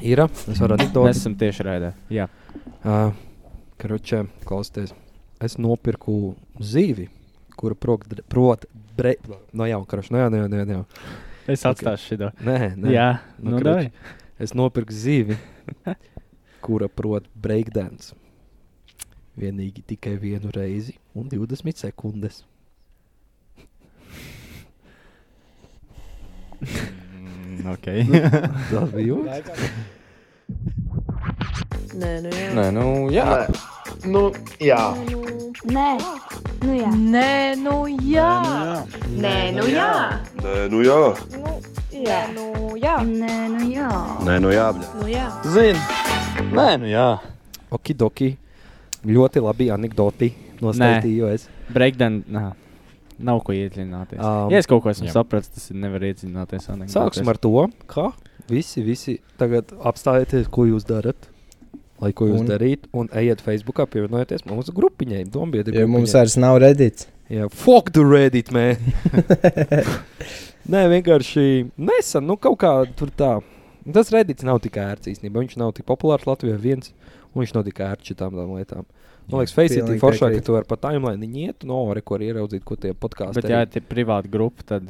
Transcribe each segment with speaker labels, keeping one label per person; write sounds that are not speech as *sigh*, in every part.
Speaker 1: Ir. Es varu
Speaker 2: Mēs
Speaker 1: atdot.
Speaker 2: esam tieši raidē. Jā,
Speaker 1: Uh, Karučē, klausieties, es nopirku zīvi, kuru prot, prot nu bre... no jauna karoša. No jauna, no jauna, no jauna.
Speaker 2: es atstāšu okay.
Speaker 1: nu Nē,
Speaker 2: šo.
Speaker 1: nē.
Speaker 2: Jā,
Speaker 1: Nu,
Speaker 2: nu,
Speaker 1: kruč.
Speaker 2: tā ir.
Speaker 1: Es nopirku zīvi,
Speaker 3: *laughs*
Speaker 1: kura prot breakdance. Vienīgi tikai vienu reizi un 20 sekundes. nu,
Speaker 4: Okay.
Speaker 2: Nu,
Speaker 1: *laughs*
Speaker 3: *laughs*
Speaker 1: Tas bija jūtas.
Speaker 5: Nē, nu jā.
Speaker 3: Nē, nu jā.
Speaker 6: Nu, jā.
Speaker 7: Nē, nu jā.
Speaker 5: Nē, nu jā. Nē, nu jā.
Speaker 8: Nē, nu jā.
Speaker 5: Jā, nu jā.
Speaker 7: Nē, nu jā.
Speaker 8: Nē, nu jā.
Speaker 5: Nu jā.
Speaker 3: Zini. Nē, nu jā.
Speaker 1: Okidoki. Ļoti labi anekdoti. Nostājījos.
Speaker 2: Breakdown. Nā. Nav ko iedziļināties.
Speaker 1: Um,
Speaker 2: Um, ja es kaut ko esmu
Speaker 4: jā.
Speaker 2: sapratis, tas ir nevar iedziļināties. anekdotēs.
Speaker 1: Sāksim ar to, ka visi, visi tagad apstājieties, ko jūs darat. Lai ko jūs
Speaker 9: Un-
Speaker 1: darītu, un ejiet Facebookā, pievienojieties mūsu grupiņai, dombietri.
Speaker 9: Jo mums vairs nav redīts.
Speaker 1: Jā, fuck the Reddit,
Speaker 9: *laughs*
Speaker 1: man. Nē, vienkārši nesen, nu kaut kā tur tā. Nu, Tas Reddits nav tik ērts īstenībā. Viņš nav tik populārs Latvijā viens, un viņš nav tik ērts šitām tām lietām. Man liekas, Facebook ir
Speaker 9: pilnīgi
Speaker 1: foršāk,
Speaker 9: piekrītu.
Speaker 1: ka tu vari pa timeline iet un ori, ko arī ieraudzīt, ko tie podkāstī.
Speaker 2: Bet, ja ir privāta grupa, tad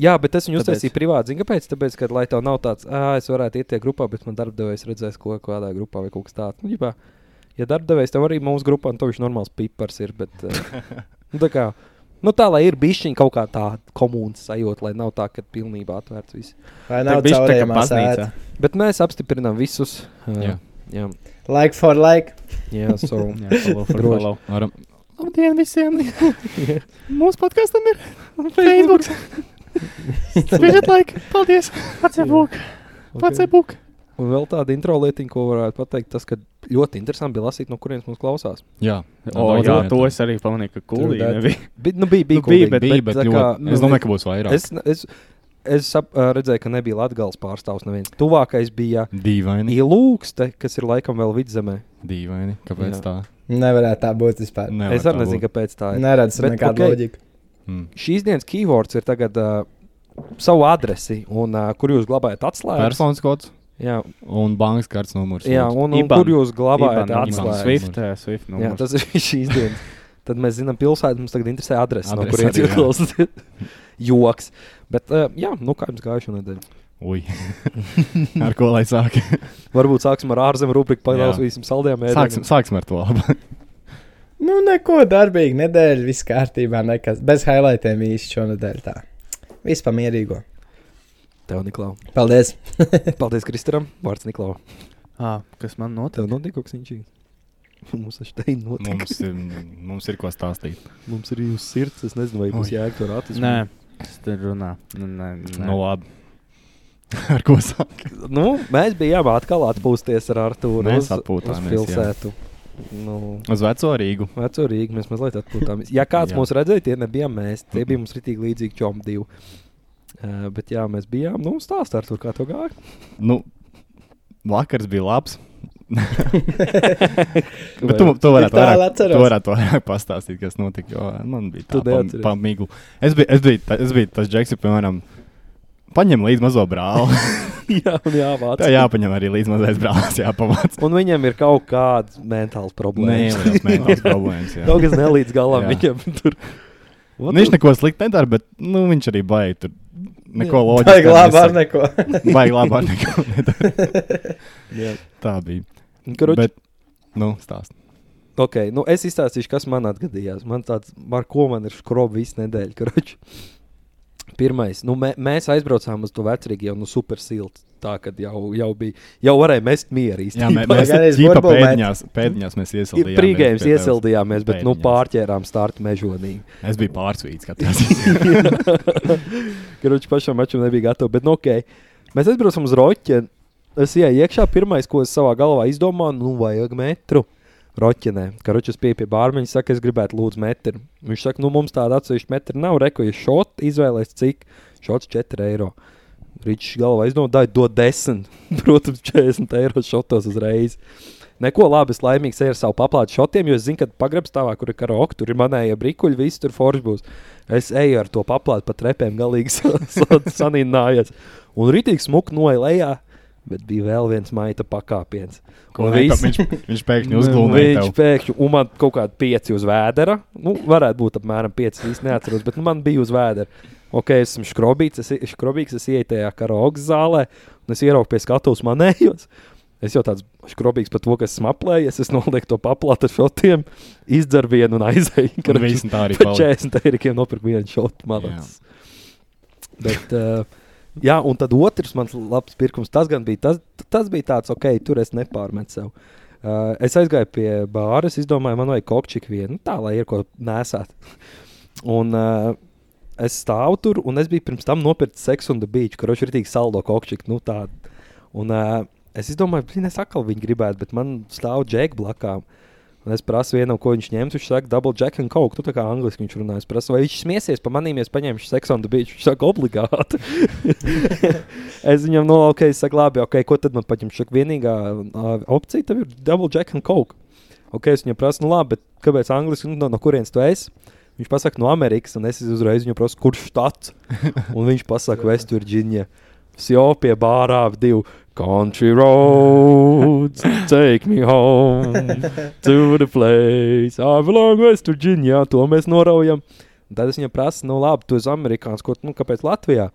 Speaker 1: jā, bet es viņu
Speaker 2: Tāpēc.
Speaker 1: uztaisīju privāti. Zini, kāpēc? Tāpēc, ka lai tev nav tāds, ah, es varētu iet tajā grupā, bet man darbdevējs redzēs, ko kādā grupā vai kaut kas tāds. Nu, ģipā, ja darbdevējs tev arī mūsu grupā, tad viņš normāls pipars ir. Bet, eh, nu, tā, kā, nu, tā lai ir bijusi kaut kā tāda komunas sajūta, lai nav tā, ka pilnībā atvērts viss.
Speaker 9: Vai
Speaker 2: tā
Speaker 9: nav
Speaker 2: bišķi tā kā
Speaker 9: caurējumā
Speaker 2: baznīca.
Speaker 9: sēta?
Speaker 1: Bet mēs apstiprinām visus. eh,
Speaker 4: Jā.
Speaker 1: jā,
Speaker 9: Like for like.
Speaker 1: jā so,
Speaker 2: Jā, follow for
Speaker 1: Droši.
Speaker 2: follow.
Speaker 4: Varam,
Speaker 1: *laughs* Labdien visiem! *laughs* Mūsu podkāstam ir *laughs* Facebook. Spēļiet laiku! Paldies! Pacebūk! Pacebūk! Un vēl tāda intro lietiņa, ko varētu pateikt, tas, ka ļoti interesanti bija lasīt, no kurienes mums klausās.
Speaker 4: jā,
Speaker 2: O,
Speaker 4: Daudz
Speaker 2: jā,
Speaker 4: lietu.
Speaker 2: to es arī pamanīju, ka
Speaker 9: True
Speaker 2: kūlī
Speaker 9: that.
Speaker 2: nebija.
Speaker 1: *laughs* Bi, nu, bija, bija,
Speaker 2: Nu, bija,
Speaker 1: kuldīgi,
Speaker 4: bet, bija, bet
Speaker 1: tā
Speaker 4: ļoti,
Speaker 1: kā, nu,
Speaker 4: kā, es domāju, ka būs vairāk. Es...
Speaker 1: es, es, es sap, ā, redzēju, ka nebija Latvijas pārstāvs neviens. Tuvākais bija
Speaker 4: Dīvaini.
Speaker 1: Ilūkste, kas ir laikam vēl vidzemē.
Speaker 4: Dīvaini. Kāpēc
Speaker 1: Jā.
Speaker 4: jā. tā?
Speaker 9: Nevarētu tā būt vispār.
Speaker 4: Nevar
Speaker 1: Es arī
Speaker 4: tā
Speaker 1: nezinu,
Speaker 4: būt.
Speaker 1: kāpēc tā ir.
Speaker 9: Neredz
Speaker 1: Bet,
Speaker 9: nekādu
Speaker 1: ok.
Speaker 9: okay. loģiku.
Speaker 4: Mm.
Speaker 1: Šīs dienas keywords ir tagad uh, savu adresi, un uh, kur jūs glabājat atslēgas.
Speaker 4: Personas kods
Speaker 1: Jā,
Speaker 4: un bankas kartes numurs.
Speaker 1: jā
Speaker 4: lūdzu.
Speaker 1: un, un
Speaker 2: IBAN.
Speaker 1: Nu, kur jūs glabājat
Speaker 2: IBAN numurs.
Speaker 1: atslēgas.
Speaker 2: Swift, jā, Swift
Speaker 4: Nu,
Speaker 1: Jā,
Speaker 2: numurs.
Speaker 1: tas ir *laughs* šīs dienas. Tad mēs zinām, pilsēta mums tagad interesē adrese, no
Speaker 4: Adrese
Speaker 1: kurienes
Speaker 4: arī,
Speaker 1: jūs
Speaker 4: jā.
Speaker 1: klausāties. *laughs* Joks. Bet, uh, jā, nu kā jums gājušā nedēļa?
Speaker 4: Ui. *laughs* ar ko lai sāk?
Speaker 1: Varbūt sāksim ar ārzemju rubriku,
Speaker 4: Jā.
Speaker 1: pagaidīsim saldējām
Speaker 4: sāksim, sāksim ar to.
Speaker 1: *laughs*
Speaker 4: labi.
Speaker 9: Nu, neko darbīgi. Nedēļa viss kārtībā. Nekas. Bez highlightiem īsti šonadēļ tā. Vispār mierīgo.
Speaker 1: Tev, Niklau. *laughs*
Speaker 9: Paldies.
Speaker 1: Paldies, Kristēram. Vārds Niklau.
Speaker 2: Ā, Kas man notiek?
Speaker 1: Tev notika kaut kas inčīgs. *laughs* Mums taču te ir notika.
Speaker 4: *laughs* mums, ir, mums ir ko stāstīt.
Speaker 1: Mums ir jūsu sirds. Es nezinu, vai būs
Speaker 4: Oi.
Speaker 1: jēga tur atrast.
Speaker 2: Nē, tas tur runā. Nu, Nē, nē.
Speaker 4: Nu, labi. *laughs* ar ko sāk?
Speaker 1: Nu, mēs bijām atkal atpūsties ar Artūru.
Speaker 4: Mēs
Speaker 1: uz-
Speaker 4: atpūtāmies,
Speaker 1: uz
Speaker 4: jā.
Speaker 1: pilsētu. Nu,
Speaker 4: Uz veco Rīgu.
Speaker 1: Veco Rīgā mēs mazliet atpūtāmies. Ja kāds
Speaker 4: Jā.
Speaker 1: mūs redzēja, tie nebija mēs. Tie bija mums rītīgi līdzīgi čom divi. Uh, bet jā, mēs bijām. Nu, stāstā ar to, kā to gāja.
Speaker 4: Nu, vakars bija labs. Bet
Speaker 1: *laughs*
Speaker 4: tu, tu varētu
Speaker 9: tālu
Speaker 4: vairāk, tu
Speaker 9: atceros.
Speaker 4: varētu vairāk *laughs* pastāstīt, kas notika. Jo man bija
Speaker 1: Tu
Speaker 4: tāds
Speaker 1: neatceries.
Speaker 4: pamīgs. Es biju, es biju, ta- es biju tas džeks, kurš piemēram paņem līdzi mazo brāli.
Speaker 1: jā, un jāvāc.
Speaker 4: *laughs* Tā jāpaņem arī līdzi mazais brālis, jāpamāca.
Speaker 1: Un viņam ir kaut kādas mentālas problēmas.
Speaker 4: Neliels mentāls problēmas.
Speaker 1: *laughs*
Speaker 4: jā.
Speaker 1: Daudz kas nelīdz galam
Speaker 4: Jā.
Speaker 1: viņam tur.
Speaker 4: Nu, Viņš neko sliktu nedara, bet nu, viņš arī baidās. Tur neko loģiski.
Speaker 9: Baigi labi ar neko.
Speaker 4: Baigi labi ar neko. *laughs* nedara.
Speaker 1: Jā.
Speaker 4: Tā bija.
Speaker 1: Karuč,
Speaker 4: Bet, nu, stāst.
Speaker 1: okay, nu es izstāstīšu, kas man atgadījās. Man tāds, ar ko man ir skrobi visu nedēļu. *laughs* Karuč. Pirmais, nu, mē, mēs aizbraucām uz to vecrīgu, jau nu, super siltu. Tā kad jau, jau bija, jau varēja mest mieru
Speaker 4: Jā,
Speaker 1: īstenībā.
Speaker 4: mē, mēs
Speaker 9: Gan es
Speaker 4: ģipa
Speaker 9: burbulmēt.
Speaker 4: pēdiņās, pēdiņās mēs iesildījāmies.
Speaker 1: Prīgājums
Speaker 4: pie tevis.
Speaker 1: iesildījāmies, bet nu,
Speaker 4: Pēdiņās.
Speaker 1: pārķērām startu
Speaker 4: *laughs*
Speaker 1: mežonī.
Speaker 4: Es biju pārsvīts
Speaker 9: *laughs*
Speaker 4: katrā.
Speaker 1: Grunčs pašam mačam nebija gatavs. Bet, nu, ok, mēs aizbraucam uz roķeni. Es ienāku iekšā, pirmais, ko es savā galvā izdomāju, nu, vajag metru. Roķenē, kā Roķis pieeja pie bārmeņa, saka, es gribētu lūdzu metru. Viņš saka, nu, mums tāda atsevišķa metra nav. Rekoja šot, izvēlēs cik? Šots 4 eiro. Rīčs galvā izdomāja, dod 10. *laughs* Protams, 40 eiro šotos uzreiz. Neko labi, es laimīgs eju ar savu paplātu šotiem, jo es zinu, ka pagrabstāvā, kur ir karaoke, tur ir manējie brīkuļi, viss tur forši būs. Es eju ar *laughs* to paplātu pa trepēm, galīgi sa- sa- sanīnājies. Un rītīgi smuk noja lejā. Bet bija vēl viens maita pakāpiens.
Speaker 4: Ko
Speaker 1: Un
Speaker 4: ne,
Speaker 1: viss-
Speaker 4: pa- viņš, viņš
Speaker 1: *laughs*
Speaker 4: pēkšņi uzglūmēja
Speaker 1: Nu, Viņš
Speaker 4: tev.
Speaker 1: pēkšņi, un man kaut kāda pieci uz vēdera, nu, varētu būt apmēram pieci, es īsti neatceros, bet nu, man bija uz vēdera. Ok, es esmu škrobīts, es, i- škrobīgs, es ieeju tajā karaoke zālē, un es ieraugu pie skatuves manējos. Es jau tāds škrobīgs par to, ka esmu aplējies, es nolieku to paplātu ar šotiem, izdzeru vienu un aizēju.
Speaker 4: Un viss tā arī
Speaker 1: Par
Speaker 4: palika.
Speaker 1: *laughs* 40 eiro nopirku vienu šotu. man
Speaker 4: Jā.
Speaker 1: liekas. Bet, uh, jā, un tad otrs mans labs pirkums, tas gan bija tas, tas bija tāds, ok, tur es nepārmetu sev. Uh, es aizgāju pie bāras, izdomāju, man vajag kokčiku vienu, tā lai ir ko nesāt. Un uh, es stāvu tur, un es biju pirms tam nopircis seksu un dabīču, kurš ir tik saldo kokčiku. Nu, tādu. un uh, es izdomāju, blīn, es atkal viņu gribētu, bet man stāv džek blakām. Un es prasu vienam, ko viņš ņems. Viņš saka, double jack and coke. Tu tā kā angliski viņš runā. Es prasu, vai viņš smieties par manīm, ja es paņemšu seksu un dabīšu. Viņš saka, obligāti. *laughs* es viņam nolauku, es saku, labi, ok, ko tad man paņemšu? Viņš saka, vienīgā uh, opcija tev ir double jack and coke. Ok, es viņam prasu, nu labi, bet kāpēc angliski? Nu, no, no kurienes tu esi? Viņš pasaka, no Amerikas, un es uzreiz viņu prasu, kurš štats. Un viņš pasaka, Vesturģīņa. Sjo pie bārā ap divu. Country roads, take me home to the place. I belong West Virginia. To mēs noraujam. Un Tad es viņam prasu, nu labi, tu esi amerikānis, ko, nu, kāpēc Latvijā?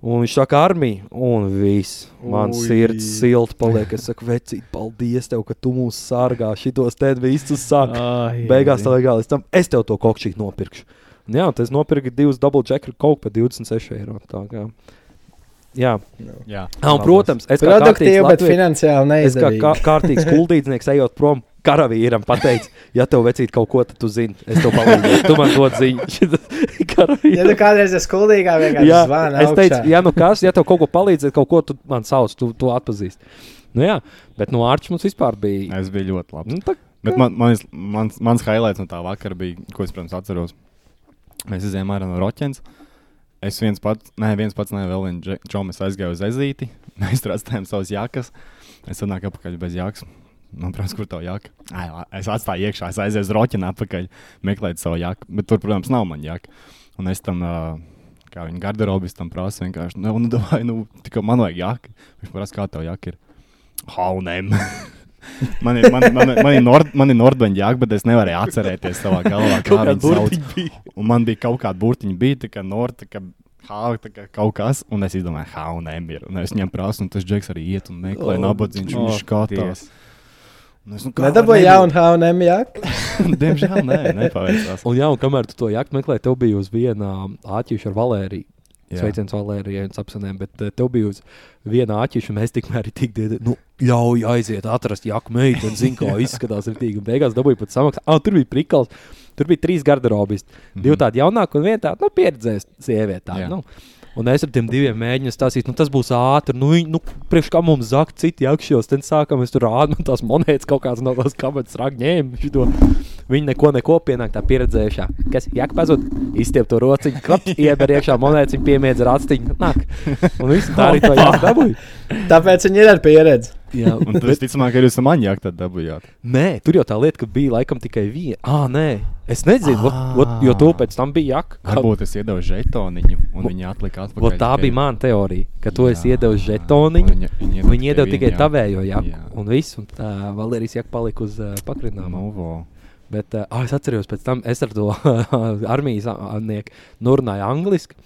Speaker 1: Un viņš saka, armija, un viss. Man
Speaker 2: Ui.
Speaker 1: sirds silti paliek. Es saku, vecīt, paldies tev, ka tu mūs sargā. Šitos te visus sāk.
Speaker 2: Ai,
Speaker 1: Beigās tā
Speaker 2: Jēziņ.
Speaker 1: legāli. Es, tam, es tev to kokšķīgu nopirkšu. Un jā, tad es nopirku divus dubultā čekru kaut par 26 eiro. Tā kā. Jā,
Speaker 4: Jā.
Speaker 1: Ah, un, protams, es kā
Speaker 9: Produktīvi,
Speaker 1: kārtīgs
Speaker 9: bet
Speaker 1: Latvijas-
Speaker 9: finansiāli
Speaker 1: Es kā kā
Speaker 9: neizdevīgi.
Speaker 1: kārtīgs kundīdznieks, ejot prom, karavīram pateicu, ja tev vecīt kaut ko, tad tu zini, es tev palīdzēšu. Tu man dod ziņu. *laughs* Šitas
Speaker 9: Ja tu
Speaker 1: karavīram.
Speaker 9: kādreiz esi skuldīgā, vienkārši zvani.
Speaker 1: es teicu, ja nu kas, ja tev kaut ko palīdzēs, kaut ko tu man sauc, tu to atpazīst. Nu jā, bet no ārča mums vispār bija.
Speaker 4: Es biju ļoti labs.
Speaker 1: Nu, tā,
Speaker 4: Bet man, man, mans, mans highlights no tā vakara bija, ko es, protams, atceros. Mēs izējām ārā no roķenes. Es viens pats, nē, viens pats, nē, vēl viens dže- čomis aizgāju uz ezīti. *laughs* Mēs tur atstājām savas jākas. Es atnāku atpakaļ bez jākas. Man prasa, kur tā jāka. Ai, la- es atstāju iekšā, es aizēju uz roķenu atpakaļ, meklēju savu jāku. Bet tur, protams, nav man jāka. Un es tam, ā, kā viņa garderobistam prasa, vienkārši, nu, nu, domāju, nu, tikai man vajag jāka. Viņš prasa, kā tev jāka ir. Haunēm. *laughs* Man ir, man, man, man ir, nord, man ir Nordbaņģa jāka, bet es nevarēju atcerēties savā galvā, kā
Speaker 1: kāda
Speaker 4: viņa sauc.
Speaker 1: burtiņa bija.
Speaker 4: Un man bija kaut kāda burtiņa, bija tā kā norta, ka hauta, ka kaut kas, un es izdomāju, haunēm ir. Un es viņam prasu, un tas džeks arī iet un meklē
Speaker 1: O,
Speaker 4: nabadzīņš,
Speaker 1: oh,
Speaker 2: o,
Speaker 4: viņš
Speaker 2: Dievs.
Speaker 4: skatās. Un es, nu, kā
Speaker 9: Nedabūji
Speaker 4: var
Speaker 9: jaunu H&M jaku.
Speaker 4: nebūt? *laughs* Diemžēl nē, nepaveicās.
Speaker 1: Un jā, un kamēr tu to jākt meklē, tev bija uz viena āķīša ar Valēriju.
Speaker 4: Jā.
Speaker 1: Sveiciens Valērijai un apsiņām, bet eh, tev bija uz viena āķīša, un mēs tikmēr arī tik diedi, nu, ļauj aiziet, atrast jaku meitu, un zinu, kā izskatās rītīgi. Un beigās dabūju pat samaksu. Ah, tur bija prikals, tur bija trīs garderobisti. Mm -hmm. Divi tādi jaunāki un viena tāda, nu, pieredzējusi sieviete.
Speaker 4: Jā.
Speaker 1: Nu. Un es ar tiem diviem mēģināju stāstīt, nu, tas būs ātri. Nu, viņi, nu priekš kā mums zakt, citi akšos, tad sākām, es tur rādu, man tās monētas kaut kādas no tās kabatas ragņiem. Viņi neko, neko pienāk tā pieredzējušā. Kas jāk pazud, izstiep to rociņu,
Speaker 4: *laughs*
Speaker 1: klap, ieber iekšā monētas, viņa piemiedz ar astiņu. Nāk. Un viss tā arī to jādabūj.
Speaker 9: Tāpēc viņi ir ar
Speaker 1: *laughs*
Speaker 9: pieredzi.
Speaker 1: Jā,
Speaker 4: Un tas, ticamāk, arī jūs man jāka tad dabūjāt.
Speaker 1: Nē, tur jau tā lieta, ka bija laikam tikai viena. Ah, nē, es nezinu, ot, ot, jo to pēc tam bija jāk.
Speaker 4: Varbūt es iedevu žetoniņu, un viņi atlika atpakaļ.
Speaker 1: Vot tā
Speaker 4: tikai-
Speaker 1: bija mana teorija, ka tu esi
Speaker 4: Jā.
Speaker 1: iedevis žetoniņu.
Speaker 4: Viņa- viņa iedod
Speaker 1: Viņi iedeva
Speaker 4: tikai
Speaker 1: tikai
Speaker 4: vienu
Speaker 1: tavējo jaku.
Speaker 4: Jā.
Speaker 1: Un viss, un tā Valērijas jaka palika uz uh, pakrinām. No.
Speaker 4: Novo.
Speaker 1: Bet uh, es atceros, pēc tam es ar to *laughs* armijas amnieku norunāju angliski.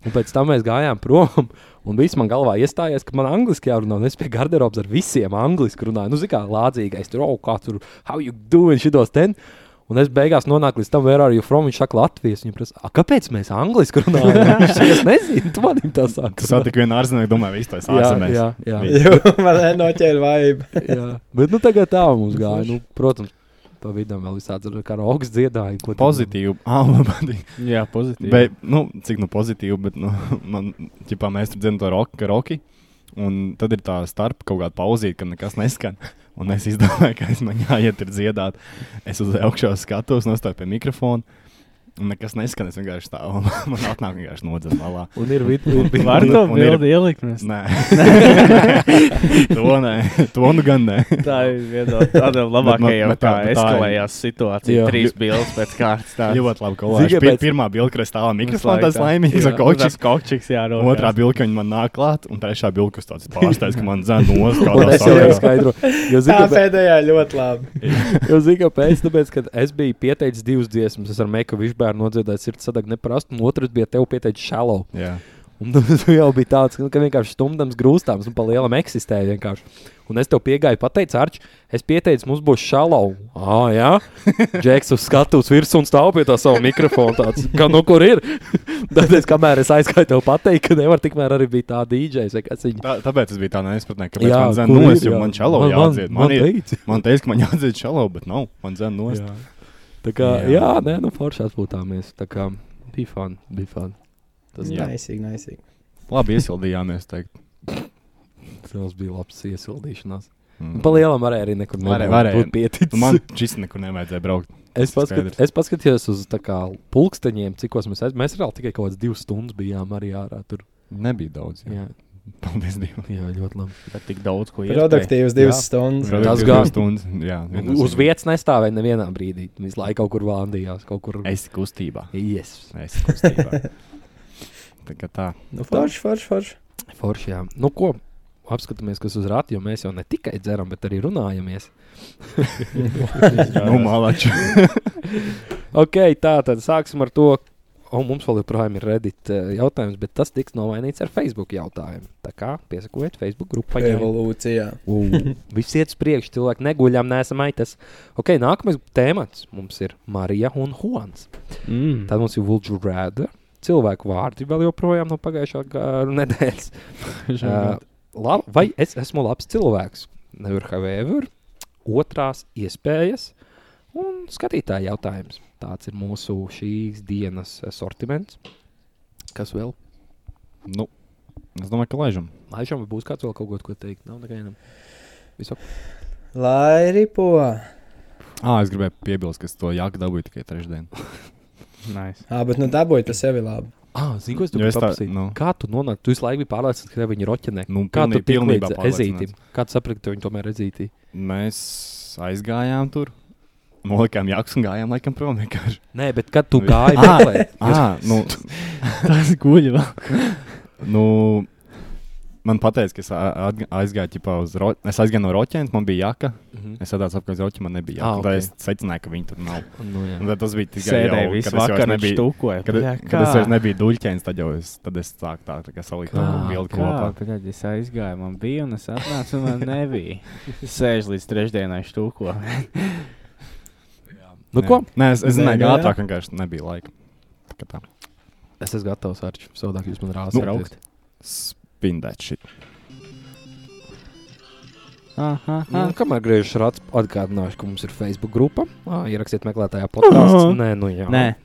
Speaker 1: Un pēc tam mēs gājām prom, *laughs* un viss man galvā iestājās, ka man angliski jārunā. un Es pie garderobas ar visiem angliski runāju. Nu, zini, kā lādzīgais tur, oh, kā tur, how you doing šitos ten. Un es beigās nonāku līdz tam, where are you from? Viņš saka, Latvijas. Viņa prasa, "A, kāpēc mēs angliski runājam? *laughs* Viņš saka, es nezinu, tu manim tā sāk.
Speaker 4: Tu satiki vienu ārzemnieku, domāju, viss
Speaker 1: *laughs*
Speaker 4: tas
Speaker 1: Jā,
Speaker 4: ārzemēs.
Speaker 1: jā, jā.
Speaker 4: Vi-
Speaker 9: Jo man noķēra vibe.
Speaker 1: Jā, *laughs* bet nu, tagad tā mums gāja. Nu, protams, pa vidu vēl visādi ar karaoke dziedāju. ko tad-
Speaker 4: Pozitīvi. Ah, man patīk.
Speaker 2: Jā, pozitīvi.
Speaker 4: Bet, nu, cik nu pozitīvi, bet, nu, *laughs* man, ķipā, mēs tur dzirdam to roku, ka roki. Un tad ir tā starp kaut kāda pauzīte, kad nekas neskan. *laughs* Un es izdomāju, ka es man jāiet ir dziedāt. Es uz augšu skatos, nostāju pie mikrofona. Un nekas neskan, es vienkārši stāvu. un *laughs* Man atnāk vienkārši nodzēra malā.
Speaker 1: nu- Un ir vidusceļš.
Speaker 2: Var to
Speaker 4: Un ir-
Speaker 2: bildi ielikt? Mēs?
Speaker 4: Nē, to nē, to nu gan nē.
Speaker 2: Tā ir viena no tādām labākajām, kā
Speaker 4: bet tā- bet tā ir-
Speaker 2: eskalējās situācija.
Speaker 1: Jā.
Speaker 2: Trīs bildes pēc kārtas. tāds.
Speaker 4: Ļoti labi, ka
Speaker 1: Zini,
Speaker 4: Pir,
Speaker 1: kāpēc-
Speaker 4: pirmā bilde, kur es stāvu mikrofonā,
Speaker 2: Visu laiku
Speaker 4: tas
Speaker 2: tā.
Speaker 4: laimīgs
Speaker 2: Jā,
Speaker 4: ar kočis.
Speaker 2: tas kokčiks, jā, rokās.
Speaker 4: Otrā bilde, ka viņi man nāk klāt, un trešā bilde, kas tāds pārsteidz, ka man zina nos
Speaker 1: *laughs* Un
Speaker 4: kādā
Speaker 1: es jau
Speaker 4: sakarā.
Speaker 1: skaidroju, jo
Speaker 9: Tā
Speaker 1: zinu, ka
Speaker 9: pēdējā ļoti labi.
Speaker 1: Jo zinu, kāpēc? Tāpēc, ka es biju pieteicis divas dziesmas. Es ar Meku Višbērnu nodziedāju sirds sadagu neprastu, un otrs bija tev pieteicis shallow.
Speaker 4: Jā.
Speaker 1: Un *laughs* tu jau biji tāds, nu, ka vienkārši stumdams, grūstams un pa lielam eksistēja vienkārši. Un es tev piegāju, pateicu, Arčs, es pieteicu, mums būs šalau. Ah,
Speaker 4: *laughs*
Speaker 1: jā, Džeks uz skatuves virsū un stāv pie tā sava mikrofona. Tāds, kā nu kur ir? *laughs* Tad es kamēr es aizgāju tev pateikt, ka nevar tikmēr arī bija tā DJs, vai kas viņa.
Speaker 4: Tā, tāpēc es biju tā neizpratnē, ka man zina nos, jo man čalo jāatdzied. Man, ir-
Speaker 1: teica.
Speaker 4: man teica, ka man jāatdzied čalo, bet nav. Man zina nos.
Speaker 1: Jā. Tā kā,
Speaker 4: Jā.
Speaker 1: jā, jā nē, nu, forši atpūtāmies. Tā kā bija fun, bija fun.
Speaker 9: Tas
Speaker 4: Jā.
Speaker 9: naisīgi, naisīgi.
Speaker 4: Labi iesildījāmies, teikt.
Speaker 1: Tas bija labs iesildīšanās.
Speaker 4: Mm.
Speaker 1: Nu, Pa lielam varēja arī nekur
Speaker 4: Varēja,
Speaker 1: nebūt-
Speaker 4: varēja.
Speaker 1: būt pieticis.
Speaker 4: Nu, Man šis nekur nevajadzēja braukt.
Speaker 1: es, paskat,
Speaker 4: skaidrs.
Speaker 1: es paskatījos uz tā kā pulksteņiem, cikos mēs esam. Mēs reāli tikai kaut kādas divas stundas bijām arī ārā. Tur.
Speaker 4: Nebija daudz. Jā.
Speaker 1: Jā,
Speaker 4: Paldies Dievam.
Speaker 1: jā ļoti labi.
Speaker 2: Bet tik daudz, ko ielikt.
Speaker 9: Produktīvs divas stundas.
Speaker 1: Tas
Speaker 4: Divas
Speaker 1: gan.
Speaker 4: stundas. Jā,
Speaker 1: U- Uz vietas nestāvēja nevienā brīdī. Visu laiku kaut kur vāndījās, kaut kur.
Speaker 4: Es esmu kustībā.
Speaker 1: Yes.
Speaker 4: Es *laughs* esmu kustībā. tā kā tā.
Speaker 9: Nu, forši, forši, forši.
Speaker 1: Forši, jā. Nu, ko? Apskatāmies, kas uz rāta, jo mēs jau ne tikai dzeram, bet arī
Speaker 4: *laughs*
Speaker 1: runājamies.
Speaker 4: Nu, malači.
Speaker 1: Ok, tā tad sāksim ar to. Un mums vēl joprojām ir Reddit eh, jautājums, bet tas tiks nomainīts ar Facebook jautājumu. Tā kā piesakojiet Facebook grupai.
Speaker 9: Evolūcijā.
Speaker 1: Viss iet uz priekšu, cilvēki neguļam, nesam aitas. Ok, nākamais temats mums ir Marija un Hons.
Speaker 2: Mm.
Speaker 1: Tad mums ir Vulģu Rēda. Cilvēku vārdi vēl joprojām no pagājušā gā- nedēļas. Uh, lab, vai es esmu labs cilvēks? Never have ever. Otrās iespējas un skatītāja jautājums. Tāds ir mūsu šīs dienas eh, sortiments. Kas vēl?
Speaker 4: Nu, es domāju, ka laižam.
Speaker 1: Laižam, vai būs kāds vēl kaut ko, ko teikt. Nav nekādam. Visu.
Speaker 9: Lai ripo.
Speaker 4: Ah, es gribēju piebilst, ka es to jāku dabūju tikai trešdien.
Speaker 2: Nice.
Speaker 9: Ā, bet nu dabūj tas sevi labi.
Speaker 1: Ah, zinu, ko es
Speaker 4: Jo
Speaker 1: tev
Speaker 4: es tā-
Speaker 1: paprasīju.
Speaker 4: nu.
Speaker 1: Kā tu nonāci? Tu visu laiku biji pārliecināts, ka tev viņa roķenē.
Speaker 4: Nu,
Speaker 1: Kā tu
Speaker 4: pilnī- pilnībā
Speaker 1: piekrīti
Speaker 4: pārliecināts.
Speaker 1: ezītim? Kā tu saprati, ka tev viņa tomēr ezītī?
Speaker 4: Mēs aizgājām tur. Nolikām jāks un gājām laikam prom vienkārši.
Speaker 1: Nē, bet kad
Speaker 4: *laughs*
Speaker 1: tu
Speaker 4: Vi-
Speaker 1: gāji
Speaker 4: Ā!
Speaker 1: meklēt,
Speaker 4: Ah, nu,
Speaker 2: Tas guļ vēl.
Speaker 4: nu, man teica, ka es a- atg- aizgāju ķipā uz roķi. Es aizgāju no roķēnas, man bija jāka.
Speaker 1: Mhm.
Speaker 4: Es atceros, ka roķi man nebija jāka.
Speaker 1: Ah,
Speaker 4: Ah, okay.
Speaker 1: ok.
Speaker 4: Es secināju, ka viņi tur nav.
Speaker 1: nu, jā.
Speaker 4: Un tad tas bija tikai
Speaker 2: Sēdēja
Speaker 4: jau,
Speaker 2: visu
Speaker 4: kad es vairs
Speaker 2: vakaru,
Speaker 4: nebiju-
Speaker 2: štukoja.
Speaker 4: Kad,
Speaker 2: Bļā,
Speaker 4: kad es
Speaker 2: kā?
Speaker 4: vairs nebiju duļķēns, tad jau es, tad es sāku tā, tā kā salikt
Speaker 1: Kā?
Speaker 4: tādu bildi kopā.
Speaker 2: Tad es aizgāju, man bija, un es atnācu, un man nebija. Sēž līdz trešdienai štūko.
Speaker 1: nu,
Speaker 4: Nē.
Speaker 1: ko?
Speaker 4: Nē, es, es
Speaker 9: Nē,
Speaker 4: zināju,
Speaker 9: nu
Speaker 4: ka
Speaker 9: jā.
Speaker 4: ātrāk vienkārši nebija laika. Tā kā tā.
Speaker 1: Es esmu gatavs ar šo savādāk. Jūs man
Speaker 4: Nu,
Speaker 1: rādāt,
Speaker 4: braukt. Spindēt šī.
Speaker 2: Aha,
Speaker 1: Nu, kamēr griežas rāts, atgādināšu, ka mums ir Facebook grupa. Ā, Ierakstiet meklētājā podkāstu.
Speaker 2: Aha.
Speaker 1: Nē, nu jā.
Speaker 2: Nē,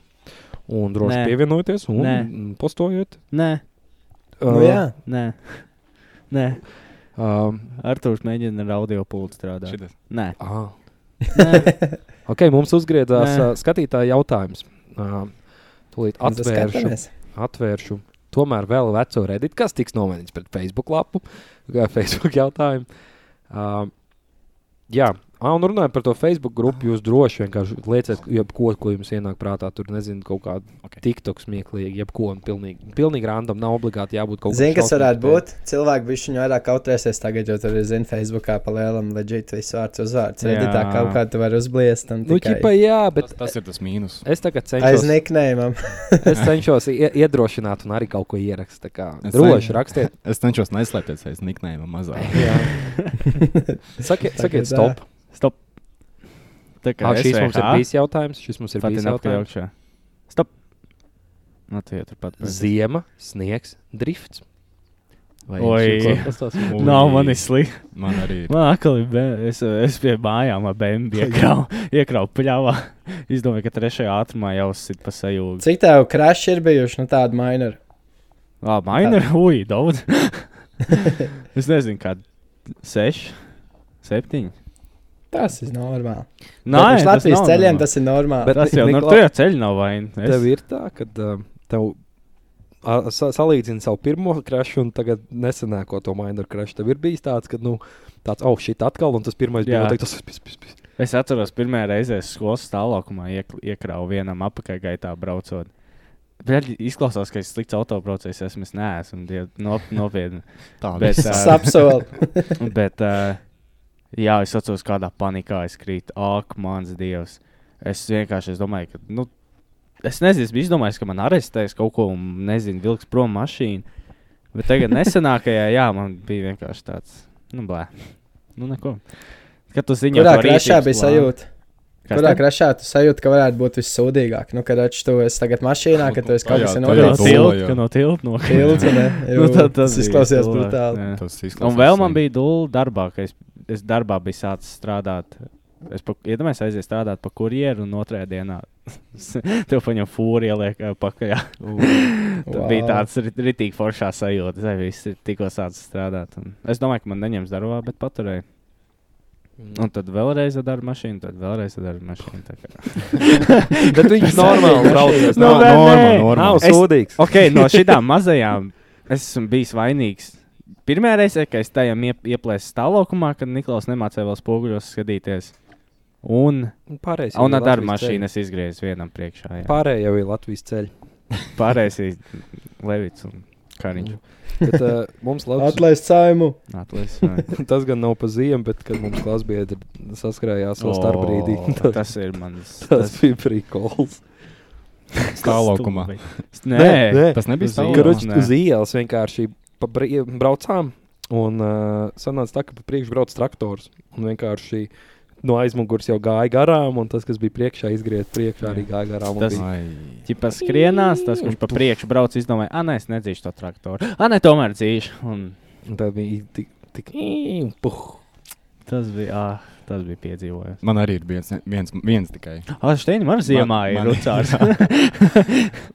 Speaker 1: Un droši
Speaker 2: Nē.
Speaker 1: pievienojieties un
Speaker 2: Nē.
Speaker 1: mm, postojiet. Ah,
Speaker 2: nē,
Speaker 9: Nu, jā.
Speaker 2: nē. Nē,
Speaker 1: Um,
Speaker 2: Arthurs mēģina ar audio pultu strādāt.
Speaker 4: Šitas.
Speaker 2: Nē,
Speaker 1: ah.
Speaker 2: nē.
Speaker 1: Ok, mums uzgriezās
Speaker 2: Nē.
Speaker 1: uh, skatītāja jautājums. Uh, Tūlīt
Speaker 9: Un tas
Speaker 1: atvēršu.
Speaker 9: skatāmies.
Speaker 1: atvēršu. Tomēr vēl veco redīt, kas tiks nomainīts pret Facebook lapu, kā *laughs* Facebook jautājumu. Uh, jā, ah, un runājot par to Facebook grupu, jūs droši vienkārši lieciet, jebko, ko jums ienāk prātā. Tur nezinu, kaut kāda
Speaker 4: Ok.
Speaker 1: okay. TikTok smieklīga, jebko un pilnīgi, pilnīgi random. Nav obligāti jābūt kaut kādam.
Speaker 9: Zini, kas varētu būt? Cilvēki bija viņa vairāk kautrēsies tagad, jo tur ir, zina, Facebookā pa lielam leģit visu vārdu uzvārdu.
Speaker 2: Jā.
Speaker 9: Redzi, tā kaut kā tu vari uzbliest. un
Speaker 1: Nu,
Speaker 9: tikai
Speaker 1: ķipa, jā,
Speaker 4: Tas,
Speaker 1: bet
Speaker 4: tas ir tas mīnus.
Speaker 1: es tagad
Speaker 9: Aiz
Speaker 1: cenšos,
Speaker 9: niknējumam.
Speaker 1: *laughs*
Speaker 9: *laughs*
Speaker 1: es cenšos ie- iedrošināt un arī kaut ko ierakstīt. Tā kā
Speaker 4: Es
Speaker 1: Droši
Speaker 4: cenšos. *laughs*
Speaker 1: rakstiet.
Speaker 4: Es cenšos neslēpties aiz niknējuma mazāk.
Speaker 9: *laughs*
Speaker 1: Sakiet,
Speaker 9: Tagad,
Speaker 1: sakiet
Speaker 9: ā,
Speaker 1: stop.
Speaker 2: Stop. Tā kā
Speaker 1: Ah,
Speaker 2: es
Speaker 1: šis mums ir
Speaker 2: VH,
Speaker 1: bijis jautājums. Šis mums ir
Speaker 2: pati
Speaker 1: bijis
Speaker 2: nākamajā
Speaker 1: jautājums.
Speaker 2: augšā. Stop. Nu, tie tur pat.
Speaker 1: Ziema, sniegs,
Speaker 2: *laughs*
Speaker 1: drifts. Vai
Speaker 2: Oi.
Speaker 1: jums šī
Speaker 4: Ui.
Speaker 2: Nav man izslīd.
Speaker 4: Man arī ir.
Speaker 2: Man atkal ir bērns. Es, es pie mājām ar bērnu iekrāvu, iekrāvu pļāvā. Es domāju, ka trešajā ātrumā jau sit pa sajūgu.
Speaker 9: Cik tev kraši ir bijuši, nu tāda minor?
Speaker 2: Ā, maina ir ui, daudz. es nezinu, kāda. Seši, septiņi.
Speaker 9: Tas ir normāli.
Speaker 2: Nē,
Speaker 9: Bet uz Latvijas
Speaker 2: nav
Speaker 9: ceļiem
Speaker 2: normāli.
Speaker 9: tas ir normāli.
Speaker 1: Bet-
Speaker 2: Tas jau
Speaker 1: Niklā-
Speaker 2: nav. Tur jau ceļš nav
Speaker 1: Es... Tev
Speaker 2: vaina.
Speaker 1: ir tā, ka um, tev a, sa- salīdzini savu pirmo krāšu un tagad nesenāko to minor krāšu. Tev ir bijis tāds, ka, nu, tāds, oh, šī atkal, un tas pirmais bija
Speaker 2: Jā.
Speaker 1: noteikti tas, kas bija.
Speaker 2: Es, es atceros, pirmā reize es skolas stāvoklimā iekrāvu vienam apakšgaitā braucot. Bet izklausās, ka es slikts autobraucējs esmu. Es neesmu diez- nop,
Speaker 9: *laughs*
Speaker 2: nopietni.
Speaker 4: Tā
Speaker 2: Bet,
Speaker 4: viss.
Speaker 2: ā,
Speaker 9: Sapsoli.
Speaker 2: Bet, uh, jā, es atceros, kādā panikā es krītu. Ak, mans dievs. Es vienkārši es domāju, ka. Nu, es nezinu, es biju izdomājis, ka man arestēs kaut ko un nezinu, vilks prom mašīnu. Bet tagad nesenākajā, jā, man bija vienkārši tāds. Nu, blē. Nu, neko. Kad tu ziņo,
Speaker 9: Kurā
Speaker 2: par
Speaker 9: krāšā
Speaker 2: rīcības
Speaker 9: bija
Speaker 2: plānu-
Speaker 9: sajūta?
Speaker 2: Kas
Speaker 9: Kurā
Speaker 2: tad?
Speaker 9: krāšā tu sajūti, ka varētu būt vissūdīgāk? Nu, kad redz, tu esi tagad mašīnā, kad tu esi kaut
Speaker 4: Tajā-
Speaker 9: kas
Speaker 4: tajā
Speaker 2: No
Speaker 4: Jā,
Speaker 9: noticis.
Speaker 4: tu-
Speaker 2: tilta,
Speaker 4: jā.
Speaker 2: ka no tilta *laughs* nokrīt.
Speaker 9: Pilns, ne?
Speaker 2: Nu,
Speaker 9: Jū,
Speaker 2: tad tas
Speaker 9: Tas
Speaker 2: bija
Speaker 9: izklausījās
Speaker 2: cilvēks,
Speaker 9: brutāli.
Speaker 2: jā.
Speaker 4: Tas izklausās.
Speaker 2: Un vēl man
Speaker 4: slikti.
Speaker 2: bija dūle darbā, ka es, es darbā biju sācis strādāt. Es pa- iedomājos, aizies strādāt pa kurjeru un otrajā dienā. *laughs* Tev paņem fūri, ieliek eh, *laughs* pakaļ. Tur wow. bija
Speaker 9: Wow.
Speaker 2: tāds ri- ritīgi foršā sajūta. Es arī viss ir tikko sācis strādāt. Un es domāju, ka man neņems darbā, bet paturēju. Un tad vēlreiz ar darbu mašīnu, tad vēlreiz ar darbu mašīnu. tā kā. *laughs*
Speaker 1: Bet viņš normāli braucās.
Speaker 2: Nu,
Speaker 1: Nav, nav,
Speaker 2: bet nē.
Speaker 4: norma, norma.
Speaker 1: nav
Speaker 2: Es-
Speaker 1: sūdīgs.
Speaker 2: Ok, no šīm mazajām es esmu bijis vainīgs. Pirmā reize, kad es tajā iep ieplēsu stāvoklī, kad Niklaus nemācīja vēl spoguļos skatīties. Un
Speaker 1: Pārējais.
Speaker 2: Un ar darbu mašīnu es izgriezu vienam priekšā. jā.
Speaker 1: Pārējie jau ir Latvijas ceļi.
Speaker 2: Pārējais ir Levits un Kariņš.
Speaker 1: Bet, uh,
Speaker 2: *laughs*
Speaker 1: mums Latvijas
Speaker 9: Atlaist saimu.
Speaker 2: Atlis,
Speaker 1: *laughs* tas gan nav pa ziemu, bet kad mums klasbiedri saskarājās vēl starp brīdī, *laughs*
Speaker 2: O,
Speaker 1: tad
Speaker 2: tas ir mans.
Speaker 1: tas bija prikols.
Speaker 4: Stāvlokumā.
Speaker 2: Tas- Nē,
Speaker 4: Tas nebija
Speaker 2: Uz ielas.
Speaker 4: stāvoklis.
Speaker 1: Karoči,
Speaker 2: nē.
Speaker 1: uz ielas vienkārši pa brie- braucām. Un uh, sanāca tā, ka pa priekšu brauc traktors. Un vienkārši no aizmugures jau gāja garām, un tas, kas bija priekšā, izgriezās priekšā, arī gāja garām. un
Speaker 2: Tas-
Speaker 1: bija-
Speaker 4: Ai.
Speaker 2: Čipa skrienās, tas, kurš pa priekšu brauc, izdomāja, ah, nē, es nedzīšu to traktoru. Ah, nē, tomēr dzīšu. Un
Speaker 1: un tā bija tik, tik īm, puh.
Speaker 2: tas bija, ah, tas bija piedzīvojums.
Speaker 4: Man arī ir viens, viens, viens tikai.
Speaker 2: Ah, Šteini, man ziemā ir *laughs*
Speaker 4: man-
Speaker 2: rucārs.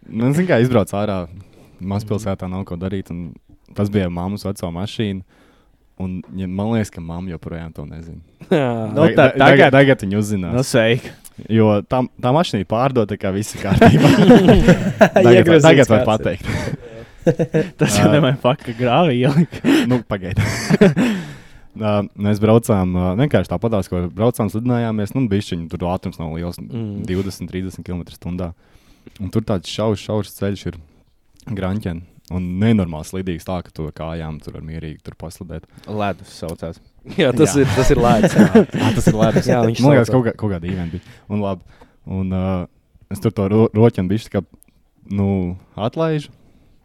Speaker 4: Man zināms, kā izbrauc ārā. Mazpilsētā nav ko darīt. un Tas bija mammas veco mašīna. Un, ja man liekas, ka mamma joprojām to nezina.
Speaker 2: Nu,
Speaker 4: Tag-
Speaker 2: tā-
Speaker 4: tag- tagad,
Speaker 2: tagad-
Speaker 4: tagad viņi
Speaker 2: Nu,
Speaker 4: uzzinās.
Speaker 2: sveiki.
Speaker 4: Jo tā, tā mašīna ir pārdota, kā viss ir kārtībā.
Speaker 2: *laughs*
Speaker 4: tagad var-
Speaker 9: Iegrozīts
Speaker 4: tagad var
Speaker 9: kāds ir.
Speaker 4: pateikt.
Speaker 2: Tas jau
Speaker 4: Ā.
Speaker 2: nemēr faka grāvi ielika.
Speaker 4: nu, pagaidi. *laughs* Nā, Mēs braucām ā, vienkārši tāpatās, ko braucām, slidinājāmies. Nu, bišķiņ, tur ātrums nav liels,
Speaker 1: Mm.
Speaker 4: mm. 20, 30 km/h. Un tur tāds šaurs, šaurs ceļš ir grāmatā. Un nenormāli slidīgs tā, ka tu ar kājām tur var mierīgi tur paslidēt.
Speaker 2: Ledus saucās.
Speaker 1: *laughs* Jā, tas
Speaker 4: Jā.
Speaker 1: ir, tas ir lēts.
Speaker 4: *laughs* Jā, tas ir *laughs* labi.
Speaker 1: Jā, viņš
Speaker 4: man liekas,
Speaker 1: sauca.
Speaker 4: kaut, kā, kaut kāda īvena bija. Un, labi, un uh, es tur to ro roķinu bišķi, kā nu, atlaižu.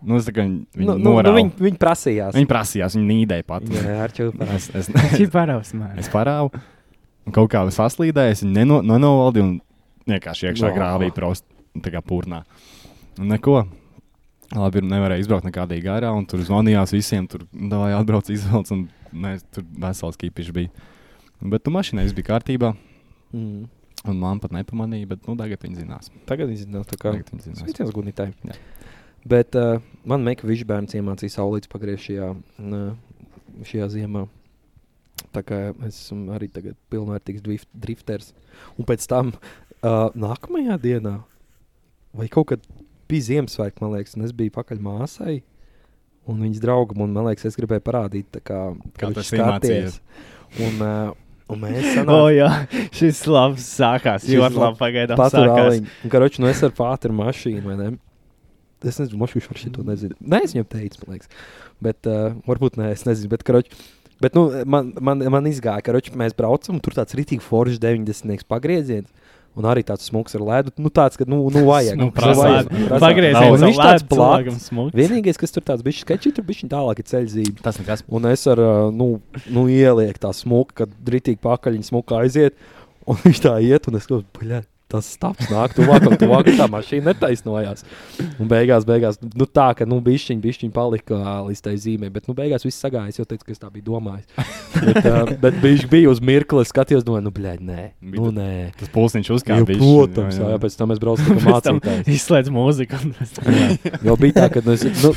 Speaker 4: Nu, es tā kā viņu
Speaker 1: Nu,
Speaker 4: nu,
Speaker 1: nu, nu,
Speaker 4: norādu.
Speaker 1: viņi,
Speaker 4: Nu,
Speaker 1: viņi prasījās.
Speaker 4: viņi prasījās, viņi nīdēja pat.
Speaker 1: Jā, ar čūpām.
Speaker 4: Es, *laughs* es,
Speaker 2: Čiparaus, man.
Speaker 4: es parāvu. Un kaut kā saslīdēju, es viņu neno, nenovaldīju un vienkārši iekšā
Speaker 1: No.
Speaker 4: no. grāvī prost, tā kā purnā. Un neko. Labi, ir, nevarēja izbraukt nekādā garā, un tur zvanījās visiem, tur nu, bija atbraucis izvēlēts, un mēs tur vesels kipišs bija. Bet tu mašīnā viss bija kārtībā,
Speaker 1: Mm.
Speaker 4: un man pat nepamanīja, bet nu, tagad viņi zinās.
Speaker 1: Tagad viņi zinās, tā kā
Speaker 4: Tagad viņi zinās.
Speaker 1: sveiciens gudnītāji.
Speaker 4: Jā.
Speaker 1: Bet uh, man meklēja višķi bērns iemācīja saulītas pagriezt šajā, n, šajā ziemā. Tā kā es esmu arī tagad pilnvērtīgs dwif- drifters. Un pēc tam uh, nākamajā dienā, vai kaut kad bija Ziemassvētki, man liekas, un es biju pakaļ māsai. Un viņas draugam, un man liekas, es gribēju parādīt, tā kā, ka
Speaker 4: Kā tas
Speaker 1: viņš skaties.
Speaker 4: iemācījies.
Speaker 1: Un, uh, un mēs
Speaker 2: O,
Speaker 1: sanāc,
Speaker 2: jā, *laughs* šis labs sākās.
Speaker 1: Šis
Speaker 2: Ļoti
Speaker 1: lab-
Speaker 2: labi pagaidām. sākās.
Speaker 1: Paturāliņa. Un, karoči, nu es ar pātri mašīnu, vai ne? Es nezinu, mošu viņš šito nezinu. Nē, es viņam teicu, man liekas. Bet, uh, varbūt nē, es nezinu, bet, karoči. Bet, nu, man, man, man izgāja, ka, karoči, mēs braucam, un tur tāds rītīgi foršs 90. pagrieziens. Un arī tāds smūgs ar ledu. Nu, tāds, ka, nu, nu vajag.
Speaker 4: Nu,
Speaker 1: Nu,
Speaker 4: prasāt.
Speaker 1: vajag, prasāt.
Speaker 2: Pagriezies,
Speaker 1: Un viņš tāds
Speaker 2: plakāts,
Speaker 1: plāns.
Speaker 2: smūgs.
Speaker 1: Vienīgais, kas tur tāds bija, ka viņš tur bija tālāk ir ceļzīme.
Speaker 4: Tas nekas.
Speaker 1: Un es ar, ā, nu, nu ielieku tā smuku, kad drīzāk pāri smuka aiziet. Un viņš tā iet, un es skatos, bļa, tas stāvs nāk, tuvāk, un tuvāk un tā mašīna netaisnojās. Un beigās, beigās, nu tā, ka, nu, bišķiņ, bišķiņ palika ā, līdz tai zīmē, bet, nu, beigās viss sagājās, jo teicu, ka es tā biju domājis. Bet, uh, bet bišķi bija uz mirkli, skatījos, domāju, nu, blēņ, nē,
Speaker 4: Bija
Speaker 1: nu,
Speaker 4: tā-
Speaker 1: nē.
Speaker 4: Tas pulsniņš
Speaker 1: Jā,
Speaker 4: uzkāpa. bišķi,
Speaker 1: protams, jā, jā,
Speaker 4: *laughs*
Speaker 1: pēc tam mēs braucām kā
Speaker 2: Pēc tam
Speaker 1: mācītāji.
Speaker 2: Izslēdz mūziku. un mēs-
Speaker 1: Jau bija tā, ka. Nu, es- nu,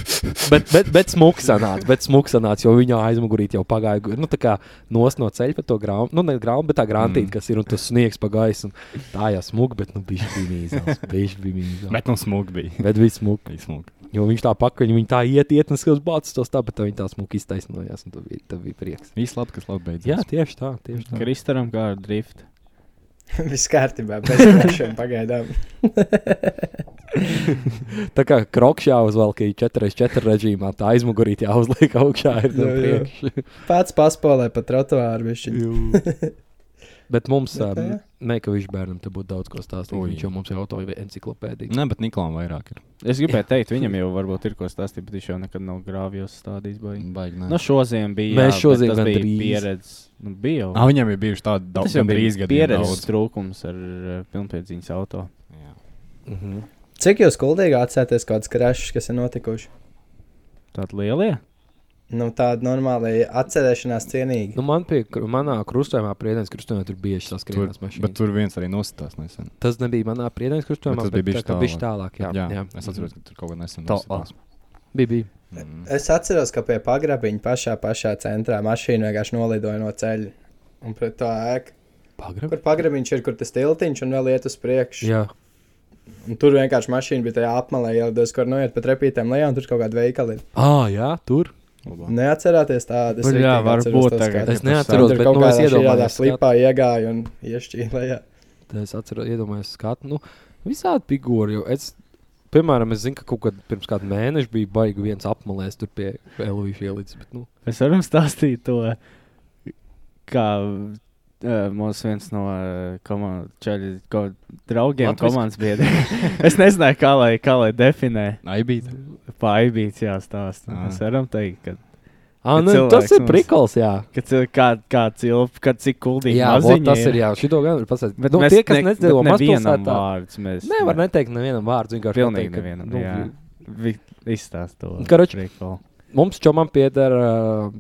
Speaker 1: bet, bet, bet smūgs sanāca, bet smūgs sanāca, jo viņa aizmugurīt jau pagāja. gu- Nu, tā kā nos no ceļa pa to grāmatu, nu, ne grāmatu, bet tā grāmatīt, mm. kas ir un tas sniegs pa gaisu. un Tā jau smūga, bet, nu, bija mīzās. Bija mīzās. Bet,
Speaker 4: Bet nu smūgi bija.
Speaker 1: bet bija smūga.
Speaker 4: Bija smūgi.
Speaker 1: Jo viņš tā pakaļ, viņa tā iet, iet, un skatās bācis tos tā, bet tā viņa tā smūga iztaisnojās, un tas bija, tā bija prieks.
Speaker 4: Viss labi, kas labi beidzās.
Speaker 1: Jā, tieši tā, tieši tā.
Speaker 2: Kristaram kā ar drift.
Speaker 9: *laughs* Viss kārtībā, bez krāšņiem pagaidām.
Speaker 1: Tā kā krokšs jāuzvelk 4x4 režīmā, tā aizmugurīt jāuzliek augšā. Ir no
Speaker 9: Jā, jā.
Speaker 1: priekša.
Speaker 9: Pats paspēlē pa trotuāru. viņš-
Speaker 1: Bet mums, um,
Speaker 9: Bet, jā.
Speaker 1: Meikavičs bērnam, te būtu daudz ko stāstīt.
Speaker 4: Ui.
Speaker 1: Viņš jau mums jau autoja enciklopēdiju.
Speaker 4: Nē, bet Niklaus vairāk ir.
Speaker 2: Es gribēju teikt, viņam jau varbūt ir ko stāstīt, bet viņš jau nekad nav grāvjos stādījis. Baigi.
Speaker 4: Baigi, nē.
Speaker 2: Nu, šodien bija.
Speaker 1: Mēs
Speaker 2: jā,
Speaker 1: šodien
Speaker 2: bet tas bija
Speaker 1: gandrīz.
Speaker 2: pieredze. Nu, bija jau.
Speaker 4: Ah, viņam ir bijuši tādi daudz,
Speaker 2: Tas jau bija
Speaker 4: gandrīz
Speaker 2: trīs gadi.
Speaker 4: gadiem
Speaker 2: Pieredzes
Speaker 4: daudz.
Speaker 2: trūkums ar uh, pilnpiedziņas auto.
Speaker 4: Jā.
Speaker 1: Mhm.
Speaker 9: Cik jūs kuldīgi atcerieties kaut kādas krāšņas, kas ir notikušas?
Speaker 2: Tāda lielie?
Speaker 9: Nu, tāda normāla atcerēšanās cienīga.
Speaker 1: Nu, man pie, kru- manā krustojumā, priedēļas krustojumā, tur bieži
Speaker 4: Tur,
Speaker 1: saskrējās
Speaker 4: bet
Speaker 1: mašīnas.
Speaker 4: tur viens arī nostājās nesen.
Speaker 1: Tas nebija manā priedēļas krustojumā,
Speaker 4: Bet tas
Speaker 1: bet
Speaker 4: bija
Speaker 1: bija
Speaker 4: bišķi
Speaker 1: bišķi tālāk. Jā,
Speaker 4: jā,
Speaker 1: jā.
Speaker 4: es atceros, ka tur kaut kā nesen
Speaker 1: Tā,
Speaker 4: nostājās.
Speaker 1: Bija, bija.
Speaker 4: Mm.
Speaker 9: Es atceros, ka pie pagrabiņa pašā, pašā centrā mašīna vienkārši nolidoja no ceļa. Un pret tā ēku,
Speaker 1: Pagrabi.
Speaker 9: kur pagrabiņš ir, kur tas tiltiņš un vēl iet uz priekšu.
Speaker 1: Jā,
Speaker 9: Un Tur vienkārši mašīna bija tajā apmalē, jau dos, kur noiet pat repītēm lejā, un tur kaut kāda veikala ir.
Speaker 1: ah, jā tur.
Speaker 9: *laughs* Neatcerāties tādu.
Speaker 2: Baļ, jā, varbūt tagad.
Speaker 1: Es
Speaker 2: tas
Speaker 1: neatceros, bet
Speaker 9: kaut
Speaker 1: nu, es
Speaker 9: kādā šajā
Speaker 1: iedomājos. skatu.
Speaker 9: slīpā iegāja un iešķīla lejā.
Speaker 1: Tad es atceros, iedomājos, skatu. Nu, visādi figūri. jo Es, piemēram, es zinu, ka kaut kad pirms kāda mēneša bija baigi viens apmalēs tur pie Elvīša ielas. Nu,
Speaker 2: Mēs varam stāstīt to, kā uh, mūsu viens no komandas draugiem,
Speaker 1: Latvijas-
Speaker 2: komandas biedriem. *laughs* es nezināju, kā lai, kā lai definē
Speaker 4: Aibīt.
Speaker 2: pāribīts jāstāsta.
Speaker 4: Ā.
Speaker 2: Mēs varam teikt, ka,
Speaker 1: ah,
Speaker 2: Ir
Speaker 1: nu,
Speaker 2: cilvēks
Speaker 1: tas ir
Speaker 2: mums.
Speaker 1: prikals, jā.
Speaker 2: ka cil, kā, kā cilvēks, kad cik kuldīgi
Speaker 1: Jā, vot, tas ir jā. Šito gan var pasakāt.
Speaker 2: Bet
Speaker 1: Nu,
Speaker 2: mēs
Speaker 1: tie, kas
Speaker 2: ne-
Speaker 1: nedzīvo
Speaker 2: bet nevienam
Speaker 1: mazpilsētā,
Speaker 2: vārds. Mēs
Speaker 1: nevar neteikt nevienam vārdu. Vienkārši
Speaker 2: Pilnīgi
Speaker 1: pateikt, ka,
Speaker 2: nevienam.
Speaker 1: nu,
Speaker 2: jā. Vi- Izstāst to.
Speaker 1: Karoči,
Speaker 2: prikolu.
Speaker 1: Mums čomam pieder ā,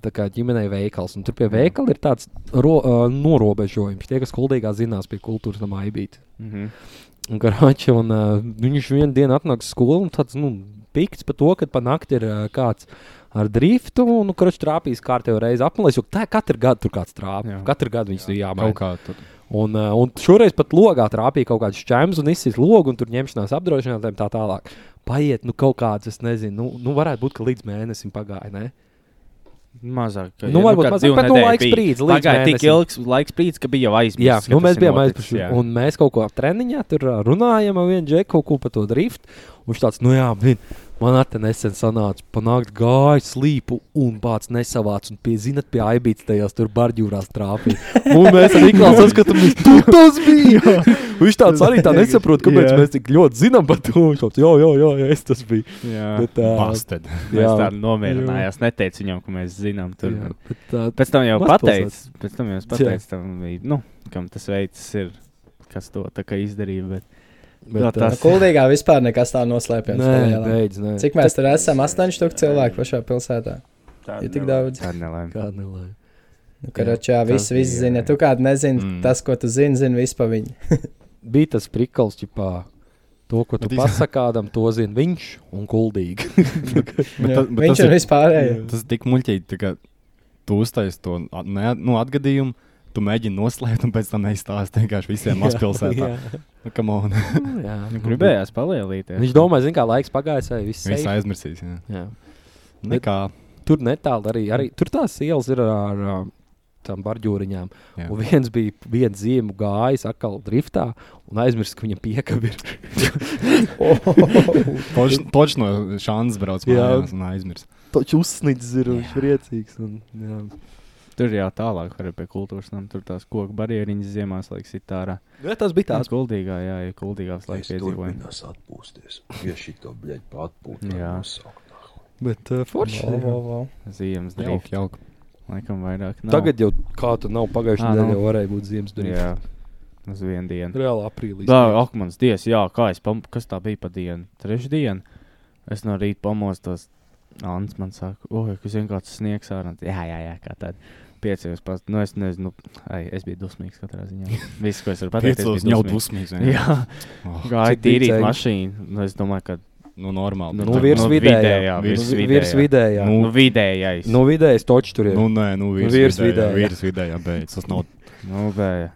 Speaker 1: tā kā ģimenei veikals, un tur pie veikala ir tāds ro, ā, norobežojums. Tie, kas kuldīgā zinās pie kultūras nama aibīt.
Speaker 2: Mhm.
Speaker 1: Un Garāķis un uh, viņš vienā dienā atnāk uz skolu un tāds nu, pikts par to, ka pa nakti ir uh, kāds ar driftu un nu, kurš trāpījis kārtībā reizē apmelēs. jo Tā katru gadu tur kāds trāpīja.
Speaker 2: Jā.
Speaker 1: Katru gadu viņš bija
Speaker 4: Kaut
Speaker 1: jāmaina.
Speaker 4: kā tur.
Speaker 1: Un, uh, un šoreiz pat logā trāpīja kaut kāds čēms un izsīs logu un tur ņemšanās apdrošinātājiem tā tālāk. Paiet, nu kaut kāds, es nezinu, nu, nu varētu būt, ka līdz mēnesim pagāja. Ne?
Speaker 2: Mazāk, ka-
Speaker 1: Nu,
Speaker 2: ja,
Speaker 1: varbūt
Speaker 2: kā
Speaker 1: mazāk,
Speaker 2: divu
Speaker 1: bet nu
Speaker 2: nedēļu
Speaker 1: laiks
Speaker 2: bija.
Speaker 1: brīdis līdz
Speaker 2: Pagāja tik
Speaker 1: mēnesim.
Speaker 2: ilgs laiks brīdis, ka bija jau aizmirsts.
Speaker 1: Jā,
Speaker 2: ka
Speaker 1: nu, mēs
Speaker 2: tas ir
Speaker 1: bijām
Speaker 2: noticis,
Speaker 1: aizpuši.
Speaker 2: jā.
Speaker 1: Un mēs kaut ko treniņā tur ā, runājam, un viens džeks kaut ko par to drift. un Viņš tāds, nu jā, blin, man arī nesen sanāca, panākt gāju slīpu, un pats nesavāc, un pie, zinat, pie aibītas tajās tur barģūrās trāpīja. Un mēs arī
Speaker 2: *laughs*
Speaker 1: klausāmies, ka tur tas bija. Viņš tāds arī tā nesaprot, kāpēc
Speaker 2: Jā.
Speaker 1: mēs tik ļoti zinām par to. Viņš tāds, jā, jā, jā, jā, es tas biju.
Speaker 2: Jā.
Speaker 1: Bet, ā,
Speaker 4: Bastard.
Speaker 2: Mēs
Speaker 1: jā.
Speaker 2: tā nomierinājās. Neteicu viņam, ka mēs zinām. Tur.
Speaker 1: Jā, bet, ā,
Speaker 2: Pēc tam jau pateicu,
Speaker 1: Mazpilsētas.
Speaker 2: pēc tam jau es pateicu, tam, bija, nu, kam tas veids ir, kas to tā kā izdarīja. Bet,
Speaker 1: bet, ā,
Speaker 2: Jā,
Speaker 9: Nu,
Speaker 2: tas-
Speaker 9: Kuldīgā vispār nekas tā noslēpjams.
Speaker 1: Nē,
Speaker 9: tajā lielā.
Speaker 1: beidz, nē.
Speaker 9: Cik mēs tur esam? 800 cilvēku pašā pilsētā.
Speaker 2: tā
Speaker 9: Ir tik daudz.
Speaker 2: Tā ir nelaime.
Speaker 1: Kāda nelaime.
Speaker 9: Nu, Karačā viss
Speaker 2: tas
Speaker 9: vis
Speaker 2: bija,
Speaker 9: zina.
Speaker 2: jā.
Speaker 9: Tu kādu nezini, mm.
Speaker 4: Mm.
Speaker 9: tas, ko tu zini, zini vispār viņu.
Speaker 1: bija tas prikals, ķipā, to, ko tu
Speaker 4: Bet iz-
Speaker 1: pasakādam, to zina viņš un
Speaker 4: *laughs*
Speaker 1: kuldīgi.
Speaker 4: Bet
Speaker 9: Jā.
Speaker 4: tas- bet
Speaker 9: Nu, Viņš
Speaker 4: tas
Speaker 9: ir
Speaker 4: ir-
Speaker 9: vispārējais.
Speaker 4: *laughs* Tas ir tik muļķīgi, tā ka tu uztaisīji to at- ne- nu, atgadījumu, tu mēģini noslēpt, un pēc tam neizstāsti
Speaker 1: *laughs*
Speaker 4: vienkārši visiem mazpilsētām. Nu, come on.
Speaker 1: jā.
Speaker 4: Nu,
Speaker 2: Gribējās palielīties.
Speaker 1: Viņš domāja, zina, kā laiks pagājis, vai viss
Speaker 4: Viss
Speaker 1: bija.
Speaker 4: aizmirsīs. jā.
Speaker 1: Bet-
Speaker 4: Nekā.
Speaker 1: Tur netālu arī, arī tur tās ielas ir ar ā, tām barģūriņām.
Speaker 4: Jā.
Speaker 1: Un viens bija viens ziemu gājis, atkal driftā, un aizmirsis, ka viņam piekabir.
Speaker 4: Točs no šādas brauc
Speaker 1: Jā.
Speaker 4: mājās un aizmirs.
Speaker 1: *laughs* Taču uzsnidzis ir un viņš priecīgs. Un, jā.
Speaker 2: Tur jau tālāk arī pie kultūras nama, tur tās koku barjeriņas ziemās laiks ir tārā.
Speaker 1: Ja, tas bija
Speaker 2: Tās
Speaker 1: tāds.
Speaker 2: kuldīgā, jā, ir kuldīgās laiks piedzīvojumi.
Speaker 3: Turpinās atpūsties. Ja šī to bļaļ patpūt,
Speaker 2: Jā.
Speaker 1: Bet uh, forši.
Speaker 9: Vo, vo, vo.
Speaker 2: Ziemas
Speaker 4: Jauk,
Speaker 2: drīz.
Speaker 4: jauk.
Speaker 2: Laikam vairāk. Nav.
Speaker 1: Tagad jau kā tu nav pagājušajā
Speaker 2: Ā,
Speaker 1: nedēļā,
Speaker 2: nav.
Speaker 1: jau varēja būt ziemas durvis.
Speaker 2: Jā, uz vienu dienu.
Speaker 1: Reāli Nu, aprīlī.
Speaker 2: Jā, ak, mans dievs, jā, kā es pam... kas tā bija pa dienu? Trešdien. Es no rīta pamostos. Ants man saka, oh, kas vienkārši sniegs ārā. Jā, jā, jā, kā tad. pieciem. Pat, nu, es nezinu, ai, es biju dusmīgs katrā *laughs* ziņā. Viss, ko es varu pateikt,
Speaker 4: Piecos
Speaker 2: es
Speaker 4: jau
Speaker 2: biju
Speaker 4: dusmīgs. vienkārši.
Speaker 2: *laughs* Jā,
Speaker 4: Oh,
Speaker 2: gāja
Speaker 1: Cik
Speaker 2: tīrīt
Speaker 1: dīvaini.
Speaker 2: mašīnu. Nu, es domāju, ka
Speaker 4: Nu, normāli.
Speaker 1: Nu,
Speaker 4: bet tā-
Speaker 1: virs
Speaker 2: nu,
Speaker 1: vidējā.
Speaker 2: vidējā,
Speaker 1: Nu,
Speaker 2: virs
Speaker 1: vi-
Speaker 2: vidējā.
Speaker 1: Virs vidējā.
Speaker 2: nu, vidējais.
Speaker 1: Nu, vidējais točs tur ir.
Speaker 4: Nu, nē, nu, vīrs
Speaker 1: Vīrs
Speaker 4: vidējā.
Speaker 1: vidējā.
Speaker 4: Vīrs vidējā, beidz. Tas nav
Speaker 2: Nu, bet,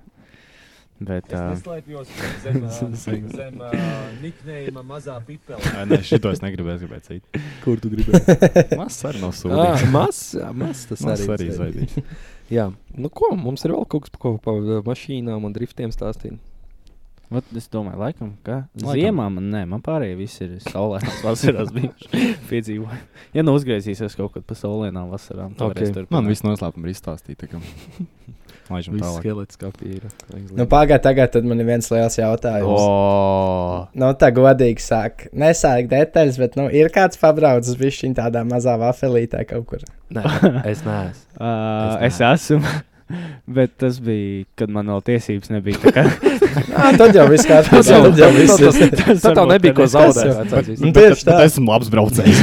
Speaker 2: bet uh,
Speaker 6: Neslēpjos zem, ā, zem uh, niknējuma mazā pipela.
Speaker 4: Ai, Nē, šito es negribēju, es gribēju citu.
Speaker 1: kur tu *laughs* gribēji?
Speaker 4: Mazs arī nav
Speaker 1: Ah,
Speaker 4: sūdzīgs.
Speaker 1: Mazs, jā, mazs tas
Speaker 4: Mazs
Speaker 1: arī
Speaker 4: arī izveidīgs.
Speaker 1: Jā, nu ko, mums ir vēl kaut kas par pa mašīnām un driftiem stāstīt.
Speaker 2: vat, es domāju, laikam, ka
Speaker 4: Laikam.
Speaker 2: laikam. ziemā man, nē, man pārējie visi ir saulēnās vasarās bijuši piedzīvojuši. Ja nu uzgriezīsies kaut kad pa saulēnām vasarām, tad
Speaker 1: Ok.
Speaker 2: okay. tur
Speaker 4: Man viss noslēpums ir izstāstīts. Laižam tālāk.
Speaker 1: skelets kapīra.
Speaker 9: Nu, pagaidi, tagad tad man ir viens liels jautājums.
Speaker 4: Ah.
Speaker 2: Oh,
Speaker 9: Nu, tā godīgi sāk. Nesāk detaļas, bet nu, ir kāds pabraucis višķiņā tādā mazā vafelītē kaut kur.
Speaker 1: Nē, *laughs* es neesmu.
Speaker 2: *laughs* uh, es esmu. *laughs* Bet tas bija, kad man vēl tiesības nebija. tā kā-
Speaker 1: *laughs*
Speaker 9: Ah, tad jau viss
Speaker 2: *laughs*
Speaker 9: kārtībā.
Speaker 1: Tas jau-
Speaker 9: tad jau viss
Speaker 1: tas-
Speaker 9: ir.
Speaker 2: tas
Speaker 1: Tad tev
Speaker 2: varbūt
Speaker 1: nebija ko
Speaker 2: tev
Speaker 9: Tas jau-
Speaker 1: zaudēt. vecais viss.
Speaker 9: Nu, tieši tā.
Speaker 4: Es esmu labs braucējs.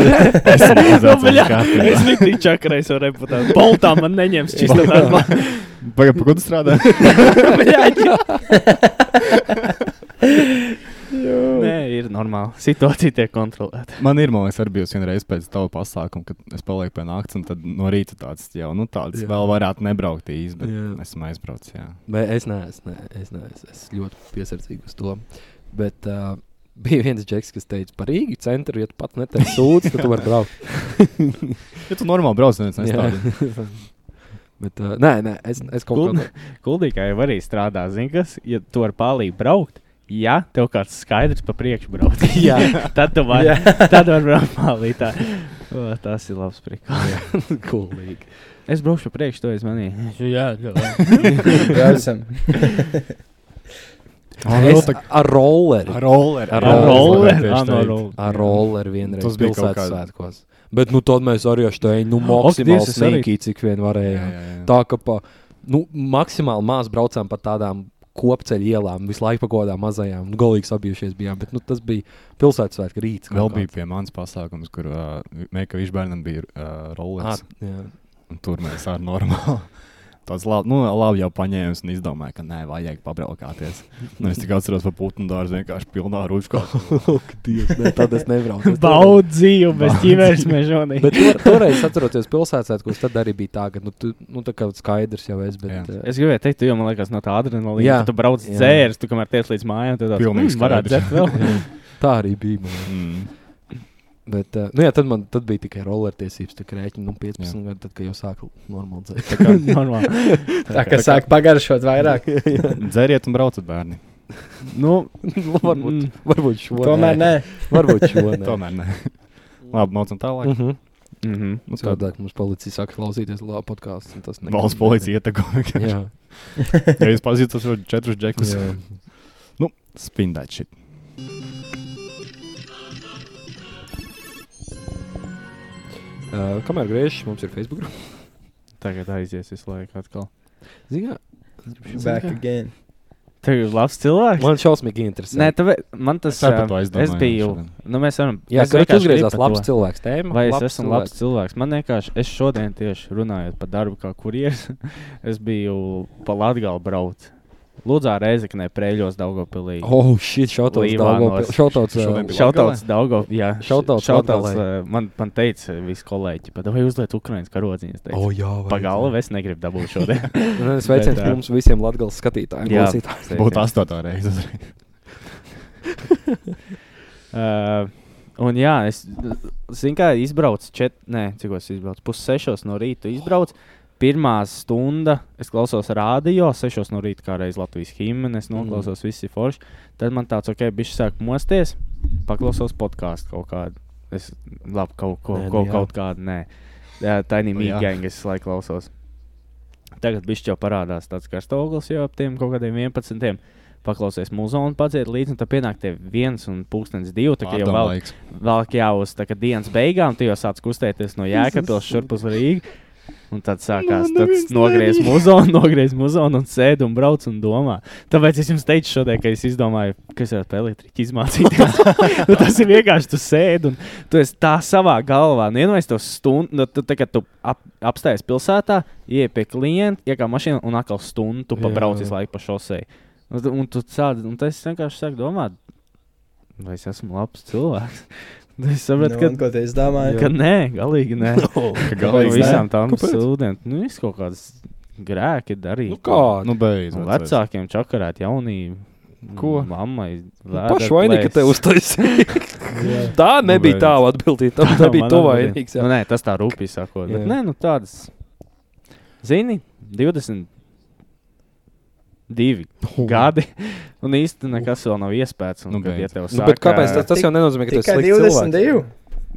Speaker 1: *laughs*
Speaker 4: es
Speaker 2: *laughs*
Speaker 4: esmu labs
Speaker 2: Nu, bļā,
Speaker 4: braucējs.
Speaker 2: Es biju tik čakarējis ar reputāciju. Boltā man neņems čistā darba.
Speaker 4: Pagaidām, pa ko tu strādā?
Speaker 2: Nē, ir normāli. Situācija tiek kontrolēta.
Speaker 4: Man ir, man liekas, arī bijusi viena reize pēc tava pasākuma, kad es palieku pie naktas, un tad no rīta tāds jau, nu, tāds
Speaker 1: Jā.
Speaker 4: vēl varētu nebraukt īsti, bet Nu,
Speaker 1: Jā.
Speaker 4: esmu aizbraucis.
Speaker 1: *laughs*
Speaker 4: jā.
Speaker 1: Nē, es neesmu. Nē, es, neesmu. es ļoti piesardzīgs uz to. Bet uh, bija viens džeks, kas teica, par Rīgas centru, ja tu pat neteiksi sūdzību, tad tu vari
Speaker 4: *laughs*
Speaker 1: braukt.
Speaker 4: Ja tu normāli brauc, neviens
Speaker 1: Jā.
Speaker 4: nestāv.
Speaker 1: *laughs* Bet, uh, nē, nē, es, es kaut
Speaker 2: Kul-
Speaker 1: kādā
Speaker 2: Kuldīgā jau arī strādā. Zini, kas, ja tu vari pārlīgi braukt, ja tev kāds skaidrs pa priekšu braukt,
Speaker 1: *laughs*
Speaker 4: *laughs*
Speaker 1: Jā.
Speaker 2: *laughs* tad tu vari, tad vari braukt pārlīgi. O, tas ir labs priekšstats.
Speaker 1: veidā *laughs* gulīgi.
Speaker 2: Es braukšu pa priekšu, to es manīju. Jā, jā.
Speaker 9: Braucam.
Speaker 1: Es ar rolleri.
Speaker 4: Ar rolleri.
Speaker 1: Ar
Speaker 2: Ar
Speaker 1: rolleri,
Speaker 2: rolleri, ah, no rolleri.
Speaker 1: Ar
Speaker 2: *laughs*
Speaker 1: rolleri vienreiz.
Speaker 4: Tas bija kaut
Speaker 1: pilsētas
Speaker 4: kā-
Speaker 1: svētkos. Bet nu, tad mēs arī ar šo nu,
Speaker 2: Dievs,
Speaker 1: maksimāli
Speaker 2: es arī-
Speaker 1: sīkīgi, cik vien varējām.
Speaker 4: Tā.
Speaker 1: Tā kā pa, nu, maksimāli maz braucām pa tādām kopceļu ielām, visu laiku pagodām mazajām, nu, galīgi sabijušies bijām. Bet nu, tas bija pilsētas svētku rīts.
Speaker 4: Vēl bija pie manas pasākums, kur uh, Meika Višbērnam bija uh, rolleri.
Speaker 1: tāds
Speaker 4: Un Tur mēs arī normāli. *laughs* Tāds labi, nu, labi jau paņēmis un izdomāja, ka nē, vajag pabraukāties. Nu, es tikai atceros, ka putnu dārza vienkārši pilnā rūčkā.
Speaker 1: - tad es
Speaker 4: *laughs*
Speaker 1: nebraucu. Es toreiz-
Speaker 2: Baudīt dzīvi bez ķīmēs mežonī.
Speaker 1: Bet tur, toreiz, atceroties pilsētas svētkus, tad arī bija tā, ka nu, tu, nu, tā kā skaidrs jau es. Bet,
Speaker 4: Jā.
Speaker 1: eh,
Speaker 2: Es gribēju teikt, jo man liekas, no tā adrenalīna,
Speaker 1: Jā.
Speaker 2: ka tu brauc
Speaker 1: Jā.
Speaker 2: dzērs, tu kamēr tiec līdz mājām, tad tāds,
Speaker 4: Pilnīgi
Speaker 2: "Mm, varētu
Speaker 4: skaidrs."
Speaker 2: dzert *laughs* vēl.
Speaker 1: tā arī bija. Man.
Speaker 4: Mm.
Speaker 1: Bet, eh, nu, jā, tad man tad bija tikai roller tiesības, tā kā rēķina nu, 15 gadu, tad, kad jau sāku normāli dzēt.
Speaker 2: *laughs* Normāli.
Speaker 9: Tā kā sāk pagaršot vairāk.
Speaker 4: Dzeriet un brauciet, bērni.
Speaker 2: Nu,
Speaker 1: Nu, *laughs* varbūt,
Speaker 2: mm,
Speaker 1: varbūt šo.
Speaker 9: Tomēr nē.
Speaker 1: Varbūt šo. Nē.
Speaker 4: *laughs* Tomēr nē. Labi, mācam
Speaker 2: Mm.
Speaker 4: tālāk.
Speaker 1: Mhm.
Speaker 2: mhm.
Speaker 4: Nu, tad
Speaker 1: Tādēļ mums policija saka, klausīties labā podkāstā. Tas nekad
Speaker 4: valsts
Speaker 1: nebija.
Speaker 4: policija ietekmē.
Speaker 1: Jā,
Speaker 4: *laughs* Ja jūs pazīstat šo četrus džekus,
Speaker 1: Jā.
Speaker 4: nu, spindēt šit.
Speaker 1: Uh, kamēr griežamies, mums ir Facebook grupa.
Speaker 2: Tagad aizies visu laiku atkal.
Speaker 1: Ziniet,
Speaker 9: Back again.
Speaker 2: Tu esi labs cilvēks.
Speaker 1: man šausmīgi interesē.
Speaker 2: Nē, tev, man tas
Speaker 4: Es arī par
Speaker 2: ā,
Speaker 4: to
Speaker 2: Es
Speaker 4: aizdomājos
Speaker 2: biju.
Speaker 4: šodien.
Speaker 2: Nu, mēs varam.
Speaker 1: jā,
Speaker 2: es
Speaker 1: ka tu
Speaker 2: vienkārši gribu
Speaker 1: uzgriezies
Speaker 2: par
Speaker 1: labs
Speaker 2: to.
Speaker 1: cilvēks tēma.
Speaker 2: Vai es esmu labs cilvēks? Man vienkārši, es šodien tieši runāju par darbu, kā kurjeris. *laughs* es biju pa Latviju braukt. Lūdzā Reizeknē, Prēļos, Daugopilī.
Speaker 1: Oh, shit, šautauts
Speaker 2: Līvānos.
Speaker 1: Daugavpils. Šautauts.
Speaker 4: Šodien
Speaker 1: ā,
Speaker 4: bija
Speaker 2: Šautauts Daugop, jā,
Speaker 1: Shoutouts
Speaker 2: šautauts.
Speaker 1: Latgalē.
Speaker 2: ā, Man, man teica visi kolēģi, pat vai uzliet Ukrainas
Speaker 1: O,
Speaker 2: karodziņas. Teica,
Speaker 1: jā, vai.
Speaker 2: pa galvu es negribu dabūt šodien.
Speaker 1: Nē, *laughs* Sveiciens
Speaker 2: Bet, ā,
Speaker 1: mums visiem Latvijas skatītājiem.
Speaker 2: Jā.
Speaker 1: klausītājiem.
Speaker 4: Būtu astotā reize.
Speaker 2: Uh, un jā, es zinu, kā izbraucu čet, nē, cik es izbraucu, pussešos no rīta izbraucu. Pirmā stunda, es klausos radio, 6 no rīta, kā reizes Latvijas himnu, es
Speaker 1: Mhm.
Speaker 2: noklausos mm. visi forši. Tad man tāds, ok, bišķi sāk mosties, paklausos podkāstu kaut kādu. Es labi, kaut ko,
Speaker 1: Nē, nu
Speaker 2: nē, ko
Speaker 1: jā.
Speaker 2: kaut kādu, nē, tā ir
Speaker 4: Nu jā.
Speaker 2: mīkāņa, es laiku klausos. Tagad bišķi jau parādās tāds karstoglis jau ap tiem kaut kādiem 11. Paklausies mūziku un padzied līdzi, un tad pienāk tie viens un pūkstens divi. Tā kā jau vēl, *laughs*
Speaker 4: laiks.
Speaker 2: vēl jau uz tā kā dienas beigām, tu jau sāc kustēties no Jēkabils šurp uz Rīgas. Un tad sākās tas nogriezts *laughs* muzonu, nogriezts muzonu un sēdi un brauc un domā. Tāpēc es jums teicu šodien, ka es izdomāju, kas ir elektriķis izmācīties. nu, tas ir vienkārši tu sēdi un tu esi tā savā galvā. Nu, Vienmēr tas stundu, nu, tad, kad tu ap, apstājies pilsētā, ieej pie klienta, iekā mašīnā un atkal stundu tu
Speaker 1: Jā,
Speaker 2: pabraucis
Speaker 1: jā.
Speaker 2: laiku pa šosei. Un, tu- un tu sādi, un tas vienkārši sāk domāt, vai es esmu labs cilvēks. *laughs* Es saprotu,
Speaker 9: Nu,
Speaker 2: ka
Speaker 9: un ko tu es domāju?
Speaker 2: Ka nē, galīgi
Speaker 1: *laughs*
Speaker 2: nē. Ka galīgi
Speaker 9: Kāpēc
Speaker 2: visām tām
Speaker 1: Nu, Kāpēc?
Speaker 2: sūdiem. Nu, viss kaut kāds grēki
Speaker 1: Nu,
Speaker 2: darīja.
Speaker 1: kā?
Speaker 4: Nu, beidz.
Speaker 2: Nu,
Speaker 4: vecais.
Speaker 2: Vecākiem čakarēt jaunī.
Speaker 4: Ko?
Speaker 2: Mammai.
Speaker 1: Pašu vainīga Nu, tev
Speaker 2: *laughs*
Speaker 1: uztaisīja. *laughs* tā nebija
Speaker 4: beidz.
Speaker 1: tā atbildība.
Speaker 2: *laughs*
Speaker 1: Tā, tā bija tu vainīgs. jā.
Speaker 2: Nu, nē, tas tā rūpīgi sakot.
Speaker 1: Jā.
Speaker 2: Bet, nē, nu tādas. Zini, 22 gadi. Un īsti nekas vēl nav iespējams.
Speaker 4: Nu,
Speaker 2: Nu, kad, ja
Speaker 4: beidz.
Speaker 2: tev
Speaker 1: Nu, bet
Speaker 2: sāk,
Speaker 1: kāpēc tas,
Speaker 2: ā,
Speaker 1: tas jau nenozīmē, ka tas
Speaker 9: Tikai
Speaker 1: ir
Speaker 9: 22.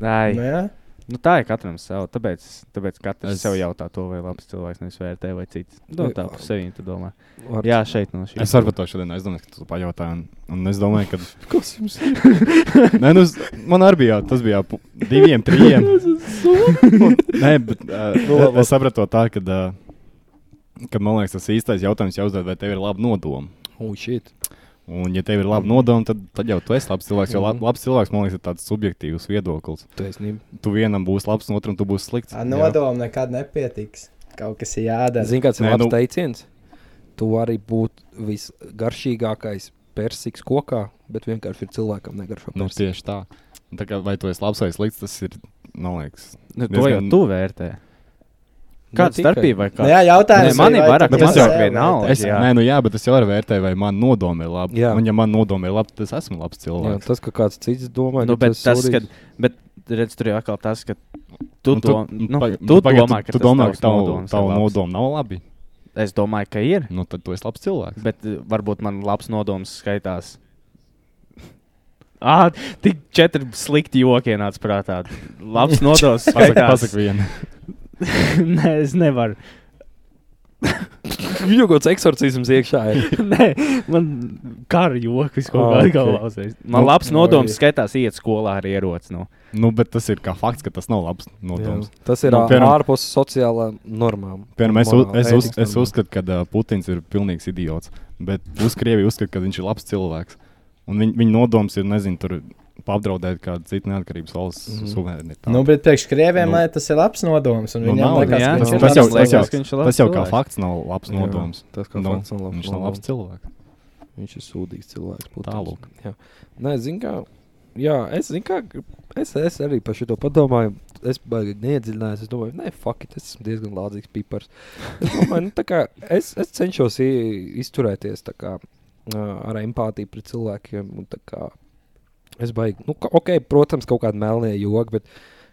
Speaker 2: Ai,
Speaker 9: Nu, jā.
Speaker 2: Nu, tā ir katram sava. Tāpēc, tāpēc katrs
Speaker 4: Es-
Speaker 2: es... sev jautā, to vai labs cilvēks nevis vērtē vai cits. Nu,
Speaker 1: Jā.
Speaker 2: tā par sevi tu domā.
Speaker 1: Var-
Speaker 2: Jā, šeit no šīs.
Speaker 4: Es varu par to šodien aizdomāt, ka tu pajautāji. Un, un es domāju, ka.
Speaker 1: Kas jums ir?
Speaker 4: Nē, nu, s- man arī bija. jā, Tas bija ap diviem, trim. Nē, bet
Speaker 1: Nu,
Speaker 4: uh,
Speaker 1: labi.
Speaker 4: es sapratu to tā, ka. Uh, Kad, man liekas, tas īstais jautājums jau uzdod, vai tev ir laba nodoma.
Speaker 1: Oh, shit.
Speaker 4: Un, ja tev ir laba nodoma, tad, tad jau tu esi labs cilvēks. Jo lab, labs cilvēks, man liekas, ir tāds subjektīvs viedoklis.
Speaker 1: Taisnība.
Speaker 4: Tu vienam būsi labs, un otram tu būsi slikts.
Speaker 9: Ar
Speaker 4: Jā.
Speaker 9: nodomu nekad nepietiks. Kaut kas ir jādara.
Speaker 1: Zini, kāds ir
Speaker 4: Nē,
Speaker 1: labs
Speaker 4: nu-
Speaker 1: teiciens? Tu vari būt visgaršīgākais persiks kokā, bet vienkārši ir cilvēkam negaršo.
Speaker 4: Nu,
Speaker 1: persiku.
Speaker 4: tieši tā. Un tā kā, vai tu esi labs vai slikts, tas ir. Man liekas,
Speaker 2: Nu, to jau
Speaker 4: diezgan-
Speaker 2: tu vērtē.
Speaker 1: Ne
Speaker 2: Kāda
Speaker 1: tikai.
Speaker 2: starpība vai
Speaker 9: Nu,
Speaker 2: kā?
Speaker 9: jā, jautājums.
Speaker 2: Nē, man
Speaker 9: ir,
Speaker 2: ir
Speaker 9: vai
Speaker 2: vairāk,
Speaker 9: tu
Speaker 4: bet tas
Speaker 9: pie
Speaker 4: jau
Speaker 9: sev
Speaker 2: vienalga.
Speaker 9: vērtē.
Speaker 4: Es,
Speaker 2: Jā.
Speaker 4: nē, nu jā, bet es jau arī vērtēju, vai man nodoma ir laba.
Speaker 1: Jā.
Speaker 4: Un, ja man nodoma ir laba, tad es esmu labs
Speaker 1: Jā,
Speaker 4: cilvēks.
Speaker 1: tas, ka kāds cits domā, ka
Speaker 2: Nu, bet tas,
Speaker 1: sūdīgs. *laughs*
Speaker 2: kad, bet redz, tur jau atkal tas, ka tu,
Speaker 4: Un
Speaker 2: do, nu,
Speaker 4: pag-
Speaker 2: tu
Speaker 4: pagaid,
Speaker 2: domā, ka
Speaker 4: tu
Speaker 2: tas
Speaker 4: domā,
Speaker 2: tavs
Speaker 4: ka tavu,
Speaker 2: nodoms ir
Speaker 4: tavu
Speaker 2: labs.
Speaker 4: nodomu nav labi.
Speaker 2: Es domāju, ka ir.
Speaker 4: Nu, tad tu esi labs cilvēks.
Speaker 2: Bet uh, varbūt man labs nodoms skaitās. *laughs* Ah, tik četri slikti joki ienāca prātā. Labs nodoms.
Speaker 4: Pasak,
Speaker 2: skaitās.
Speaker 4: pasak vienu. *laughs*
Speaker 2: *laughs* Nē, es nevaru.
Speaker 1: Viņam kaut kāds eksorcisms iekšā ir.
Speaker 2: *laughs* Nē, man kara joks, kas kaut
Speaker 1: Ah,
Speaker 2: kādā
Speaker 1: ok.
Speaker 2: galvā uzreiz. Man
Speaker 1: Nu,
Speaker 2: labs
Speaker 1: nu,
Speaker 2: nodoms
Speaker 1: arī.
Speaker 2: skaitās iet skolā ar ieroci. Nu.
Speaker 4: Nu, bet tas ir kā fakts, ka tas nav labs *laughs* nodoms.
Speaker 1: Tas ir
Speaker 4: Nu,
Speaker 1: ā-
Speaker 4: piemēram-
Speaker 1: ārpus sociālām normām.
Speaker 4: Piemēram, es, u-
Speaker 1: Morāli,
Speaker 4: es, uz,
Speaker 1: ētikas
Speaker 4: es
Speaker 1: normām.
Speaker 4: uzskatu, ka uh, Putins ir pilnīgs idiots. Bet uz Krieviju uzskatu, ka viņš ir labs cilvēks. Un viņ, viņa nodoms ir, nezinu, tur apdraudēt kādu citu neatkarības valsts mm
Speaker 1: Mhm.
Speaker 4: -hmm. suverenitāti.
Speaker 9: Nu, bet priekš krieviem,
Speaker 4: Nu.
Speaker 9: lai tas ir labs nodoms. Un
Speaker 4: Nu,
Speaker 9: viņam
Speaker 4: nav,
Speaker 9: liekas,
Speaker 2: jā.
Speaker 9: ka viņš ir
Speaker 2: Tas
Speaker 9: labs
Speaker 2: jau-
Speaker 9: cilvēks.
Speaker 4: tas jau,
Speaker 2: liekas, ka viņš ir labs
Speaker 4: tas jau kā
Speaker 2: cilvēks.
Speaker 4: fakts nav labs nodoms.
Speaker 1: Jā, tas kā
Speaker 4: Nu,
Speaker 1: fakts nav labs.
Speaker 4: Viņš nav labs
Speaker 1: nodoms.
Speaker 4: cilvēks.
Speaker 1: Viņš ir sūdīgs cilvēks. Putins.
Speaker 4: Tālūk.
Speaker 1: Jā. Nē, zinu, kā. Jā, es zinu, kā. gr- Es, es arī par šo padomāju. Es baigi neiedziļinājos. Es domāju, nē, fuck, it, es esmu diezgan lādzīgs pipars. Es, domāju, nu, tā kā es, es cenšos i- izturēties tā kā, ā, ar empātiju pret cilvēkiem. un tā kā Es baigi, nu, ka- ok, protams, kaut kāda melnija joki, bet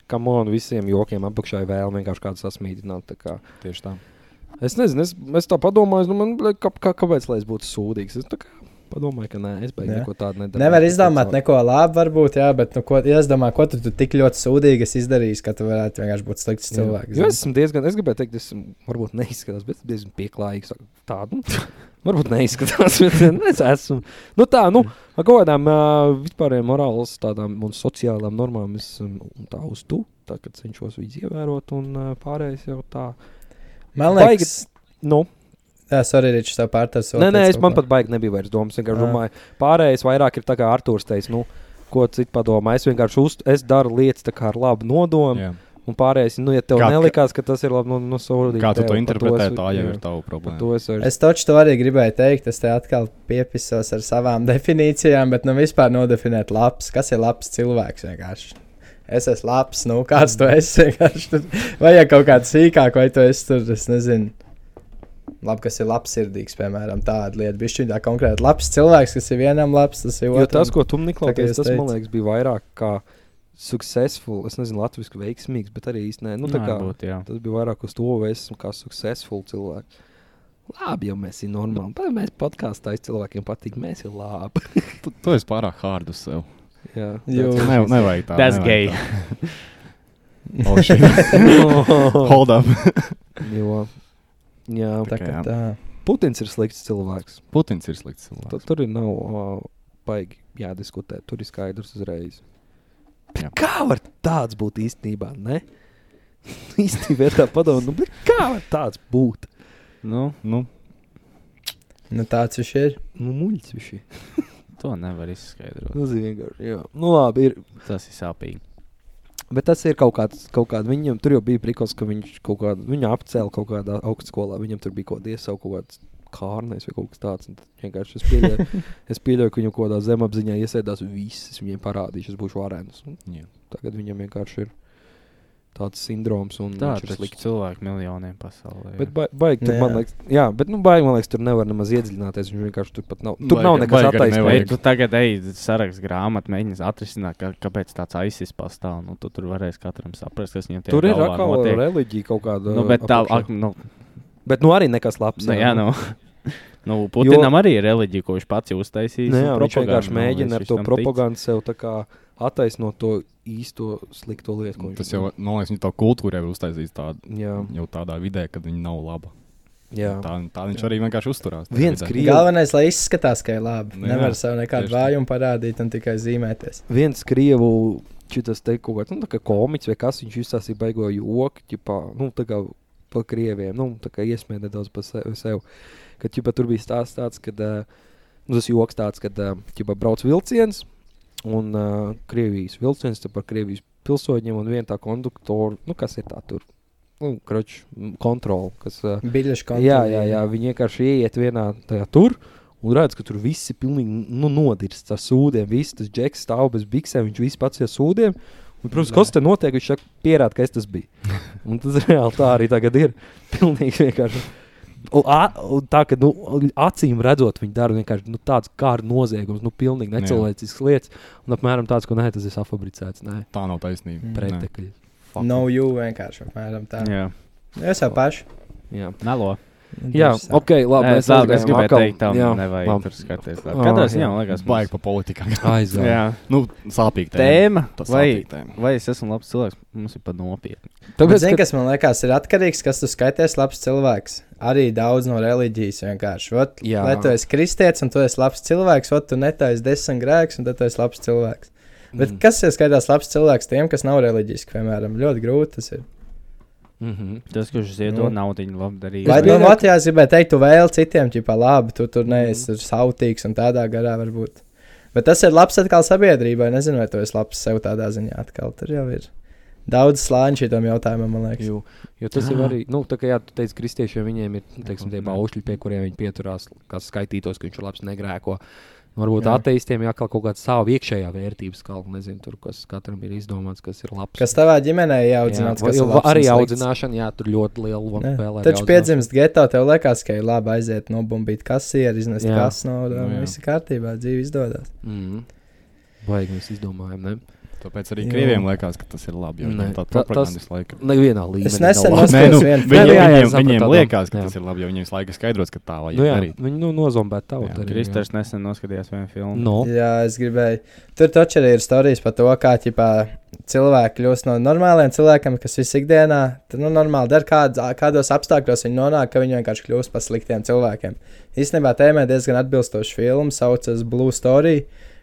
Speaker 1: kam on visiem jokiem apakšā ir vēlme vienkārši kādu sasmīdināt. tā Kā.
Speaker 4: Tieši tā.
Speaker 1: Es nezinu, es, es tā padomāju, es nu, man, liek, kā, kā, kāpēc lai es būtu sūdīgs. Es tā kā padomāju, ka nē, es beigās
Speaker 9: Jā.
Speaker 1: neko tādu nedaru.
Speaker 9: Nevar izdomāt neko labu, varbūt, jā, bet, nu, ko, ja es domāju, ko tu, tu tik ļoti sūdīgi esi izdarījis, ka tu varētu vienkārši būt slikts cilvēks.
Speaker 1: Jo es esmu diezgan, es gribēju teikt, es esmu, varbūt neizskatās, bet diezgan pieklājīgs. Tādu
Speaker 4: *laughs*
Speaker 1: varbūt neizskatās, *laughs* bet es esmu. Nu, tā, nu, ar kaut kādām ā, vispārējām morāles tādām un sociālām normām es um, tā uztu. Tā kā cenšos viņu ievērot, un ā, pārējais jau tā.
Speaker 9: Man liekas,
Speaker 1: Nu,
Speaker 9: jā, sorry, Ričs, tev pārtars.
Speaker 1: nē, nē, es man pat baigi nebija vairs domas. Es vienkārši
Speaker 9: Ā.
Speaker 1: domāju, pārējais vairāk ir tā kā Arthurs teica, nu, ko citu padomā. Es vienkārši uz, es daru lietas tā kā ar labu nodomu.
Speaker 4: Jā.
Speaker 1: Un pārējais, nu, ja tev
Speaker 4: Kā-
Speaker 1: kā, nelikās, ka tas ir labi, nu, nu sūdi.
Speaker 4: Kā tu to interpretē, tā jau ir tava problēma.
Speaker 1: To es arī
Speaker 9: Es taču to arī gribēju teikt, es te atkal piepisos ar savām *laughs* definīcijām, bet nu vispār nodefinēt labs, kas ir labs cilvēks vienkārši. Es esmu labs, nu kāds tu esi *laughs* vienkārši. Tur Vajag kaut kādu sīkāku, vai tu esi tur, es nezinu. Labi, kas ir labsirdīgs, piemēram, tāda lieta. Bišķiņ tā konkrēti labs cilvēks, kas ir vienam labs, tas ir
Speaker 1: Jo tas,
Speaker 9: otrs.
Speaker 1: ko tu
Speaker 9: tā kā
Speaker 1: meklējies,
Speaker 9: es
Speaker 1: tas man
Speaker 9: teicu.
Speaker 1: liekas, bija vairāk kā successful, es nezinu, latviešu veiksmīgs, bet arī īstenībā. Nu, tā kā,
Speaker 2: Varbūt, jā.
Speaker 1: tas bija vairāk uz to, vai es esmu kā successful cilvēks. Labi, jau mēs esam normāli. Tā mēs podkāstā cilvēkiem patīk. Mēs esam labi. *laughs*
Speaker 4: Tu, tu esi pārāk hard uz sevi.
Speaker 1: Jā,
Speaker 9: Jo-
Speaker 4: *laughs* Ne, nevajag tā.
Speaker 2: Tas
Speaker 4: nevajag
Speaker 2: gay.
Speaker 4: tā. *laughs* Oh, *laughs* shit. Hold
Speaker 1: *laughs*
Speaker 4: up.
Speaker 1: jo, jā.
Speaker 9: Tā kā
Speaker 4: jā.
Speaker 9: tā.
Speaker 1: Putins ir slikts cilvēks.
Speaker 4: Putins ir slikts cilvēks.
Speaker 1: Tad, tur ir nav uh, baigi jādiskutē. Tur ir skaidrs uzreiz.
Speaker 4: Jā.
Speaker 1: Jā. Kā var tāds būt īstenībā? Ne? *laughs* Īstenībā ir tā padoma, nu, bet kā var tāds būt?
Speaker 2: Nu,
Speaker 4: Nu,
Speaker 9: Nu, tāds viņš ir.
Speaker 1: Nu, muļķis viņš ir.
Speaker 2: to nevar izskaidrot.
Speaker 1: Tas ir vienkārši. Jā. Nu, labi, ir.
Speaker 2: Tas ir sāpīgi.
Speaker 1: Bet tas ir kaut kāds, kaut kāds viņam tur jau bija priklis, ka viņš kaut kādā, viņu apcēla kaut kādā augstskolā. Viņam tur bija kaut kāda iesauka, kaut kāds kārnais vai kaut kas tāds. un tad Vienkārši es *laughs* pieļauju, es pieļauju, ka viņam kaut kādā zemapziņā iesēdās visas, viņiem parādīšu, es būšu varēns. Un
Speaker 4: jā.
Speaker 1: Tagad viņam vienkārši ir tāds sindroms un
Speaker 2: Tā
Speaker 1: viņš
Speaker 2: ir
Speaker 1: ir slikts.
Speaker 2: slikta cilvēka miljoniem pasaulē.
Speaker 1: Bet ba- baigi, tur,
Speaker 9: Jā.
Speaker 1: man liekas, jā, bet nu, baigi, man liekas, tur nevar nemaz iedziļināties. Viņš vienkārši tur pat nav. Tur
Speaker 4: Baigi-
Speaker 1: nav nekas
Speaker 4: baigi arī
Speaker 2: Vai
Speaker 4: nevajag.
Speaker 1: attaisnojams.
Speaker 2: tu tagad eji sarakstā grāmatā, mēģini atrisināt, kā, kāpēc tāds aizsis pastāv? Nu, tu tur varēs katram saprast, kas viņam
Speaker 1: Tur ir
Speaker 2: galvā
Speaker 1: atkal
Speaker 2: notiek.
Speaker 1: reliģija kaut kāda.
Speaker 2: Nu, bet tā,
Speaker 1: apakšā.
Speaker 2: ak, nu,
Speaker 1: bet nu arī nekas labs.
Speaker 2: nu, jā, nu. *laughs* nu, Putinam
Speaker 1: Jo-
Speaker 2: jo... arī ir reliģija, ko viņš pats ir uztaisījis.
Speaker 1: Nu,
Speaker 2: un
Speaker 1: jā, viņš
Speaker 2: propaganda,
Speaker 1: vienkārši
Speaker 2: nu,
Speaker 1: mēģina
Speaker 2: viņš
Speaker 1: ar to
Speaker 2: tam tic.
Speaker 1: propagandu sev tā kā attaisnot to īsto slikto lietu,
Speaker 2: Nu,
Speaker 1: ko viņš
Speaker 4: Tas jau, man liekas, viņa to kultūrē uztaisīs tādu.
Speaker 1: Jā,
Speaker 4: Jau tādā vidē, kad viņa nav laba.
Speaker 1: jā.
Speaker 4: Tā, tā viņš arī vienkārši uzturās. tajā
Speaker 1: Viens
Speaker 4: vidē.
Speaker 1: krīt.
Speaker 9: Galvenais, lai izskatās, ka ir labi.
Speaker 4: Nu, jā,
Speaker 9: Nevar sev nekādu
Speaker 4: tieši tā.
Speaker 9: vājumu parādīt un tikai zīmēties.
Speaker 1: viens krievu šitas te kaut kāds nu, tā kā komiķis vai kas viņš izstāstīja baigo joku, ķipā, nu, tā kā par krieviem, nu, tā kā iesmēja nedaudz par sevi. sev. Kad ķipā, tur bija stāsts tāds, ka nu, tas joks tāds, ka ķipā, brauc vilciens un uh, Krievijas vilciens tā par Krievijas pilsoņiem un vien tā konduktoru, nu, kas ir tā tur, nu, kroč, kontrola, kas. Uh, Jā,
Speaker 9: Biļešu kontrolē.
Speaker 2: eh,
Speaker 1: jā, jā, viņi vienkārši ieiet vienā tajā tur. Un redz, ka tur viss ir pilnīgi nu, nodirsts ar sūdiem. Viss tas džeks stāv bez biksēm, viņš viss pats ir sūdiem. Un, protams,
Speaker 9: Nē.
Speaker 1: kas te notiek, viņš saka, pierāda, ka es tas
Speaker 2: *laughs*
Speaker 1: biju. Un tas reāli tā arī tagad ir. *laughs* Pilnīgi vienkārši. Un, a, un tā, ka, nu, acīm redzot, viņi dara vienkārši nu, tādu kā noziegumu, nu, pilnīgi
Speaker 4: Jā.
Speaker 1: necilvēciskas lietas. Un apmēram tāds, ka nē, tas ir safabricēts, nē,
Speaker 4: Tā nav taisnība.
Speaker 9: Mm.
Speaker 4: Nē.
Speaker 1: pretekļi.
Speaker 9: No you vienkārši apmēram tā. Nu,
Speaker 2: Jā,
Speaker 9: Es jau pašu. Nu,
Speaker 1: Jā,
Speaker 2: melo.
Speaker 1: jā
Speaker 9: Interesanti.
Speaker 1: ok, labi.
Speaker 2: es, labi, es
Speaker 1: aizgājām
Speaker 2: gribēju
Speaker 1: atkal.
Speaker 2: teikt, tam
Speaker 1: Jā,
Speaker 2: nevajag
Speaker 1: labi.
Speaker 2: tur skatīties.
Speaker 1: Ā,
Speaker 2: Katrā ziņā,
Speaker 1: jā.
Speaker 2: man liekas, mums-
Speaker 4: Baigi pa politikā.
Speaker 1: Aizgājām.
Speaker 2: Jā,
Speaker 4: *laughs* Nu, sāpīgi.
Speaker 2: tēma.
Speaker 4: Tas
Speaker 2: Vai,
Speaker 4: sāpīgi tēma.
Speaker 2: vai es esmu labs cilvēks? Mums ir pat nopietni.
Speaker 9: Bet,
Speaker 1: Tāpēc,
Speaker 9: zini,
Speaker 1: ka
Speaker 9: kas man liekas, ir atkarīgs, kas tu skaities labs cilvēks. Arī daudz no reliģijas vienkārši. Ot,
Speaker 1: Jā.
Speaker 9: lai tu esi kristietis un tu esi labs cilvēks, ot, tu netaisi desmit grēkus, un tad tu esi labs cilvēks. Bet mm. kas ir skaitās labs cilvēks tiem, kas nav reliģiski, piemēram, ļoti grūti tas ir.
Speaker 1: Mm -hmm.
Speaker 2: Tas, kurš
Speaker 9: Nu.
Speaker 2: ziedo naudu, labi darīja.
Speaker 9: Vai
Speaker 1: pieļauju,
Speaker 9: nu
Speaker 1: ka-
Speaker 9: Latvijā gribēji teikt, tu vēl citiem, ķipā, labi, tu tur neesi mm. sautīgs un tādā garā varbūt. Bet tas ir labs atkal sabiedrībai. Nezinu, vai tu esi labs sev tādā ziņā atkal. Tur jau ir daudz slāņu šitam jautājumam, man liekas.
Speaker 1: Jo, jo tas
Speaker 9: Ah.
Speaker 1: ir arī, nu, tā kā jā, tu teici, kristiešiem viņiem ir nu, teiksim, tie baušļi, pie kuriem viņi pieturās, kas skaitītos, ka viņš ir labs negrēko. Nu, Varbūt
Speaker 9: Jā.
Speaker 1: ateistiem ir atkal kaut kāda sava iekšējā vērtības kalna, nezinu, tur, kas katram ir izdomāts, kas ir labs.
Speaker 9: Kas tavā ģimenē ir
Speaker 1: jā,
Speaker 9: audzināts?
Speaker 1: vai-
Speaker 9: kas ir
Speaker 1: jo
Speaker 9: labs un
Speaker 1: arī
Speaker 9: slikts?
Speaker 1: audzināšana, jā, tur ļoti liela loma
Speaker 9: Nē,
Speaker 1: spēlē.
Speaker 9: Taču piedzimst geto, tev liekas, ka ir labi aiziet nobumbīt kasieri, iznest
Speaker 1: Jā.
Speaker 9: kasu no
Speaker 4: Nu,
Speaker 9: dārza.
Speaker 4: jā.
Speaker 9: Viss ir kārtībā, dzīve izdodas.
Speaker 1: Mm. Baigi mēs izdomājam, ne?
Speaker 4: Tāpēc arī
Speaker 9: Jā.
Speaker 4: krieviem liekas, ka tas ir labi. Jo
Speaker 1: Nē,
Speaker 4: viņiem tā
Speaker 1: ta- tas-
Speaker 4: propaganda visu laiku.
Speaker 1: Nevienā līmenī.
Speaker 9: Es nesen
Speaker 1: nav labi.
Speaker 9: noskat-
Speaker 4: Nē, nu,
Speaker 9: skatos
Speaker 4: viņiem,
Speaker 1: Nē, jā,
Speaker 9: vienu-
Speaker 1: jā,
Speaker 4: viņiem,
Speaker 1: es sapratu,
Speaker 4: viņiem
Speaker 1: jā.
Speaker 4: liekas, ka
Speaker 1: Jā.
Speaker 4: tas ir labi, jo viņiem visu laiku skaidros, ka tā vajag
Speaker 1: Nu, jā,
Speaker 4: darīt.
Speaker 1: viņi nu, nozombē tavu
Speaker 4: Jā,
Speaker 1: darījumu.
Speaker 2: Kristers nesen noskatījās vienu filmu.
Speaker 1: No.
Speaker 9: Jā, es gribēju. Tur taču arī ir stāstījis par to, kā ķipā, cilvēki kļūst no normāliem cilvēkiem, kas visu ikdienā, tad, nu, normāli dara, kād, kādos apstākļos viņi nonāk, ka viņi vienkārši kļūst par sliktiem cilvēkiem. Īstenībā tēmē diezgan atbilstoši filmu, saucas Blue Story.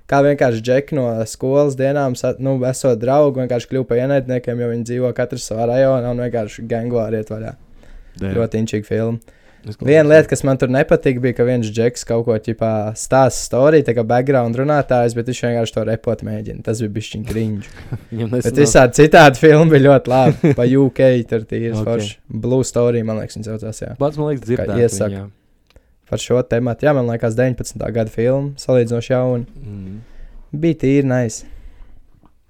Speaker 9: Kā vienkārši džeki no skolas dienām, sa- nu, esot draugi, vienkārši kļuvu par ienaidniekiem, jo viņi dzīvo katrs savā rajonā un vienkārši gango arī ietvarā.
Speaker 1: Nu,
Speaker 4: Dēļ.
Speaker 9: Ļoti inčīga filma. Viena lieta, kas man tur nepatika, bija, ka viens džeks kaut ko ķipā stāsta stāstīja, tā kā background runātājs, bet viņš vienkārši to repot mēģina. Tas bija bijis viņa grīņš.
Speaker 1: Viņam
Speaker 9: Bet
Speaker 1: nesen
Speaker 9: visādi citādi filmi bija ļoti
Speaker 1: *laughs*
Speaker 9: labi. Pa UK tur tīri
Speaker 1: Ok.
Speaker 9: okay. forši. Blue Story, man liekas, viņa saucās. Jā.
Speaker 1: Pats man liekas, dzirdēt.
Speaker 9: iesaka.
Speaker 1: viņu, jā.
Speaker 9: Par šo tēmu. Jā, man liekas, 19. gada filma, salīdzinoši jauna.
Speaker 1: Mm.
Speaker 9: Bija tīri nice.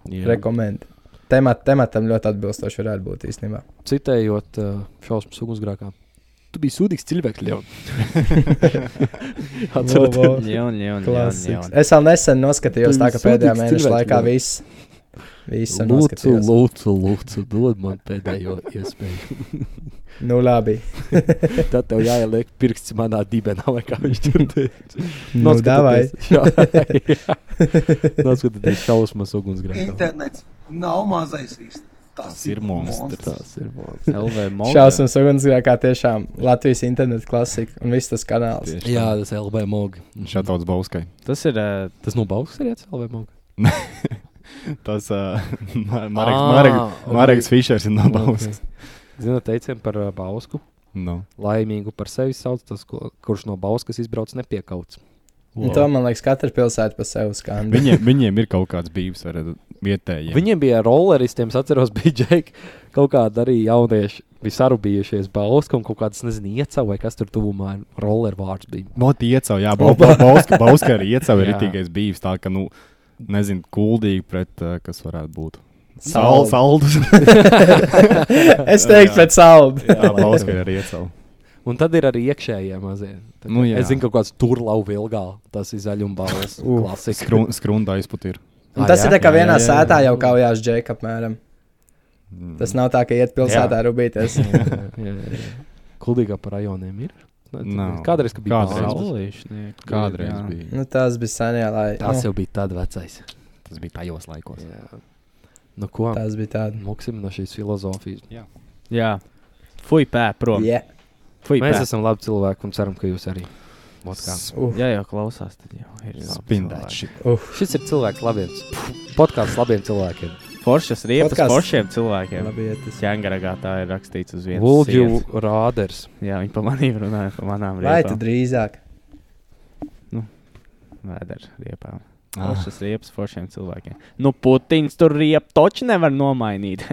Speaker 1: Jā.
Speaker 9: Rekomendu. Temat, tematam ļoti atbilstoši varētu būt
Speaker 1: *laughs*
Speaker 9: īstenībā. *laughs*
Speaker 1: citējot uh, šausmu sugunsgrākā. Tu biji sūdīgs cilvēks, jau
Speaker 9: Vo, vo.
Speaker 1: atceros.
Speaker 2: Jā, jā, jā.
Speaker 9: Klasiks. Es vēl nesen noskatījos,
Speaker 1: Tu
Speaker 9: tā kā
Speaker 1: sūdīgs
Speaker 9: pēdējā
Speaker 1: cilvēks,
Speaker 9: mēneša laikā
Speaker 1: jā.
Speaker 9: viss. Visu
Speaker 1: Lūdzu,
Speaker 9: noskatījos.
Speaker 1: lūdzu, lūdzu, dod man pēdējo iespēju.
Speaker 9: Nu, labi.
Speaker 1: *laughs* Tad tev jāieliek pirksts manā dibenā, vai kā viņš tur teica.
Speaker 9: Nu, davai.
Speaker 1: *laughs* Noskatieties,
Speaker 9: *laughs*
Speaker 1: Noskatieties šausmas ugunsgrēkā.
Speaker 3: Internets nav mazais īsts. Tas
Speaker 4: ir monstrs.
Speaker 1: Tas ir monstrs. *laughs*
Speaker 2: LV monēta.
Speaker 9: Šausmas ugunsgrēkā tiešām Latvijas interneta klasika un viss tas kanāls.
Speaker 4: Tieši
Speaker 1: Jā,
Speaker 4: tā.
Speaker 1: tas ir LB mogi.
Speaker 4: Šatauts Bauskai.
Speaker 2: Tas ir. ā,
Speaker 1: Tas no Baukas arī ir LB mogi.
Speaker 4: Tas *laughs* uh, Marks,
Speaker 1: Ah,
Speaker 4: Marks, Marks Fischers ir nobaustas.
Speaker 1: Ziniet, teicienu par uh, Bausku.
Speaker 4: Nu.
Speaker 1: Laimīgu par sevi sauc tas, ko, kurš no Bauskas izbrauc nepiekauts.
Speaker 9: Un to man liekas, katra pilsēta pa sevi skan. *laughs*
Speaker 4: Viņiem, viņiem ir kaut kāds bijis vietējais.
Speaker 1: Viņiem bija rolleristiem, es atceros, *laughs* bija Džeki, kaut kāda arī jaunieši. Bija sarūpējušies Bauska un kaut kādas, nezinu, ieca vai kas tur tuvumā ir. Roller vārds bija.
Speaker 4: Moti iecau, jā, ba- ba- Bauska, Bauska arī iecau ir rītīgais bijis, tā ka, nu, nezinu, kuldīgi pret, uh, kas varētu būt. Sal, saldus.
Speaker 9: es teiktu, pēc salda.
Speaker 4: *laughs* jā, Bauska ir arī iecau.
Speaker 1: Un tad ir arī iekšējie mazie. Tad,
Speaker 4: Nu, jā.
Speaker 1: es zinu, ka kaut kāds tur lauva ilgā. Tas ir zaļumbāles klasika.
Speaker 4: Skrun, skrunda aizput ir.
Speaker 1: Ah,
Speaker 9: Tas
Speaker 1: jā?
Speaker 9: ir tā kā
Speaker 4: Jā,
Speaker 9: vienā
Speaker 4: jā, jā.
Speaker 9: sētā jau kaujās džeka apmēram. Tas nav tā, ka iet pilsētā
Speaker 1: *laughs*
Speaker 9: rūpīties.
Speaker 1: Jā, jā, jā. Kuldīgā par rajoniem ir.
Speaker 4: Nav.
Speaker 1: Kādreiz ka bija
Speaker 4: Kādreiz.
Speaker 1: Bauska.
Speaker 2: Saulīšnieki.
Speaker 4: Kādreiz jā. bija.
Speaker 9: Nu, tās bija senie laiki.
Speaker 1: Tas
Speaker 9: Nu,
Speaker 1: jau bija tāds vecais.
Speaker 4: Tas bija tajos laikos. Jā.
Speaker 1: Nu, ko?
Speaker 9: tās bija tādas.
Speaker 1: Moksim no šīs filozofijas.
Speaker 2: Jā. Fui pē, prom.
Speaker 9: Yeah.
Speaker 2: Fui
Speaker 1: Mēs
Speaker 2: pē.
Speaker 1: esam labi cilvēki un ceram, ka jūs arī. Vot kā.
Speaker 9: Uh,
Speaker 2: Jā, jau klausās, tad jau
Speaker 4: Nu,
Speaker 2: ir.
Speaker 4: Spindēt šī.
Speaker 1: Šis ir cilvēks labiem. Podkāsts labiem cilvēkiem.
Speaker 2: Foršas riepas
Speaker 9: Podcasts.
Speaker 2: foršiem cilvēkiem.
Speaker 9: labi, iet tas.
Speaker 2: Čangaragā tā ir rakstīts uz vienas
Speaker 1: Vulģu
Speaker 2: sienas.
Speaker 1: Rāders.
Speaker 2: Jā, viņi pamanīja runāja par manām
Speaker 9: Vai tu
Speaker 2: riepām.
Speaker 9: drīzāk?
Speaker 2: Vēdera riepām.
Speaker 4: Ah.
Speaker 2: Foršas riepas foršiem cilvēkiem. Nu, Putins tur riepu toči nevar nomainīt.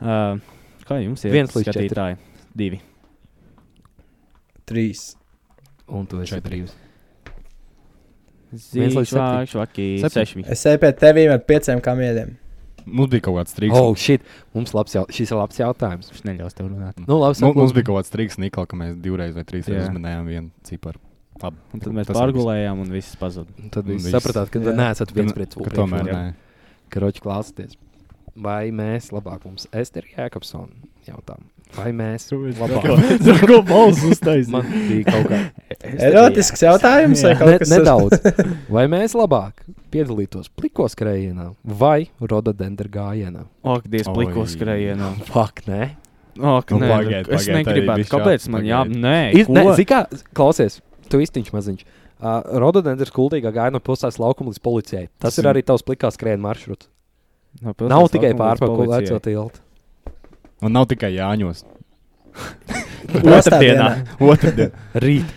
Speaker 2: uh, kā jums ir?
Speaker 1: Viens līdz četri.
Speaker 2: skatītāji. Divi.
Speaker 9: Trīs.
Speaker 1: Un tu esi brīvs.
Speaker 2: Viens
Speaker 1: līdz
Speaker 2: līdz
Speaker 1: septiņi.
Speaker 2: švaki.
Speaker 4: Septiņi.
Speaker 2: Seši.
Speaker 9: Es eju pie tevīm ar pieciem kamieļiem.
Speaker 4: Mums bija kaut kāds trīks.
Speaker 1: Oh, shit. Mums labs jau, šis ir labs jautājums.
Speaker 2: Viņš neļaus tev runāt.
Speaker 1: Nu, labs
Speaker 4: Nu, mums bija kaut kāds trīks, Nikola, ka mēs divreiz vai
Speaker 2: Jā.
Speaker 4: trīsreiz uzminējām vienu ciparu. Labi.
Speaker 2: Un tad mēs
Speaker 4: Tas ir
Speaker 2: pārgulējām un viss pazuda.
Speaker 1: Tad jūs
Speaker 4: viss.
Speaker 1: sapratāt, ka
Speaker 9: Jā.
Speaker 1: neesat viens
Speaker 4: Ka-
Speaker 1: pret
Speaker 4: ka
Speaker 1: otru.
Speaker 4: Tomēr
Speaker 1: priekšā.
Speaker 4: nē.
Speaker 1: Karoči klausieties. Vai mēs labāk mums Ester Jēkabsona jautājām? Vai mēs labāk?
Speaker 9: *laughs*
Speaker 2: Ko balsu uztaisīja?
Speaker 4: *laughs*
Speaker 1: Man bija kaut kā
Speaker 9: Erotisks jautājums vai
Speaker 1: ne,
Speaker 9: kaut kas
Speaker 1: nedaudz. Vai mēs labāk piedalītos plikos skrējienā vai rododendra gājienā?
Speaker 2: Ak, Dievs, pliko
Speaker 4: Oi.
Speaker 2: skrējienā.
Speaker 1: Fak, nē.
Speaker 2: Ak,
Speaker 4: Nu,
Speaker 2: nē,
Speaker 4: pagaid,
Speaker 2: nu, es
Speaker 4: pagaid, arī
Speaker 2: negribētu.
Speaker 4: bišķi
Speaker 2: Kāpēc man jā...
Speaker 4: jāpagaid.
Speaker 2: Nē,
Speaker 1: Iz, ne,
Speaker 2: ko?
Speaker 1: zini kā, klausies, tu īstiņš maziņš. Uh, rododendrs kultīgā gāja no pilsētas laukuma līdz policijai. Tas,
Speaker 4: Tas
Speaker 1: Tas ir
Speaker 4: ir-
Speaker 1: arī tavs plikā skrējiena maršruts.
Speaker 2: No Nu, pilsētas
Speaker 1: Nav tikai
Speaker 2: laukuma līdz
Speaker 1: pārpaku
Speaker 2: policijai.
Speaker 1: veco tiltu.
Speaker 4: Un nav tikai Jāņos.
Speaker 9: Otrdienā.
Speaker 1: *laughs*
Speaker 4: Otrdien.
Speaker 1: Rīt.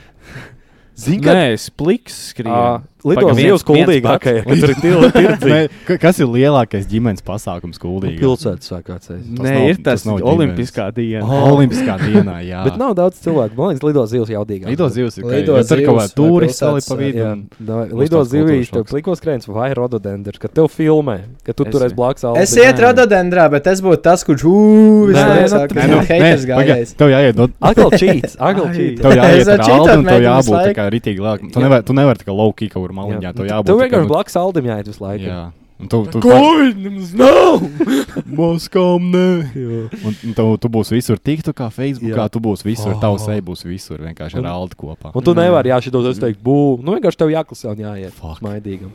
Speaker 1: Zini,
Speaker 2: Nē, es pliks
Speaker 1: Uh,
Speaker 2: skrēju.
Speaker 1: Lidos
Speaker 2: Pagaid,
Speaker 1: divas
Speaker 2: viens- viens
Speaker 1: kuldīgākajā.
Speaker 2: pats.
Speaker 1: Tur ir *laughs* tilti, tirdzīgi.
Speaker 4: Nē, ka- Kas ir lielākais ģimenes pasākums Kuldīgā?
Speaker 1: Pilsētas sākācais.
Speaker 4: Tas
Speaker 2: Nē,
Speaker 4: nav-
Speaker 2: ir tas
Speaker 4: tas nav
Speaker 2: olimpiskā diena.
Speaker 4: Olimpiskā
Speaker 1: *laughs*
Speaker 4: dienā, jā.
Speaker 1: Ah. Bet nav daudz cilvēku. Man liekas, lidos zivs jaudīgāk.
Speaker 4: Lido zivs ir
Speaker 9: Lido
Speaker 4: kaut kāda
Speaker 9: zivs vai
Speaker 4: turisti vēl ir
Speaker 9: pilsētas,
Speaker 4: pa vidu.
Speaker 1: Jā,
Speaker 4: un-
Speaker 1: davai,
Speaker 4: Mums
Speaker 1: lido
Speaker 4: tāds
Speaker 1: zivīs, tev
Speaker 4: kultūršoks.
Speaker 1: plikos krēms vai rododendrs, ka tev filmē, ka tu
Speaker 2: Es-
Speaker 1: tur esi blakus Aldi.
Speaker 9: Es ietu rododendrā, bet es būtu tas, kurš ūvis
Speaker 1: Nē, nu,
Speaker 9: nesāk.
Speaker 1: nē,
Speaker 9: *laughs*
Speaker 4: Nē, nu,
Speaker 9: Nu, haters
Speaker 4: nē, pagaid,
Speaker 9: gājējs.
Speaker 4: Tev jāiet no.
Speaker 1: Atkal čīts, atkal
Speaker 2: Ai.
Speaker 1: čīts.
Speaker 4: Tev
Speaker 9: *laughs*
Speaker 4: jāiet
Speaker 9: Es
Speaker 4: ar
Speaker 9: ar
Speaker 4: Aldi
Speaker 9: cheatot
Speaker 4: un
Speaker 9: mēģinu
Speaker 4: tev
Speaker 9: visu
Speaker 4: jābūt tā
Speaker 9: laiku.
Speaker 4: kā ritīgi lielāk. Tu
Speaker 1: Jā.
Speaker 4: nevari, tu nevari tā kā low kick over maliņā,
Speaker 1: Jā.
Speaker 4: tev
Speaker 1: Nu,
Speaker 4: jābūt.
Speaker 1: Tev
Speaker 4: tā kā,
Speaker 1: vienkārši
Speaker 4: nu,
Speaker 1: blakus Aldim jāiet visu laiku.
Speaker 4: Jā. Un tu, tu,
Speaker 2: Koņums nav!
Speaker 4: Moskām nē. Un, un tu, tu būsi visur TikTokā, Facebookā,
Speaker 1: Jā.
Speaker 4: tu būsi visur,
Speaker 1: Oh.
Speaker 4: tavs seja būs visur, vienkārši ar Aldi kopā.
Speaker 1: Un tu nevari, jā, šī dozes teikt, bū. Nu, vienkārši tev jāklasē un jāiet.
Speaker 4: Fuck.
Speaker 1: Maidīgam.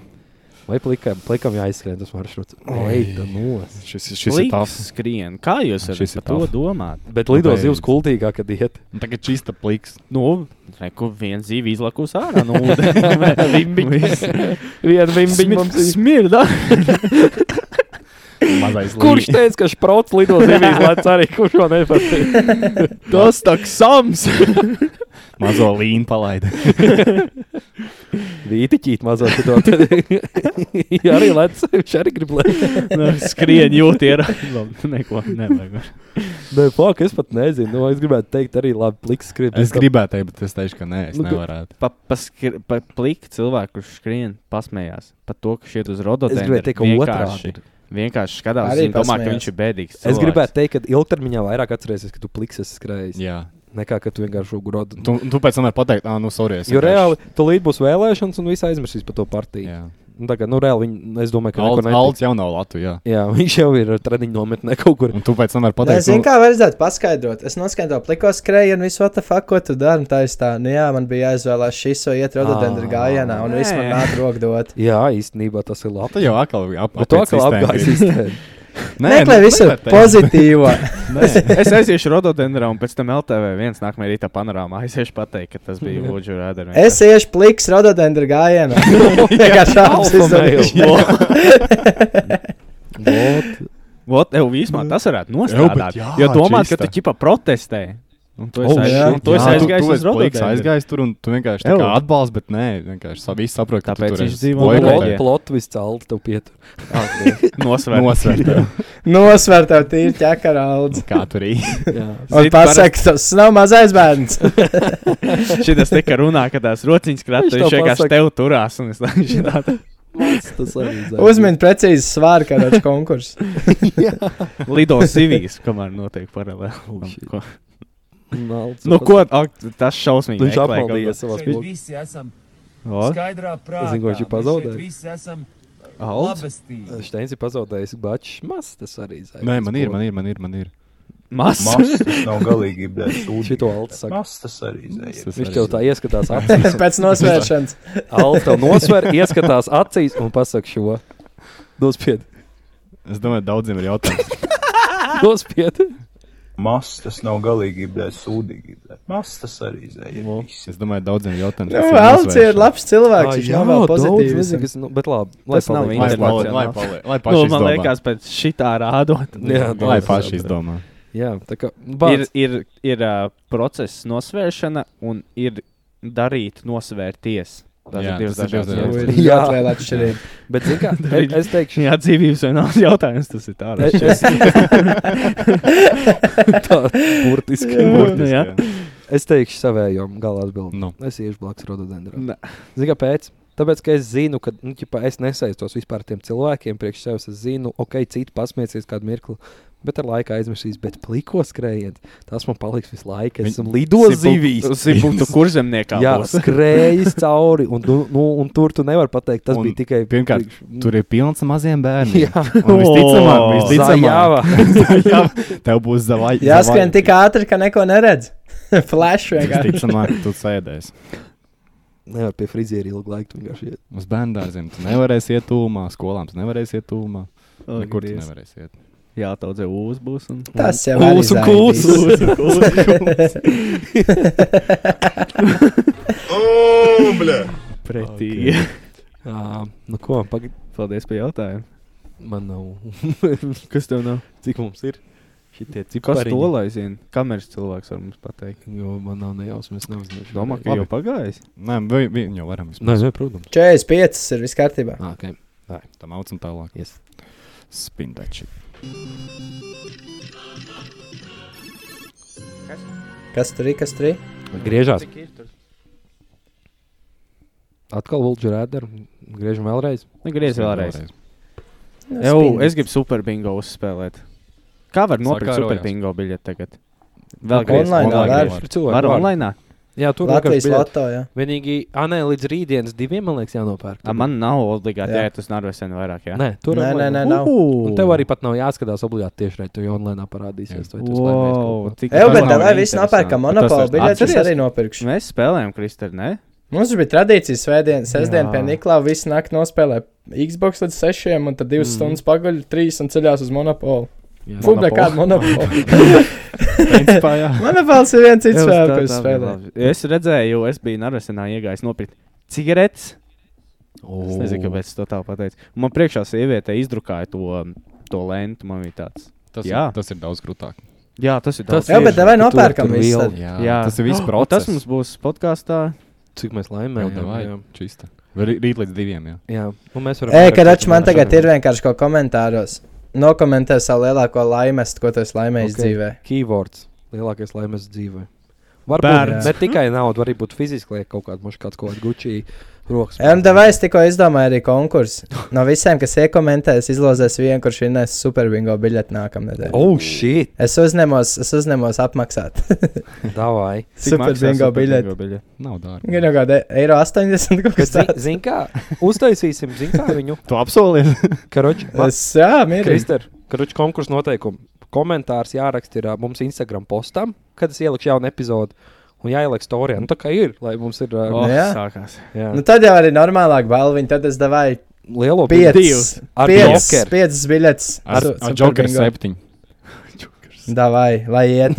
Speaker 1: Vai plikam, plikam jāizskrien tas maršruts. Eita, nos.
Speaker 4: Šis, ir- šis ir
Speaker 2: Pliks
Speaker 4: tavs.
Speaker 2: skrien. Kā jūs varat
Speaker 4: Šis ir
Speaker 2: par to
Speaker 4: tough.
Speaker 2: domāt?
Speaker 1: Bet lido
Speaker 4: Beidz.
Speaker 1: zivs kultīgāk, kad iet.
Speaker 4: Tagad čista pliks.
Speaker 2: Nu, reku viens zīvi izlakus ārā no
Speaker 4: *laughs*
Speaker 2: ūdens. Vimbiņš.
Speaker 1: Vienu vimbiņu mums ir.
Speaker 2: smirda. *laughs*
Speaker 4: Mazais
Speaker 1: Kurš
Speaker 4: līnijas.
Speaker 1: teica, ka šprots lido zivīs, lai arī kurš *laughs* to nepatīk?
Speaker 2: Tas tak sams.
Speaker 4: *laughs* Mazo līniju
Speaker 2: *laughs*
Speaker 4: palaida.
Speaker 1: Vītiķīt mazā šito. Jā, arī lec, viņš arī grib lec.
Speaker 2: Nu, Skrien jūti ir.
Speaker 4: Nu,
Speaker 2: Neko nevajag.
Speaker 1: Nē, fuck, es pat nezinu. Nu, es gribētu teikt, arī labi, pliks skribi.
Speaker 4: Es gribēju teikt, bet es teikšu, ka nē, es
Speaker 1: Nu, ka-
Speaker 4: nevarētu.
Speaker 2: Pa, pa, skri, pa pliku cilvēku, kurš skrien, pasmējās par to, ka šeit uz rodotājiem.
Speaker 1: Es gribēju teikt, ka
Speaker 2: vienkārši,
Speaker 1: otrādi.
Speaker 2: vienkārši skatās,
Speaker 9: Arī
Speaker 2: un domā, ka
Speaker 9: pasmējās.
Speaker 2: viņš ir bēdīgs.
Speaker 1: Es
Speaker 2: cilvēks.
Speaker 1: gribētu teikt, ka ilgtermiņā vairāk atcerēsies, ka tu pliks esi skrējis. Jā.
Speaker 4: Jā.
Speaker 1: Nekā, ka tu vienkārši grodu.
Speaker 4: Tu, tu pēc tam vari pateikt, ah, nu, sorry. es
Speaker 1: Jo
Speaker 4: vienkārši-
Speaker 1: reāli, tu līdz būs vēlēšanas, un viss aizmirsīs par to partiju.
Speaker 4: Jā.
Speaker 1: Nu, tā kā, nu, reāli, viņi, es domāju, ka
Speaker 4: Alds,
Speaker 1: neko
Speaker 4: Alds Mm. jau nav Latvijā.
Speaker 1: Jā, *laughs* viņš jau ir treniņu nometnē kaut kur.
Speaker 4: Un tu pēc tam vari
Speaker 9: Nē,
Speaker 4: pateikt, "Nu,
Speaker 9: zinu, kā vajadzētu paskaidrot. Es noskaidroju, pliko skrēju un visu, what the fuck, ko tu dari. un Tā ir tā, nu jā, man bija jāizvēlās šis, vai iet
Speaker 1: Ā,
Speaker 9: rododendra gājienā, un viss man
Speaker 2: nē.
Speaker 9: nāk rokdot.
Speaker 1: Jā, īstenībā tas ir
Speaker 4: Tu
Speaker 1: labi.
Speaker 4: jau atkal ap, *laughs*
Speaker 1: Bet tu atkal apgājies.
Speaker 9: Meklē
Speaker 1: nu,
Speaker 4: nu,
Speaker 9: visu pozitīvo.
Speaker 1: *laughs*
Speaker 2: *laughs* Es aiziešu rododendrā, un pēc tam LTV viens nākamajā rītā panorāmā aiziešu pateikt, ka tas bija
Speaker 1: *laughs*
Speaker 2: Woodžu rāders.
Speaker 9: Es iešu pliks rododendra gājienā. Vienkārši šāds izdarīšu.
Speaker 1: *laughs*
Speaker 2: Vot, tev vispār tas varētu nostrādāt.
Speaker 4: jā,
Speaker 2: Jā, jo domāt, ka
Speaker 4: čista.
Speaker 2: tu ķipa protestē. Un tu
Speaker 4: Oh,
Speaker 2: esi
Speaker 9: jā.
Speaker 2: aizgājis- un tu esi
Speaker 4: jā, tu, tu
Speaker 2: aizgājis uz
Speaker 4: esi pliks,
Speaker 2: *laughs* rododendru.
Speaker 4: aizgājis tur un tu vienkārši tā
Speaker 2: Ew.
Speaker 4: kā atbalsti, bet nē, vienkārši sa- visi saprot, ka tu
Speaker 2: Tāpēc
Speaker 4: tur
Speaker 2: viņš
Speaker 4: esi
Speaker 2: dzīvo
Speaker 4: boikotē.
Speaker 2: Norvēģijā.
Speaker 1: Plotvis cēlta tev pietur. *laughs*
Speaker 2: Nosvērt.
Speaker 4: Nosvērt tev,
Speaker 9: Nosver tev tīri ķekara audz.
Speaker 4: kā tur ir.
Speaker 1: Jā.
Speaker 9: Un
Speaker 2: Zini,
Speaker 9: pasaka, tas nav mazais bērns.
Speaker 2: Šitas tika runā, ka tās rociņas krāpjas,
Speaker 1: Viņš
Speaker 2: viņš
Speaker 1: to
Speaker 2: vienkārši
Speaker 1: pasaka.
Speaker 2: tev turās. Un es domāju,
Speaker 1: Tas
Speaker 4: *laughs*
Speaker 1: arī zina.
Speaker 9: Uzmini precīzi svāru, kad ir konkurss.
Speaker 2: ka lido sivīs, kamēr notiek paralēli.
Speaker 1: shit.
Speaker 2: Ko-
Speaker 1: Nalds,
Speaker 2: Nu, ko ak, tas šausmīgi.
Speaker 1: Viņš
Speaker 2: meklē kaut
Speaker 1: apmaldījies savā
Speaker 6: Šeit
Speaker 1: spēlē.
Speaker 6: visi esam
Speaker 2: ko. O,
Speaker 6: skaidrā prātā.
Speaker 1: zinu, ko viņš ir
Speaker 6: Mēs šeit
Speaker 1: pazaudējis.
Speaker 6: Visi esam
Speaker 2: Alds?
Speaker 6: labestīgi.
Speaker 1: Steins ir pazaudējis bačs. Maz tas arī zina.
Speaker 4: Nē, man ir, man ir, man ir, man ir.
Speaker 2: Mas.
Speaker 3: Masas nav galīgi, bet
Speaker 1: Šito Alts saka.
Speaker 3: Masas tas arī zina.
Speaker 4: Tas
Speaker 1: Viņš
Speaker 4: arī
Speaker 1: tev tā
Speaker 4: *laughs*
Speaker 1: ieskatās acīs.
Speaker 9: Pēc nosvēršanas.
Speaker 1: Alts tev nosver, ieskatās acīs un pasaka šo. Nospied.
Speaker 4: Es domāju, daudziem ir jautājums.
Speaker 1: Nospied.
Speaker 3: Masas tas nav galīgi, bet sūdīgi. Masas tas arī zina.
Speaker 4: Es domāju, daudziem ir jautājums.
Speaker 9: Nu,
Speaker 4: kas ir
Speaker 9: Alts ir
Speaker 4: nosvēršana.
Speaker 9: labs cilvēks. Viņš nav vēl pozitīvs.
Speaker 1: nezinu, kas. Nu, bet labi. Lai
Speaker 2: Tas nav
Speaker 1: paliek.
Speaker 4: Lai
Speaker 2: Internet
Speaker 4: paliek, lai
Speaker 2: jau nav.
Speaker 4: paliek, lai
Speaker 2: Nu,
Speaker 4: paši
Speaker 2: man
Speaker 4: izdomā.
Speaker 2: liekas, pēc šitā rādot.
Speaker 1: Jā, tā
Speaker 4: Lai
Speaker 1: tas
Speaker 4: paši
Speaker 1: ir.
Speaker 4: izdomā.
Speaker 1: Jā, tā kā.
Speaker 2: ir,
Speaker 4: *laughs*
Speaker 1: Bāc.
Speaker 2: ir, ir uh, process nosvēršana un ir darīt nosvērties. Tas
Speaker 4: Jā,
Speaker 2: ir divas
Speaker 4: tas ir
Speaker 2: dažādas
Speaker 4: divas dažādas
Speaker 2: lietas.
Speaker 4: lietas.
Speaker 9: Jā,
Speaker 1: Jā.
Speaker 9: ļoti liela
Speaker 2: *laughs*
Speaker 9: atšķirība.
Speaker 1: Bet, zini, kā. es- Es
Speaker 4: *laughs*
Speaker 1: teikšu.
Speaker 2: Jā, dzīvības vai naudas jautājums tas ir tāds.
Speaker 1: Es, es, *laughs* tā burtiski.
Speaker 2: Jā.
Speaker 1: burtiski. Es teikšu savējom galā atbildēt.
Speaker 4: Nu.
Speaker 1: Es iešu blakus rododendram.
Speaker 2: Nē.
Speaker 1: Zini, kāpēc? Tāpēc, ka es zinu, ka nu, ķipa, es nesaistos vispār ar tiem cilvēkiem priekš sevis. Es zinu, ok, citi pasmieties kādu mirkli. Bet ar laiku aizmirsīs, bet plīko skrējiet. Tas man paliks visu laiku.
Speaker 4: Viņ-
Speaker 1: Es esmu lidojis zivīs.
Speaker 2: Zibūtu kurzemniekā.
Speaker 1: *laughs* Jā,
Speaker 2: būs.
Speaker 1: skrējis cauri. Un, nu, nu, un tur tu nevari pateikt, tas
Speaker 4: Un
Speaker 1: bija tikai.
Speaker 4: pirmkārt,
Speaker 1: *laughs*
Speaker 4: Tur ir pilns ar maziem bērniem.
Speaker 1: Jā,
Speaker 4: Un visticamāk,
Speaker 2: Oh.
Speaker 4: visticamāk, jā, tev būs zvaigznes. *laughs*
Speaker 9: Jāskrien tik ātri, ka neko neredz. *laughs* Flash
Speaker 2: *laughs*
Speaker 9: vienkārši.
Speaker 4: Visticamāk, tu sēdēsi.
Speaker 1: nevar pie friziera ilgu laiku. tu vienkārši iet.
Speaker 4: Uz bērnu dārziem tu nevarēsi iet tūmā, skolām tu nevarēsi iet tūmā.
Speaker 2: O,
Speaker 4: Nekur tu
Speaker 2: Dievs.
Speaker 4: nevarēsi iet.
Speaker 2: Jā, daudz uz būs. Un...
Speaker 9: Tas jau ir.
Speaker 2: Kūsu, kūsu,
Speaker 9: *laughs*
Speaker 2: pretī. Okay.
Speaker 1: Ā, Nu, ko, pagaid,
Speaker 2: Paldies par jautājumu.
Speaker 1: man nav. *laughs*
Speaker 2: Kas tev nav?
Speaker 1: Cik mums ir? Šitie
Speaker 2: Kas
Speaker 1: cipariņi.
Speaker 2: to lai zina? Kameras cilvēks var mums pateikt.
Speaker 1: Jo man nav nejausmas, neuzmanības.
Speaker 2: Domā, ka jau
Speaker 4: Labi.
Speaker 2: pagājis.
Speaker 4: Nē, vi- vi- viņu jau varam vispār.
Speaker 1: Nē, nē, protams.
Speaker 9: 45 ir viss kārtībā.
Speaker 1: Ah, okay.
Speaker 4: Tam auc un tālāk.
Speaker 1: yes.
Speaker 4: Spindači.
Speaker 9: Kas tur ir? Kas tur ir?
Speaker 1: Griežās. Atkal Vulģa rādara. Griežam vēlreiz.
Speaker 2: Griez vēlreiz.
Speaker 9: Nu,
Speaker 2: Jau,
Speaker 9: spīd.
Speaker 2: es gribu super bingo uzspēlēt. Kā var nopirkt
Speaker 4: Sakārojās.
Speaker 2: super bingo biļeti tagad? Vēl
Speaker 9: Online vēl var.
Speaker 2: griezt.
Speaker 1: Tur
Speaker 2: Var
Speaker 1: cilvēki var.
Speaker 2: online?
Speaker 1: Jā, tur vienkārši
Speaker 9: Latvijas
Speaker 1: biļeti.
Speaker 9: loto, jā.
Speaker 1: Vienīgi, ah, nē, līdz rītdienas diviem, man liekas, jānopērk.
Speaker 2: A, man nav obligāti
Speaker 9: Jā.
Speaker 2: jāiet uz Norvēģiju vairāk. Jā.
Speaker 1: Nē, tur
Speaker 9: Nē, nē,
Speaker 1: online.
Speaker 9: nē, nav.
Speaker 1: Un tev arī pat nav jāskatās obligāti tieši reizē, jo online parādīsies. vai tu uz laimēs
Speaker 2: Wow,
Speaker 1: kaut ko.
Speaker 2: tik
Speaker 9: Eju,
Speaker 2: tas
Speaker 9: bet
Speaker 2: nav
Speaker 9: tā vai viss
Speaker 2: interesanti.
Speaker 9: nopērka monopola
Speaker 4: Tas ir-
Speaker 9: biļeti, es
Speaker 2: Atceries?
Speaker 9: arī nopirkšu.
Speaker 2: Mēs spēlējam, Kristēn, ne?
Speaker 9: Mums bija tradīcija svētdien, sestdien
Speaker 2: Jā.
Speaker 9: pie Niklā, visu nakti nospēlē Xbox līdz 6, un tad 2 mm.
Speaker 1: Mhm.
Speaker 9: stundas pagaļ, 3 un ceļās uz monopolu.
Speaker 1: Jā.
Speaker 9: Fubē, kāda monopola?
Speaker 4: Principā, *laughs* jā.
Speaker 9: *laughs* Monopols ir viens cits
Speaker 2: Tev
Speaker 9: vēl,
Speaker 2: tā-
Speaker 9: ko es
Speaker 2: tā
Speaker 9: spēlēju.
Speaker 2: labi. Es redzēju, es biju Norvēģijā iegājis nopirkt cigaretes. Es nezinu, kāpēc es to tā pateicu. Man priekšā sieviete izdrukāja to, to lēnu. Man bija tāds.
Speaker 4: Oh. Tas,
Speaker 2: Jā.
Speaker 4: ir, tas ir daudz grūtāk.
Speaker 2: Jā, tas ir
Speaker 1: Tas
Speaker 2: tas.
Speaker 9: Jā,
Speaker 1: ir,
Speaker 9: bet davai
Speaker 1: ka tur
Speaker 9: nopērkam
Speaker 1: tur
Speaker 9: visu
Speaker 1: vielu.
Speaker 9: tad.
Speaker 4: Jā,
Speaker 2: Jā.
Speaker 4: tas ir viss
Speaker 2: Oh, tas
Speaker 4: process.
Speaker 2: mums būs podkāstā.
Speaker 1: Cik mēs
Speaker 4: Jā,
Speaker 1: laimējam.
Speaker 4: jā,
Speaker 1: Jā, jā.
Speaker 4: vai čista. Vai rī- Rīt līdz diviem, jā.
Speaker 1: jā. Un mēs varam.
Speaker 9: Ej,
Speaker 1: vienkārši
Speaker 9: kad ač man
Speaker 1: turpināt
Speaker 9: tagad
Speaker 1: sarunu.
Speaker 9: ir vienkārši kaut komentāros. Nokomentē savu lielāko laimestu, ko tu esi laimējis
Speaker 1: Ok.
Speaker 9: okay. dzīvē.
Speaker 1: Keywords - lielākais laimes dzīvē.
Speaker 9: Bērns.
Speaker 1: Varbūt ne tikai nauda, var arī būt fiziski liek kaut kāda muša, kāds kaut kāds gučī rokas.
Speaker 9: MDV es tikko izdomāju arī konkursu. No visiem, kas iekomentēs, izlozēs vienu, kurš vinnēs superbingo biļeti nākamnedēļ.
Speaker 1: Oh, shit!
Speaker 9: Es uzņemos, es uzņemos apmaksāt
Speaker 1: Davai.
Speaker 2: Cik maksā
Speaker 9: superbingo biļeti.
Speaker 2: Superbingo biļeti.
Speaker 4: Nav dārgi.
Speaker 9: Gan jau kāda eiro 80 kaut
Speaker 1: Kad
Speaker 9: kas
Speaker 1: zi,
Speaker 9: tāds.
Speaker 1: zin kā, uztaisīsim, zin kā viņu.
Speaker 4: Tu apsolies?
Speaker 1: Karoči,
Speaker 9: Es, jā, mierīgi.
Speaker 1: Krister, karoči konkursu noteikumi. Komentārs jāraksta ir ā, mums Instagram postam, kad es ielikšu jaunu epizodu. Un jāieliek storijā. Nu, tā kā ir, lai mums ir.
Speaker 2: *laughs* Oh,
Speaker 1: ā,
Speaker 9: Jā.
Speaker 2: sākās.
Speaker 1: Jā,
Speaker 9: Nu, tad jau arī normālāk balviņi, tad es devēju
Speaker 1: lielo
Speaker 9: Piecas,
Speaker 1: Ar
Speaker 9: piecas,
Speaker 1: Jokeru.
Speaker 9: piecas biļetes.
Speaker 4: Ar,
Speaker 9: Su-
Speaker 4: ar
Speaker 9: Super
Speaker 4: Jokeru
Speaker 9: Bingo.
Speaker 4: septiņu.
Speaker 9: Davai, lai
Speaker 4: *laughs*
Speaker 9: iet.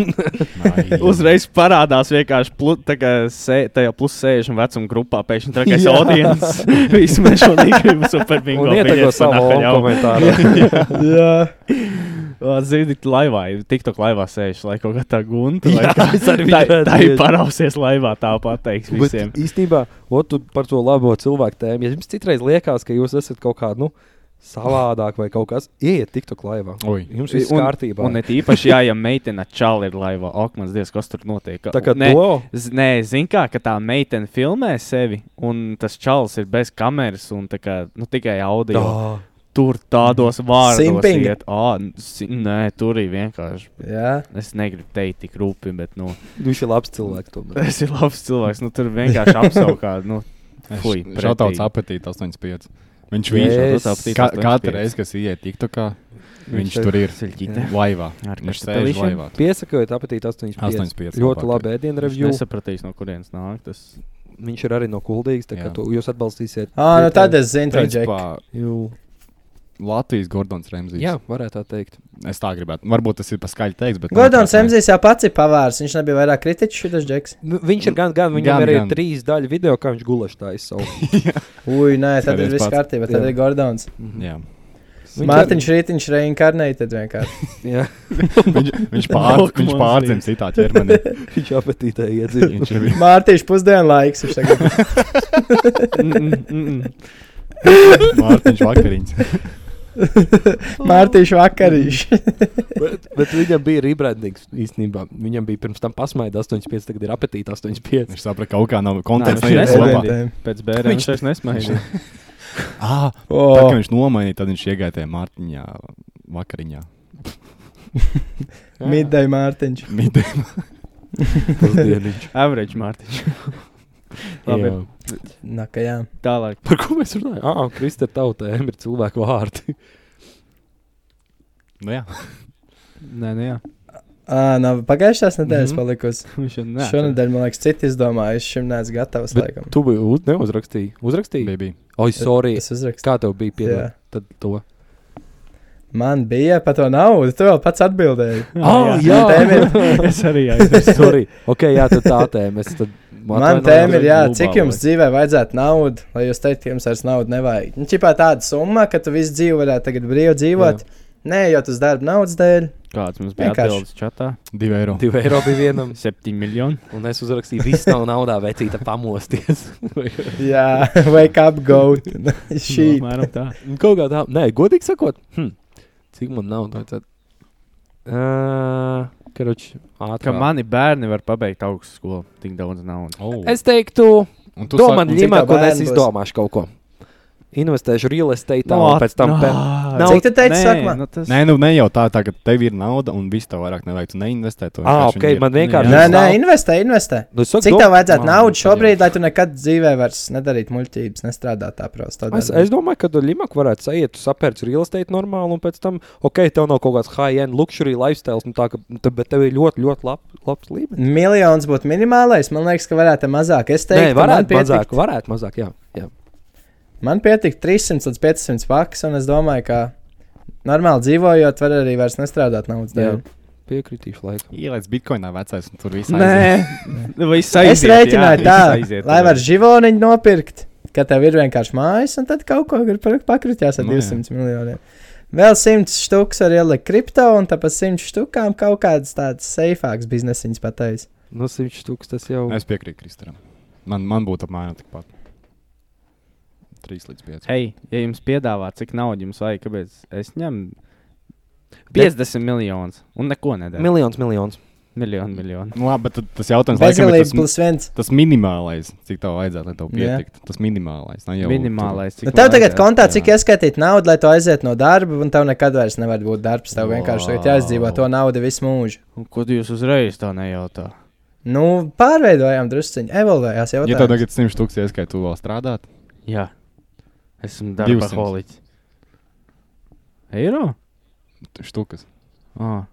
Speaker 4: Nai.
Speaker 2: *laughs* Uzreiz parādās vienkārši plu, tā kā se, tajā plus 60 vecuma grupā. Pēkšņi trakais *laughs* audiens. Visi mēs šodien gribam superbingo.
Speaker 1: Un ietego savu olu komentāru.
Speaker 9: Jā,
Speaker 2: Zini, laivā, TikTok laivā sēž, lai kaut kā tā gunta.
Speaker 1: Jā, *laughs* es arī
Speaker 2: tā,
Speaker 1: redzēju.
Speaker 2: tā ir parausies laivā, tā pateiks
Speaker 1: Bet
Speaker 2: visiem.
Speaker 1: īstenībā, o, tu par to labo cilvēku tēmu. Ja jums citreiz liekas, ka jūs esat kaut kādā nu, savādāk vai kaut kas, ejiet tiktu laivā.
Speaker 4: Ui.
Speaker 1: Jums viss
Speaker 2: Un-
Speaker 1: kārtībā.
Speaker 2: Un ne tīpaši, jā, ja meitene čāli ir laivā, ak, mans dievs, kas tur notiek.
Speaker 1: Tā kā
Speaker 2: ne,
Speaker 1: to-
Speaker 2: z- Nē, zin kā, ka tā meitene filmē sevi, un tas čalis ir bez kameras, un tā kā, nu, tikai audio.
Speaker 1: Tā.
Speaker 2: Tur tādos vārdos
Speaker 9: Simping.
Speaker 2: iet. Ā, n- si- nē, tur ir vienkārši.
Speaker 9: jā.
Speaker 2: Es negribu teikt tik rūpīgi, bet, nu, *laughs*
Speaker 1: Viņš ir labs cilvēks. tomēr.
Speaker 2: es esmu labs cilvēks. Nu, tur vienkārši apsaukā, nu, fuj,
Speaker 4: Šāds
Speaker 2: pretīgi.
Speaker 4: apetīts 85. Viņš
Speaker 1: Yes.
Speaker 4: vienkārši
Speaker 2: Šautauts apetīts
Speaker 4: ka,
Speaker 2: 85.
Speaker 4: katru reizi, kas ieiet TikTokā, viņš
Speaker 1: ir
Speaker 4: tur ir
Speaker 2: Saļķite.
Speaker 4: laivā.
Speaker 2: Ar
Speaker 4: Viņš sēž
Speaker 2: kartupelīšiem?
Speaker 4: laivā.
Speaker 1: Piesakot, apetīt 85.
Speaker 4: 85
Speaker 1: Ļoti
Speaker 4: labāk,
Speaker 1: labi
Speaker 4: jā.
Speaker 1: ēdienu
Speaker 2: Es
Speaker 1: review.
Speaker 2: nesapratīs, no kurienes nāk tas.
Speaker 1: Viņš ir arī no kuldīgas, tā kā
Speaker 4: Jā.
Speaker 1: tu, jūs atbalstīsiet.
Speaker 9: Ah, nu tad es zinu, tā ir.
Speaker 4: Principā
Speaker 1: Jū.
Speaker 4: Latvijas Gordons Remzijs.
Speaker 1: Jā, varētu tā teikt.
Speaker 4: Es tā gribētu. Varbūt tas ir pa skaļi teiks, bet. nu,
Speaker 9: Gordons Remzijs jau pats ir pavārs. Viņš nebija vairāk kritiķis šis džeks.
Speaker 1: Nu, Viņš ir gan, gan, viņam
Speaker 4: Gan,
Speaker 1: gan, arī gan.
Speaker 4: gan.
Speaker 1: trīs daļu video, kā viņš gulaši tā izsauca.
Speaker 9: Ui, nē, tad ir
Speaker 4: Skaties
Speaker 9: viss
Speaker 4: pats.
Speaker 9: kārtībā. Tad
Speaker 1: Jā.
Speaker 9: ir Gordons.
Speaker 4: Jā.
Speaker 9: Mārtiņš Rītiņš reinkarnēja vienkārši.
Speaker 1: Jā, *laughs*
Speaker 4: Viņš, viņš, pār,
Speaker 2: Laukmans
Speaker 4: viņš pārdzim citā ķermenī.
Speaker 1: viņš apetītē iedzīvo.
Speaker 4: Viņš ir
Speaker 9: Mārtiņš pusdienlaiks. Viņš tagad
Speaker 4: Mārtiņš Vakariņš.
Speaker 9: *laughs* Mārtiņš vakarīš.
Speaker 1: Bet, bet viņam bija rebrandings īstenībā. Viņam bija pirms tam pasmaida 85, tagad ir apetīte 85.
Speaker 4: Viņš saprata, ka kaut kā nav konteksts.
Speaker 2: Nē,
Speaker 9: nu,
Speaker 2: viņš
Speaker 4: Nē, viņš
Speaker 2: nesmaidīja.
Speaker 4: nesmaidīja.
Speaker 2: Pēc bērna viņš vairs nesmaidīja.
Speaker 4: Ah, tā kā
Speaker 9: O,
Speaker 4: viņš nomainīja, tad viņš iegāja tajā Mārtiņā vakariņā. *laughs*
Speaker 9: midday Mārtiņš.
Speaker 4: Midē-
Speaker 1: Pusdieniņš.
Speaker 2: Average Mārtiņš. Labi,
Speaker 1: *laughs* Jā.
Speaker 9: Nā, ka jā.
Speaker 2: tālāk.
Speaker 1: Par ko mēs runājam? Ah, Kristē, tautēm ir cilvēku vārdi. *laughs*
Speaker 4: Nu, jā.
Speaker 2: Nē, nē, jā.
Speaker 9: Ā, nav pagājušās nedēļas
Speaker 1: Mhm.
Speaker 9: palikusi.
Speaker 2: viņš jau nē.
Speaker 9: Šonadēļ, man liekas, citi izdomāja. Es šim neesmu gatavs,
Speaker 1: Bet
Speaker 9: laikam.
Speaker 1: tu biji uz, neuzrakstīji. Uzrakstīji?
Speaker 4: bija- bija.
Speaker 1: Oi, sorry.
Speaker 9: Es uzrakstu.
Speaker 1: Kā tev bija
Speaker 9: Jā.
Speaker 1: pierādījums? Tad to.
Speaker 9: Man bija par to naudu. Tu jau pats atbildēji.
Speaker 1: *laughs* Ah, jā. *laughs*
Speaker 2: tēma ir. *laughs* es arī aizmirsu.
Speaker 1: Sorry. Ok, jā, tad tā tēma. Es tad
Speaker 9: Man tēma ir, jā,
Speaker 2: globālai.
Speaker 9: cik jums dzīvē vajadzētu naudu, lai jūs teiktu, ka jums vairs naudu nevajag. Nu, čipā tāda summa, ka tu visu dzīvi varētu tagad brīvi dzīvot. Nē, jau tas darba naudas dēļ. *laughs*
Speaker 2: Kāds mums bija
Speaker 9: Vienkārši.
Speaker 2: atbildes čatā?
Speaker 4: Divi eiro.
Speaker 1: 2 eiro bija vienam,
Speaker 2: 7 miljoni.
Speaker 1: un es uzrakstīju, viss nav naudā, vecīta pamosties.
Speaker 9: Jā, wake up,
Speaker 1: *laughs*
Speaker 9: goat. *laughs* Šī.
Speaker 2: Nu, apmēram tā.
Speaker 1: Nu, Kaut kā tā, nē, godīgi sakot, hm, cik man nav tāda. Uh, Karoči,
Speaker 2: Ka
Speaker 1: ātrāk.
Speaker 2: mani bērni var pabeigt augstu skolu. Tik daudz naudas.
Speaker 4: Oh.
Speaker 1: Es teiktu,
Speaker 4: Un tu
Speaker 1: domā,
Speaker 4: saki-
Speaker 9: cik
Speaker 1: ņemot,
Speaker 9: tev
Speaker 1: un es
Speaker 9: bērni būs?
Speaker 1: izdomāšu kaut ko. Investēšu real estate, un pēc tam pēc.
Speaker 9: Nav- Cik tu teici, saka man?
Speaker 2: Nu, tas...
Speaker 4: Nē, nu ne jau tā, tā, ka tev ir nauda un viss tev vairāk nevajag. Tu neinvestē to.
Speaker 1: Ah,
Speaker 4: vienkārši viņi
Speaker 1: ok,
Speaker 4: ir.
Speaker 1: man vienkārši.
Speaker 9: Nē, nē,
Speaker 1: nav-
Speaker 9: investē, investē.
Speaker 1: Nu, es saku,
Speaker 9: Cik
Speaker 1: dom-
Speaker 9: tev vajadzētu
Speaker 4: Man
Speaker 9: naudu
Speaker 4: liekas,
Speaker 9: šobrīd, lai tu nekad dzīvē vairs nedarītu muļķības, nestrādātu tā prosta?
Speaker 1: Es, es domāju, ka Limak varētu aiziet, tu sapērci real estate normāli, un pēc tam, ok, tev nav kaut kāds high-end luxury lifestyle, nu tā, ka, te, bet tev ir ļoti, ļoti lab, labs līmenis.
Speaker 9: Miljons būtu minimālais. Man liekas, ka varētu mazāk. Es
Speaker 1: Nē,
Speaker 9: teiktu, ka man
Speaker 1: varētu mazāk,
Speaker 9: pietiktu-
Speaker 1: varētu mazāk, jā. jā.
Speaker 9: Man pietika 300 līdz 500 pakas, un es domāju, ka normāli dzīvojot, var arī vairs nestrādāt naudas dēļ.
Speaker 1: jā. Piekritīšu laikam.
Speaker 4: Ielaids bitkoinā vecais, un tur viss aiziet.
Speaker 2: Nē, viss aiziet.
Speaker 9: Es rēķināju
Speaker 2: jā,
Speaker 9: tā,
Speaker 2: viss aiziet,
Speaker 9: lai
Speaker 2: jā.
Speaker 9: var živoniņu nopirkt, ka tev ir vienkārši mājas, un tad kaut ko ir pakrutjās ar
Speaker 4: Nu, jā.
Speaker 9: 200 miljoniem. Vēl 100 štuks var ielikt kripto, un tāpēc 100 štukām kaut kādas tādas seifākas biznesiņas pateicis.
Speaker 1: Nu, 100 tūkstoši tas jau.
Speaker 4: Es piekrītu Kristānam. Man, man būtu apmēram tikpat. 3 līdz 5.
Speaker 2: Hei, ja jums piedāvā, cik naudas jums vajag, kāpēc es ņemu
Speaker 1: Bet-
Speaker 2: 50 miljonus un neko nedaru.
Speaker 1: Miljons, miljons.
Speaker 2: Miljonu, miljonu.
Speaker 4: Nu, labi, bet tad tas jautājums laikam ir
Speaker 9: Bezgalīgi
Speaker 4: tas,
Speaker 9: plus viens.
Speaker 4: tas minimālais, cik tev vajadzētu, lai tev
Speaker 9: Jā.
Speaker 4: pietiktu. Tas minimālais. Ne, jau,
Speaker 2: Minimālais.
Speaker 9: Nu, tev tagad kontā,
Speaker 4: jā.
Speaker 9: cik ieskaitīt naudu, lai tu aizietu no darba, un tev nekad vairs nevar būt darbs. Tev vienkārši tagad jāizdzīvo
Speaker 4: Wow.
Speaker 9: to naudu visu mūžu.
Speaker 2: Un Ko tu jūs uzreiz tā nejautā?
Speaker 9: Nu, pārveidojām drusciņu, evolūcijās jau
Speaker 4: Tu, ja tev
Speaker 9: *laughs*
Speaker 4: tagad 100 tūkstoši ieskaitot, tu vēl strādāt.
Speaker 2: Jā, esmu
Speaker 4: 200.
Speaker 2: darba holiķis. Eiro?
Speaker 4: tu Štukas.
Speaker 2: Ah.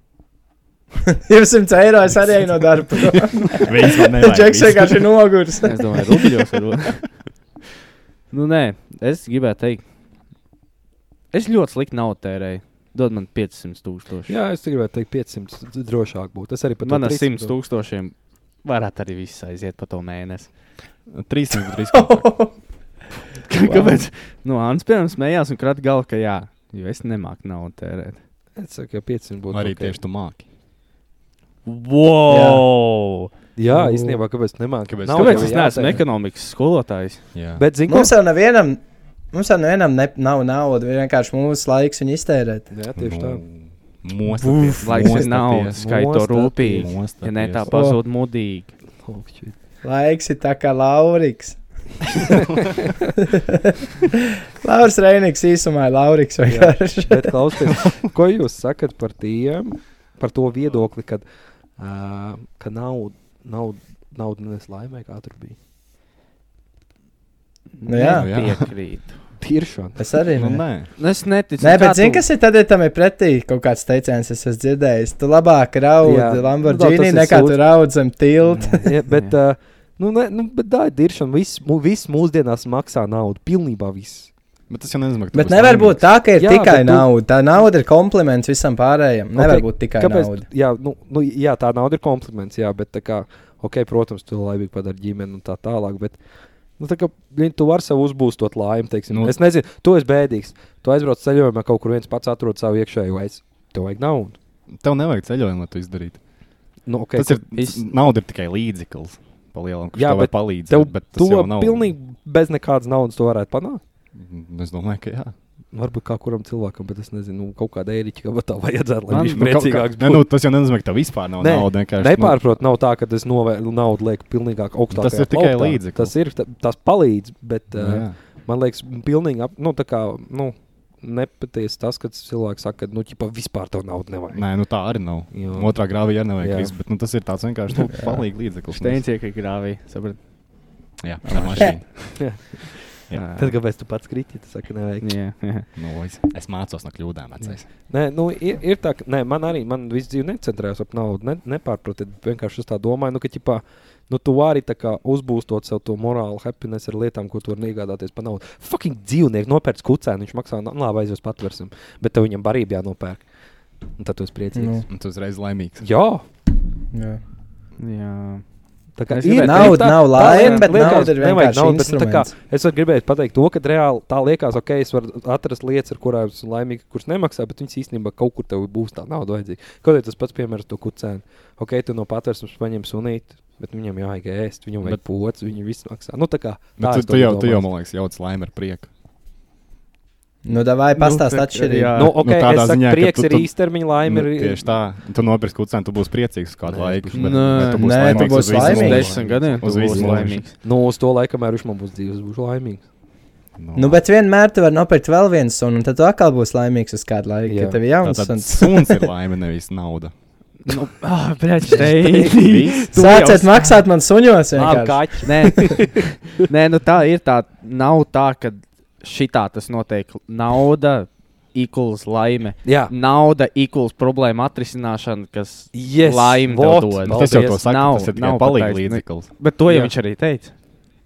Speaker 9: 200 eiro es arī eju no
Speaker 4: *laughs*
Speaker 9: darba.
Speaker 4: Viņš man
Speaker 9: *laughs* Džeks vienkārši ir noguris.
Speaker 2: *laughs* Es domāju, rubļos varbūt. nu, nē, es gribēju teikt, Es ļoti slikti naudu tērēju. Dod man 500 tūkstoši.
Speaker 1: Jā, es te gribētu teikt, 500 drošāk būtu. Es arī pat
Speaker 2: man ar 100 tūkstošiem varētu arī viss aiziet pa to mēnesi. *laughs*
Speaker 4: 300 brīsīs.
Speaker 2: Kāpēc? Nu, Ants pirms smējās un krata galvu, ka jā, jo es nemāku naudu tērēt.
Speaker 1: Es saku, ka 500 būtu
Speaker 4: Arī
Speaker 1: ok.
Speaker 4: tieši tu māki.
Speaker 2: Wow!
Speaker 1: Jā, īstenībā, kāpēc nemāķi?
Speaker 4: Kāpēc-
Speaker 2: Nav, Kāpēc
Speaker 4: jau
Speaker 2: es neesmu ekonomikas skolotājs?
Speaker 4: Jā.
Speaker 1: Bet, zinu,
Speaker 9: *laughs* Mums jau nevienam, mums jau nevienam ne, nav naudas, vienkārši mūsu laiks viņu iztērēt.
Speaker 1: Jā,
Speaker 4: Nu,
Speaker 1: tieši tā.
Speaker 4: Mūsu
Speaker 2: Laiks ir naudas, skaito
Speaker 1: mostaties,
Speaker 2: rūpīgi. Ja ne tā pazūd mudīgi.
Speaker 1: Oh, shit.
Speaker 9: Laiks ir tā kā
Speaker 4: *laughs*
Speaker 9: Lauriks. *laughs* Lauris Reinigs īsumā ir Lauriks. vienkārši.
Speaker 1: Bet klausieties, ko jūs sakat par tiem, par to viedokli, kad, uh, ka nauda naud, naud nes laimē, kā tur bija.
Speaker 9: Nu, jā.
Speaker 4: Jā.
Speaker 2: piekrītu.
Speaker 1: Tiršana.
Speaker 9: Es arī.
Speaker 4: Nu,
Speaker 9: Ne.
Speaker 4: nē,
Speaker 2: Es neticu.
Speaker 9: Nē,
Speaker 2: kā
Speaker 9: bet
Speaker 2: tu-
Speaker 9: zini, kas ir tad, ja tam ir pretī kaut kāds teiciens, es esmu dzirdējis. Tu labāk raudi
Speaker 1: Jā. Nu,
Speaker 9: Lamborghini
Speaker 1: tā tas ir
Speaker 9: nekā tu
Speaker 1: sūds.
Speaker 9: raudi zem tilta.
Speaker 1: *laughs* Ja, bet, uh, nu, ne, nu, bet tā ir tiršana. Viss, mu- viss mūsdienās maksā naudu. Pilnībā viss.
Speaker 4: bet tas jau nezinu,
Speaker 9: Bet nevar būt tā, ka ir
Speaker 1: Jā,
Speaker 9: jā, tikai
Speaker 1: bet tu-
Speaker 9: tu... nauda. Tā nauda ir kompliments visam pārējam. Nevar okay. būt tikai
Speaker 1: Nu, Kāpēc?
Speaker 9: Kāpēc? nauda.
Speaker 1: Jā, nu, nu, jā, tā nauda ir kompliments. Jā, bet, tā kā, okay, protams, tu laimīgi padari ģimeni un tā tālāk. Bet, Nu, tā kā viņi tu vari sev uzbūvēt laimi, teiksim, nu,
Speaker 4: Nu.
Speaker 1: es nezinu, tu esi bēdīgs. Tu aizbrauc ceļojumā, kaut kur viens pats atrod savu iekšējo aiz. Tev vajag naudu.
Speaker 4: Tev nevajag ceļojumu, lai to izdarītu.
Speaker 1: Nu, okay,
Speaker 4: Tas ir,
Speaker 2: es-
Speaker 4: nauda ir tikai līdzeklis. Palielam, kurš
Speaker 1: Jā,
Speaker 4: tev var
Speaker 1: bet
Speaker 4: palīdzēt,
Speaker 1: Tev,
Speaker 4: bet tas
Speaker 1: tu
Speaker 4: jau nav.
Speaker 1: pilnīgi bez nekādas naudas to varētu panākt.
Speaker 4: Mm, Es domāju, ka jā.
Speaker 1: Varbūt kā kuram cilvēkam, bet es nezinu, nu, kaut kāda īriķa, ka tā vajadzētu, lai
Speaker 2: Man-
Speaker 1: viņš
Speaker 4: Nu, kaut
Speaker 1: priecīgāks
Speaker 4: kā- ne, nu, tas jau nenozīmē, ka tev vispār nav
Speaker 1: Nē,
Speaker 4: naudas. Vienkārši nu,
Speaker 1: Nepārprot, nav tā, ka es novēlu naudu lieku pilnīgāk augstāk.
Speaker 4: Tas ir tikai līdzeklis.
Speaker 1: Tas ir, ta- tas palīdz, bet
Speaker 4: nu,
Speaker 1: uh,
Speaker 4: jā.
Speaker 1: man liekas, pilnīgi, ap, nu, tā kā, nu, nepatiesi tas, kad cilvēks saka, ka, nu, ķipa, vispār tev naudu nevajag.
Speaker 4: Nē, nu tā arī nav.
Speaker 1: Jo.
Speaker 4: Otrā grāvī arī
Speaker 1: Jā.
Speaker 4: nevajag visu, bet nu, tas ir tāds vienkārši nu, palīdzīgs līdzeklis.
Speaker 2: Steins iekļūt grāvī. Saprati?
Speaker 4: Jā, tā ir mašīna. Jā.
Speaker 1: Tad, kāpēc tu pats kriti, tas saka, nevajag.
Speaker 2: Jā, jā.
Speaker 4: Nu, es, es mācos no kļūdām. vecais.
Speaker 1: Nē, nu, ir, ir tā, ka nē, man arī man visu dzīvi necentrējās ap naudu. Ne, nepārprotiet, vienkārši es tā domāju, nu, ka ķipā, nu, tu vari tā kā uzbūvēt sev to morālu happiness ar lietām, ko tu vari iegādāties par naudu. Fucking dzīvnieks nopērts kucēnu, viņš maksā no labi aizies patversim, bet tev viņam barība jānopērk. Un tad tu esi priecīgs.
Speaker 9: Nu.
Speaker 4: Un tu uzreiz laimīgs.
Speaker 1: Nu. Jā,
Speaker 9: Jā.
Speaker 2: jā.
Speaker 1: tā kā
Speaker 2: Es
Speaker 1: ir
Speaker 2: gribēju-
Speaker 9: Nauda
Speaker 1: tā-
Speaker 9: nav
Speaker 1: tā
Speaker 9: laime,
Speaker 1: liet-
Speaker 9: bet
Speaker 1: liekas,
Speaker 9: nauda ir
Speaker 1: nevajag
Speaker 9: vienkārši
Speaker 1: naudu, bet, nu, tā kā
Speaker 9: instruments.
Speaker 1: Es varu gribēt pateikt to, ka reāli tā liekas, ok, es varu atrast lietas, ar kurām esmu laimīgs, kuras nemaksā, bet viņas īstenībā kaut kur tev būs tā nauda vajadzīga. Kaut arī tas pats piemērs, to kucēnu. Ok, tu no patvērsmes paņem sunīti, bet viņam jāiet ēst, viņam vajag
Speaker 4: Bet-
Speaker 1: pots, viņam viss maksā. Nu, tā kā
Speaker 4: Bet
Speaker 1: tā
Speaker 4: tu,
Speaker 1: es
Speaker 4: tu,
Speaker 1: to
Speaker 4: jau, tu jau,
Speaker 1: domāju.
Speaker 4: man liekas, jauc laimi ar prieku.
Speaker 9: Nu, davai pastāst atšķirību.
Speaker 2: jā.
Speaker 1: Nu, okay, nu,
Speaker 4: tādā
Speaker 1: es saku, ziņā,
Speaker 4: ziņā, ka
Speaker 1: prieks
Speaker 4: tu-
Speaker 1: tu, ir
Speaker 4: tu-
Speaker 1: īstermiņa laime.
Speaker 4: Nu,
Speaker 1: ir-
Speaker 4: tieši tā. Tu nopirksi kucēnu, tu būsi priecīgs uz kādu laiku.
Speaker 1: būšu-
Speaker 4: bet-
Speaker 2: Nē.
Speaker 4: bet tu būsi
Speaker 9: Nē, tu
Speaker 4: laimīgs uz
Speaker 9: būsi
Speaker 4: visu
Speaker 9: laimīgs.
Speaker 4: mūžu.
Speaker 2: Desmit gadiem tu
Speaker 4: Uz visu
Speaker 2: būsi
Speaker 4: mūžu.
Speaker 2: laimīgs.
Speaker 1: Nu, uz to laiku, kamēr viņš man būs dzīves, būšu laimīgs.
Speaker 9: Nu, bet vienmēr tu vari nopirkt vēl vienu sunu, un tad tu atkal būsi laimīgs uz kādu laiku,
Speaker 1: Jā.
Speaker 9: ja tev ir
Speaker 4: tā
Speaker 9: jauns
Speaker 4: tad
Speaker 9: suns.
Speaker 4: suns ir laime, nevis
Speaker 1: *laughs*
Speaker 4: nauda.
Speaker 2: Nu, ah, brāļ, Steini. Tu jau
Speaker 9: Sāciet maksāt man suņos
Speaker 2: Labi,
Speaker 9: vienkārši.
Speaker 2: kaķi. Nē, nē nu tā ir. Tā nav tā, ka šitā tas notiek. Nauda equals laime.
Speaker 1: Jā,
Speaker 4: Mm.
Speaker 2: Nauda equals problēma atrisināšana, kas.
Speaker 1: yes,
Speaker 2: Laime tev
Speaker 1: vot,
Speaker 2: dod.
Speaker 4: Bet Nu, Tas jau
Speaker 1: paldies.
Speaker 4: to saka,
Speaker 2: Nav-
Speaker 4: tas ir tikai
Speaker 2: nav
Speaker 4: palīdzīgs
Speaker 2: pataisni.
Speaker 4: līdzeklis.
Speaker 2: Bet to jau
Speaker 1: Jā.
Speaker 2: jā. viņš arī teica.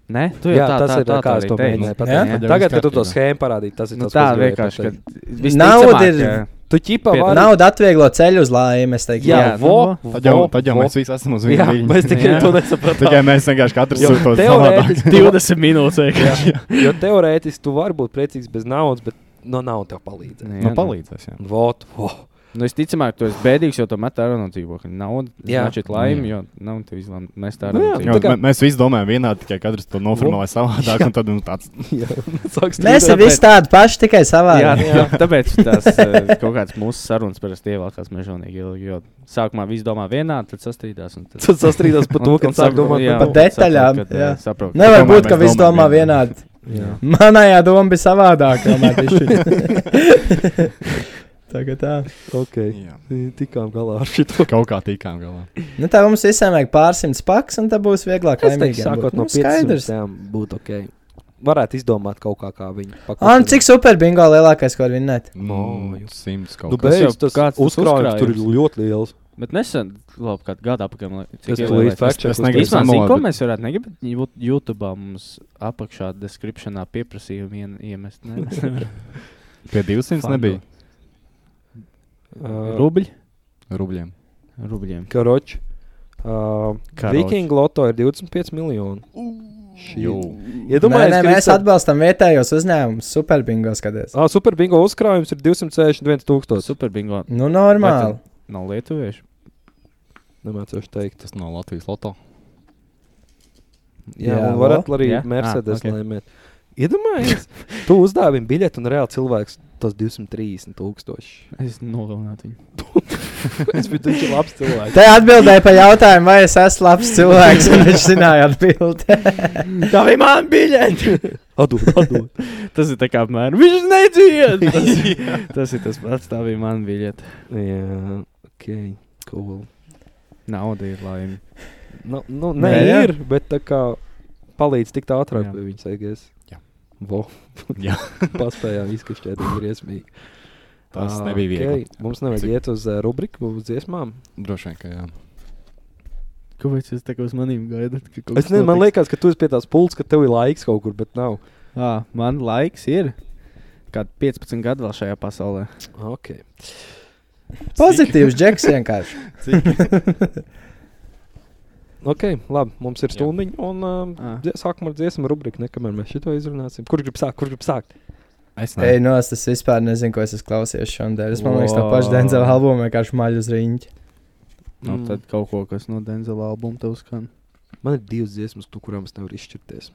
Speaker 2: Nē, tu jau
Speaker 1: Jā,
Speaker 2: tā,
Speaker 1: tas
Speaker 2: tā,
Speaker 1: ir
Speaker 2: tā,
Speaker 1: tā, kā es
Speaker 2: arī
Speaker 1: to
Speaker 2: teici.
Speaker 1: mēģināju
Speaker 9: Jā?
Speaker 1: pateikt.
Speaker 4: Tad
Speaker 1: Tagad,
Speaker 4: jau
Speaker 1: kad tu to
Speaker 4: viss
Speaker 1: schēmu parādīji, tas ir
Speaker 2: Nu,
Speaker 1: tas,
Speaker 2: tā
Speaker 1: ko es gribēju
Speaker 2: vienkārši
Speaker 1: pateikt.
Speaker 2: ir.
Speaker 9: Nauda ir-
Speaker 1: Tu ķipa
Speaker 2: Pie-
Speaker 1: vari
Speaker 9: Nauda atvieglo ceļu uz laimi, es teiktu.
Speaker 1: Jā,
Speaker 2: Jā,
Speaker 1: vo,
Speaker 2: nu,
Speaker 4: Tad jau,
Speaker 1: vo,
Speaker 4: tad jau
Speaker 1: vo.
Speaker 4: mēs visi esam uz
Speaker 1: Jā,
Speaker 4: viena līnija.
Speaker 1: mēs tikai
Speaker 2: Jā.
Speaker 1: to nesapratām.
Speaker 4: Tikai mēs vienkārši katrs
Speaker 1: Jo
Speaker 4: uz to savādāk.
Speaker 1: teorētiski, tu,
Speaker 2: 20 minūtes. vienkārši.
Speaker 1: jo teorētiski tu vari būt priecīgs bez naudas, bet no naudas tev palīdz.
Speaker 2: Jā,
Speaker 4: Nu, palīdzēs, jā.
Speaker 1: Vot, *laughs* vo.
Speaker 2: Nu, es ticu, ka tu esi bēdīgs, jo tu met ārā no dzīvokļa. Nauda,
Speaker 1: Jā.
Speaker 2: šķiet, laime, jo nav tev izlēma mest ārā
Speaker 1: Nu
Speaker 2: no
Speaker 1: jā,
Speaker 4: Jā,
Speaker 1: tā kā-
Speaker 2: dzīvokļa.
Speaker 4: mē- Mēs visi domājam vienādi, tikai katrs to noformulē savādāk. un Tad, nu, tāds,
Speaker 1: Jā, sāks
Speaker 9: Mēs esam
Speaker 1: strīdēt.
Speaker 9: visi tādi paši, tikai savādi.
Speaker 2: Jā, jā. *laughs* Tāpēc tas kaut kāds mūsu sarunas parasti ievelkās mežonīgi ilgi. Jo sākumā viss domā vienādi, tad sastrīdās. un Tad
Speaker 1: Tad sastrīdās par to, ka sāk domāt
Speaker 9: par
Speaker 1: par to.
Speaker 9: detaļām, jā.
Speaker 2: Saprotu.
Speaker 9: Nevar
Speaker 4: Domāju,
Speaker 9: būt, ka
Speaker 4: mēs
Speaker 9: viss
Speaker 4: domājam
Speaker 9: domā
Speaker 4: vienādi.
Speaker 9: vienādi. Manējā doma bija savādāk. tomēr bišķiņ. Tagad tā.
Speaker 1: Ok,
Speaker 4: jā.
Speaker 1: tikām galā ar šito.
Speaker 4: Kaut kā tīkām galā.
Speaker 9: Nu, tā mums visiem vajag pārsimts paks, un tā būs vieglāk.
Speaker 1: Es teiktu,
Speaker 9: laimīgiem būt.
Speaker 1: sākot no
Speaker 9: nu, skaidrs.
Speaker 1: 500 būtu ok. Varētu izdomāt kaut kā, kā viņi
Speaker 9: Un nu, cik super bingo lielākais, ko var vinēt?
Speaker 1: Nu,
Speaker 4: Nu, simts kaut
Speaker 1: Nu,
Speaker 4: kā.
Speaker 2: kas jau-
Speaker 1: beidz, tas
Speaker 2: kāds tas
Speaker 1: uzkrājums tur ir
Speaker 2: uzkrājums?
Speaker 1: ļoti liels.
Speaker 2: Bet nesen, labi, kādu gadu apakaļ.
Speaker 1: Tas tu līdz
Speaker 4: Es-
Speaker 1: faktu.
Speaker 4: es negribu
Speaker 2: Īsumā
Speaker 4: Samalot,
Speaker 2: zinu, ko
Speaker 4: bet-
Speaker 2: mēs varētu negribēt. Jū- *laughs* YouTube mums apakšā descriptionā pieprasījumu ien- iemest. ne?
Speaker 4: Pie 200 nebija
Speaker 1: Uh,
Speaker 2: Rubļi.
Speaker 4: rubļiem.
Speaker 2: Rubļiem.
Speaker 1: Karoči. Uh,
Speaker 2: Karoči.
Speaker 1: Viking loto ir 25 miljoni.
Speaker 4: Jū.
Speaker 9: Nē,
Speaker 1: Iedomājieties,
Speaker 9: nē,
Speaker 1: ka
Speaker 9: mēs
Speaker 1: jūs varat-
Speaker 9: atbalstam vietējos uzņēmumus, superbingo skaties.
Speaker 1: Ā, Super bingo uzkrājums ir 261 tūkstoši.
Speaker 2: Super bingo.
Speaker 9: Nu, normāli.
Speaker 2: Nav lietuviešu.
Speaker 1: Nemācīšu teikt.
Speaker 4: Tas no Latvijas loto.
Speaker 1: Jā,
Speaker 9: Jā,
Speaker 1: jā un varat arī
Speaker 2: Jā?
Speaker 1: yeah?
Speaker 2: Ā,
Speaker 1: Mercedes
Speaker 2: ok.
Speaker 1: okay. lēmēt. Iedomājieties, tu uzdāvi viņam biļeti un reāli cilvēks tos 230 tūkstoši.
Speaker 2: Es nogalinātu viņu.
Speaker 1: Es biju taču labs
Speaker 9: *laughs*
Speaker 1: cilvēks.
Speaker 9: Te atbildēja par jautājumu, vai es esmu labs cilvēks, un viņš zināja atbildēt.
Speaker 2: *laughs* Tā bija mana biļete!
Speaker 1: Atdod, atdod.
Speaker 2: Tas ir tā kā apmēram. Viņš nedzīvot! Tas, tas ir tas pats, tā bija mana biļete.
Speaker 1: jā, ok, cool.
Speaker 2: Nauda ir laime.
Speaker 1: Nu, nu, nē,
Speaker 9: Nē, jā.
Speaker 1: nē ir, bet tā kā palīdz tikt ātrāk
Speaker 2: Jā.
Speaker 1: pie viņas, aigies.
Speaker 4: Jā.
Speaker 1: Vo.
Speaker 4: Jā.
Speaker 1: *laughs* Paspējām izkašķēt, ir briesmīgi.
Speaker 4: Tas
Speaker 1: Ā,
Speaker 4: nebija viegli.
Speaker 1: okei, Ah, Mums nevajag
Speaker 4: Cik-
Speaker 1: iet uz uh, rubriku, uz dziesmām.
Speaker 4: Droši vien, ka jā.
Speaker 2: Kāpēc jūs tā kā uz maniem gaidat? ka kaut
Speaker 1: Es
Speaker 2: kas
Speaker 1: nezinu, man
Speaker 2: notiks?
Speaker 1: liekas, ka tu esi pie tās pults, ka tev ir laiks kaut kur, bet nav.
Speaker 2: Ā, man laiks ir. Kādi 15 gadi vēl šajā pasaulē.
Speaker 1: Ok.
Speaker 9: Pozitīvs džeks vienkārši.
Speaker 1: Ok, labi, mums ir stundiņa, un um,
Speaker 2: Ā.
Speaker 1: dzie- sākam ar dziesmu rubriku, nekamēr mēs šito izrunāsim. Kurš grib sākt? Kurš grib sākt?
Speaker 4: Es
Speaker 9: Ei, no es tas vispār nezinu, ko es esmu klausies šodien. Es man liekas, tā paša
Speaker 2: Wow.
Speaker 9: Denzela albumu vienkārši maļu uz riņķi.
Speaker 2: Nu, mm. Tad kaut ko, kas no Denzela albuma tev skan.
Speaker 1: Man ir divas dziesmas, tu, kurām es nevaru izšķirties.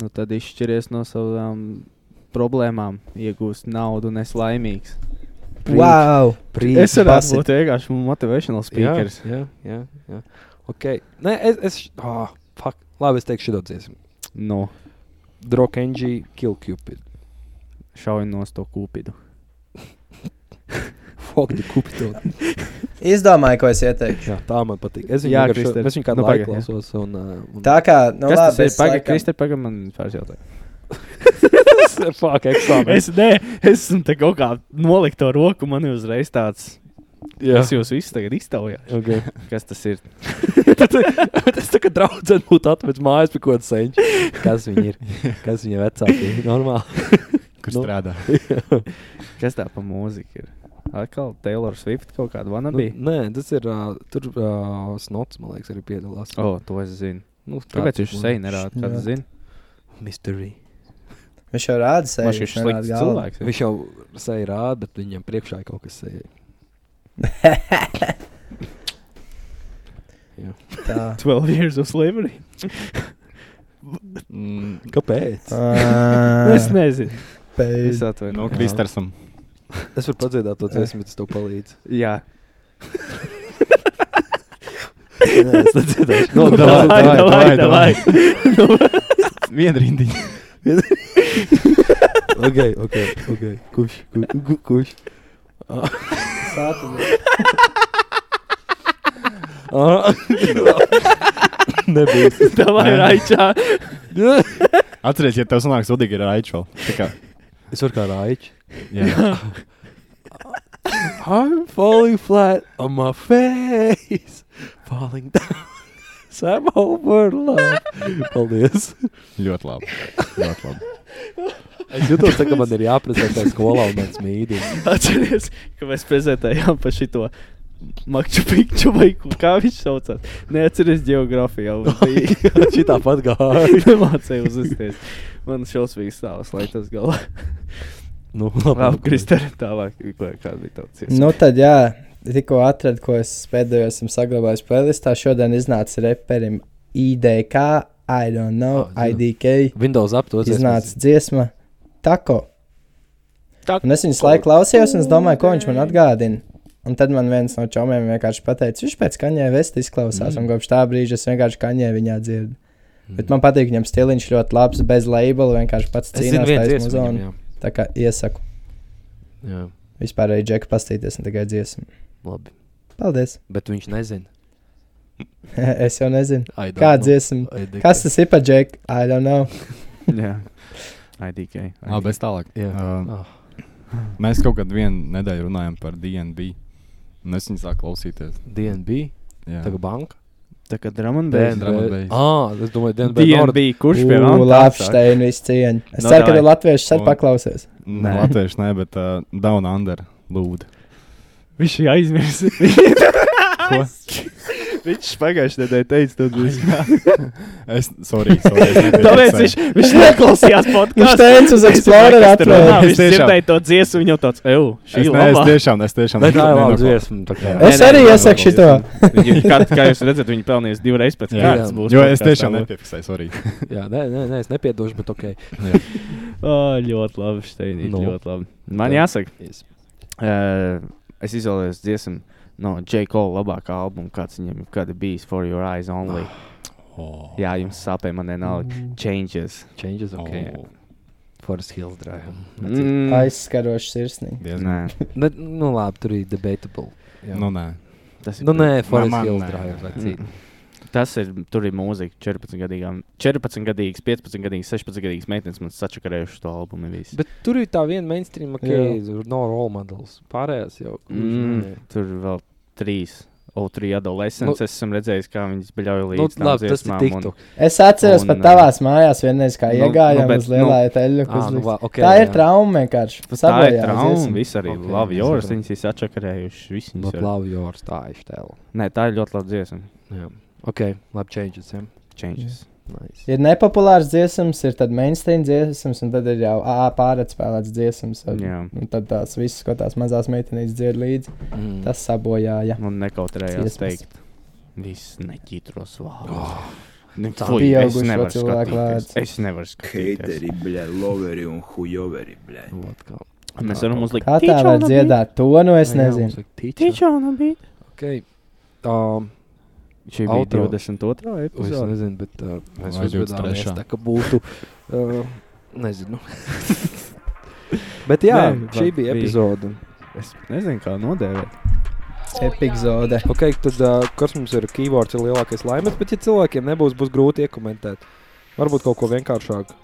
Speaker 2: Nu, tad izšķiries no savām problēmām, iegūst naudu un es laimīgs.
Speaker 9: Wow!
Speaker 1: Prīd.
Speaker 2: Es varētu
Speaker 9: pasi-
Speaker 2: būt vienkārši motivational speakers.
Speaker 1: Jā, jā, jā. Ok. Nē, es. es oh, fuck. Labi, es teikšu šito dziesmu.
Speaker 2: No,
Speaker 1: Drokenji Kill Cupid.
Speaker 2: šauj no to kūpidu.
Speaker 1: Fuck the
Speaker 4: *laughs*
Speaker 1: Cupid.
Speaker 9: Izdomāju, ko es ieteiktu.
Speaker 1: jā, tā man patīk. Es viņu,
Speaker 2: Jā,
Speaker 1: jā, šo,
Speaker 2: Krister.
Speaker 1: es viņu kādu
Speaker 2: Nu,
Speaker 1: nu, laiku
Speaker 2: pagaid, jā.
Speaker 1: klausos. Un, uh, un
Speaker 9: Tā kā, nu,
Speaker 2: Kas
Speaker 9: labi,
Speaker 2: tas ir?
Speaker 9: es
Speaker 2: Pagaid,
Speaker 9: laikam-
Speaker 2: Kristi, pagaid, man fārs jautājums.
Speaker 1: fuck, eksāmenis.
Speaker 2: Es, nē, es esmu te kaut kā nolikt to roku, man ir uzreiz tāds. Jā. Es jūs visus tagad iztaujāju.
Speaker 1: Okay.
Speaker 2: Kas tas ir?
Speaker 1: *laughs* tas tā kā draudzene būtu atvedis mājās pie kaut kāda senča. Kas viņi ir? Kas viņa vecāki ir? Normāli.
Speaker 4: Kur
Speaker 1: Nu.
Speaker 4: strādā?
Speaker 2: Kas tā pa mūzika ir? Atkal Taylor Swift kaut kāda
Speaker 1: Nu,
Speaker 2: vanabī.
Speaker 1: nē, tas ir. Uh, tur uh, snots, man liekas, arī piedalās.
Speaker 2: O, oh, to es zinu.
Speaker 1: nu, tā
Speaker 2: Kāpēc viņš
Speaker 1: un-
Speaker 2: seju nerāda? Kāds
Speaker 9: Jā.
Speaker 2: zina?
Speaker 1: Mystery.
Speaker 9: Viņš jau rāda sevi.
Speaker 2: Viņš ir slikts cilvēks. ir.
Speaker 1: Viņš jau seja rāda, bet viņam priekšā ir kaut kas seja.
Speaker 2: *laughs*
Speaker 9: Tā.
Speaker 2: 12 years of slavery.
Speaker 4: Mm,
Speaker 1: Kāpēc?
Speaker 2: Es
Speaker 9: Ā,
Speaker 2: nezinu. Es
Speaker 9: pēc-
Speaker 2: atvainojos.
Speaker 4: no Kristersam.
Speaker 1: Es varu padziedāt to dziesmu, bet tas tev *laughs* palīdz.
Speaker 2: Jā,
Speaker 1: Nē, es nedziedāšu.
Speaker 4: *laughs* No,
Speaker 2: davai, davai,
Speaker 4: *laughs* Vienrindiņa.
Speaker 1: Ok, ok, ok. Kurš? ku- ku- Kurš? Ah, Nebūs.
Speaker 2: tā vai raičā.
Speaker 4: Atcerieties, ja tev sanāks Udīgi ir Raičo. Tā kā.
Speaker 1: Es varu kā rāķi.
Speaker 4: Jā.
Speaker 1: I'm falling flat on my face. Falling down. *laughs* Sam over love. Paldies.
Speaker 4: Ļoti labi. Ļoti labi.
Speaker 1: Es jutos, tā, ka man ir jāprezentē skolā un mans mīdīgs.
Speaker 2: Atcerieties, ka mēs prezentējām par šito makšu pikču vai ko- kā viņš saucās. Neatceries
Speaker 1: *laughs*
Speaker 2: geogrāfiju.
Speaker 1: Šī tāpat gāja.
Speaker 2: *laughs* Nemācēju uzvesties. Man šausmīgs stāvs, lai tas
Speaker 1: *laughs*
Speaker 2: galā.
Speaker 1: Nu,
Speaker 2: Labi, Kristēn, tālāk. ko- Kāda bija tava ciesta?
Speaker 9: Nu, tad jā, tikko atradu, ko es pēdējo esmu saglabājis playlistā. Šodien iznāca reperim IDK, I don't know,
Speaker 1: Ah, zinu.
Speaker 9: IDK.
Speaker 1: Windows aptos.
Speaker 9: Iznāca dziesma Tako.
Speaker 2: Tako.
Speaker 9: Un es viņas laiku klausījos, un es domāju, ko viņš man atgādina. Un tad man viens no čomiem vienkārši pateica, viņš pēc kaņē vesti izklausās, mm. un kopš tā brīža es vienkārši kaņē viņā dzirdu.
Speaker 1: Mhm.
Speaker 9: Mm. Bet man patīk, viņam stiliņš ļoti labs, bez labela, vienkārši pats
Speaker 1: Es zinu,
Speaker 9: cīnās
Speaker 1: viens
Speaker 9: taisnu
Speaker 1: dziesmu.
Speaker 9: zonu.
Speaker 1: viņam,
Speaker 9: Tā kā iesaku
Speaker 1: Jā, jā,
Speaker 9: vispār arī džeku pastīties, ne tikai dziesmu.
Speaker 1: labi.
Speaker 9: Paldies! *laughs*
Speaker 1: Bet viņš nezina.
Speaker 9: es jau nezinu.
Speaker 1: I don't
Speaker 9: Kāda
Speaker 1: know.
Speaker 9: dziesma?
Speaker 1: I think-
Speaker 9: Kas tas ir par džeku? I don't know.
Speaker 2: Jā, IDK.
Speaker 4: Labi, bez tālāk.
Speaker 1: Jā.
Speaker 4: Uh,
Speaker 1: Ah.
Speaker 4: mēs kaut kad vienu nedēļu runājam par DNB. Un es viņu sāku klausīties.
Speaker 1: DNB,
Speaker 4: Jā.
Speaker 1: tagad banka.
Speaker 2: Tā kā Drummondbēns.
Speaker 4: Dēļ. Drummond Bass.
Speaker 1: Ah, es domāju, Dienas Bēns.
Speaker 2: DNB, kurš pie
Speaker 9: Ū,
Speaker 2: mums
Speaker 9: Lapšteinu izcieņa. Es
Speaker 2: Nu,
Speaker 9: ceru, ka
Speaker 2: davai.
Speaker 9: tu latviešu set
Speaker 4: Un-
Speaker 9: paklausies.
Speaker 4: Nē,
Speaker 2: Nē.
Speaker 4: Nu, latvieši nē, bet uh, Down Under lūdzu.
Speaker 2: Viņš ir aizmirsis. viņš pagājušajā nedēļā teica,
Speaker 4: *laughs*
Speaker 2: tad viņš
Speaker 4: Es, sorry, *laughs*
Speaker 2: *laughs*
Speaker 4: sorry. es nepierakstu.
Speaker 2: Tāpēc viņš, viņš neklausījās
Speaker 9: Viņš
Speaker 2: podkāstu.
Speaker 9: teica uz Explorer
Speaker 2: runā,
Speaker 9: atvēlēt.
Speaker 4: Es
Speaker 2: viņš
Speaker 4: tiešām-
Speaker 2: dzirdēja to dziesmu, viņa tāds, eju, šī
Speaker 4: Es,
Speaker 2: ir
Speaker 4: nē,
Speaker 2: *laughs*
Speaker 4: es
Speaker 2: laba.
Speaker 4: tiešām, es tiešām.
Speaker 1: Bet tā ir laba
Speaker 4: nenoklau-
Speaker 1: dziesma. tā kā.
Speaker 4: Jā.
Speaker 9: Es
Speaker 2: Nē, nē,
Speaker 9: arī
Speaker 2: nē,
Speaker 9: iesaku
Speaker 4: nē,
Speaker 9: šito.
Speaker 2: Viņa- Kā, kā jūs redzat, viņi pelnījis divreiz pēc
Speaker 4: Jā.
Speaker 2: kārtas.
Speaker 1: Jā.
Speaker 2: būs
Speaker 4: Jo es
Speaker 2: podkastā.
Speaker 4: tiešām nepiefiksēju, sorry.
Speaker 1: Jā, nē, nē, nē, es nepiedošu, bet ok.
Speaker 2: Ā, Ļoti labi, Steini,
Speaker 1: Nu.
Speaker 2: ļoti labi. Man
Speaker 1: Tā.
Speaker 2: jāsaka,
Speaker 1: Yes.
Speaker 2: ē, es izvēlējos dziesmu no J. Cole labākā albuma, kāds viņam jebkad ir bijis, For Your Eyes Only.
Speaker 4: Oh.
Speaker 2: Jā, jums sāpēja man nenāca. Changes.
Speaker 1: Changes, ok.
Speaker 4: Oh,
Speaker 1: Forest Hills Drive. *laughs*
Speaker 2: Mm.
Speaker 9: Aizskaroši sirsnīgi.
Speaker 4: diezgan.
Speaker 2: Nē,
Speaker 1: Bet, nu labi, tur ir debatable. Jā.
Speaker 4: Nu, nē.
Speaker 2: tas ir
Speaker 1: Nu, nē, Forest
Speaker 4: man
Speaker 1: Hills
Speaker 4: nē,
Speaker 1: Drive.
Speaker 4: nē.
Speaker 2: Mm.
Speaker 1: vecīt.
Speaker 2: Tas ir, tur ir mūzika 14 gadīgām, 14 gadīgas, 15 gadīgas, 16 gadīgas meitenes man sačakarējuši to albumu visu.
Speaker 1: Bet tur ir tā viena mainstream, ka
Speaker 9: Jā.
Speaker 1: ir no role models. Pārējās jau.
Speaker 2: Mm, tur ir vēl trīs. O, trīs adolescents. Nu, es esmu redzējis, kā viņas beļauja
Speaker 1: Nu,
Speaker 2: līdzi. tām
Speaker 1: labi, tas ir
Speaker 2: dziesmām un-
Speaker 1: tiktu.
Speaker 9: Es atceros
Speaker 2: Un,
Speaker 9: pat
Speaker 2: ā,
Speaker 9: tavās mājās vienreiz, kā
Speaker 2: nu, nu,
Speaker 9: iegājām
Speaker 2: bet,
Speaker 9: uz lielā eteļu.
Speaker 1: Ah, nu, va- ok,
Speaker 9: Tā ir
Speaker 1: jā.
Speaker 9: trauma vienkārši.
Speaker 2: Tā ir
Speaker 9: Sabojājās
Speaker 2: trauma.
Speaker 9: dziesma.
Speaker 2: Viss arī
Speaker 1: Ok,
Speaker 2: okay, Love
Speaker 1: es
Speaker 2: Yours.
Speaker 1: saprotu.
Speaker 2: Viņas ir sačakarējuši. Visi
Speaker 1: Not
Speaker 2: viņas ir.
Speaker 1: love your style. style.
Speaker 2: Nē, tā ir ļoti laba dziesma.
Speaker 1: Jā. Ok, labi, changes. Jā.
Speaker 2: Changes.
Speaker 1: Nice.
Speaker 9: Ir nepopulārs dziesmas, ir tad mainstream dziesmas, un tad ir jau ā, pāratspēlēts dziesmas. Un,
Speaker 2: Jā.
Speaker 9: un tad tās visas, ko tās mazās meitenītes dzied līdzi,
Speaker 1: Mm.
Speaker 9: tas sabojāja.
Speaker 2: Man nekautrējās
Speaker 9: Dziesmas.
Speaker 2: teikt. Viss neķitros
Speaker 1: Oh,
Speaker 2: vārds. Nu,
Speaker 1: Tā
Speaker 2: fuj, es
Speaker 9: pieaugušo
Speaker 2: nevaru
Speaker 9: cilvēku
Speaker 2: skatīties.
Speaker 9: vārds.
Speaker 2: Es nevaru skatīties.
Speaker 3: Heiteri, bļa, loveri un hujoveri, bļa.
Speaker 1: Vot kā.
Speaker 2: Mēs varam uzlikt
Speaker 9: Kā tā var dziedāt, to nu es nezinu.
Speaker 1: Teacher.
Speaker 2: Tičona bija.
Speaker 1: Ok. Um,
Speaker 2: Šī bija
Speaker 1: Outro.
Speaker 2: 22.
Speaker 1: es
Speaker 2: epizode.
Speaker 1: nezinu, bet uh, mēs
Speaker 4: Vai
Speaker 1: uzvedāmies
Speaker 4: 23.
Speaker 1: tā, ka būtu. Uh, *laughs* nezinu. bet jā,
Speaker 2: Nē,
Speaker 1: šī
Speaker 2: bet
Speaker 1: bija
Speaker 2: bija.
Speaker 1: epizode.
Speaker 2: Es nezinu, kā nodēvēt.
Speaker 9: Epizode.
Speaker 1: Ok, tad uh, kas mums ir keywords, ir lielākais laimes, bet ja cilvēkiem nebūs, būs grūti iekomentēt. Varbūt kaut ko vienkāršāku.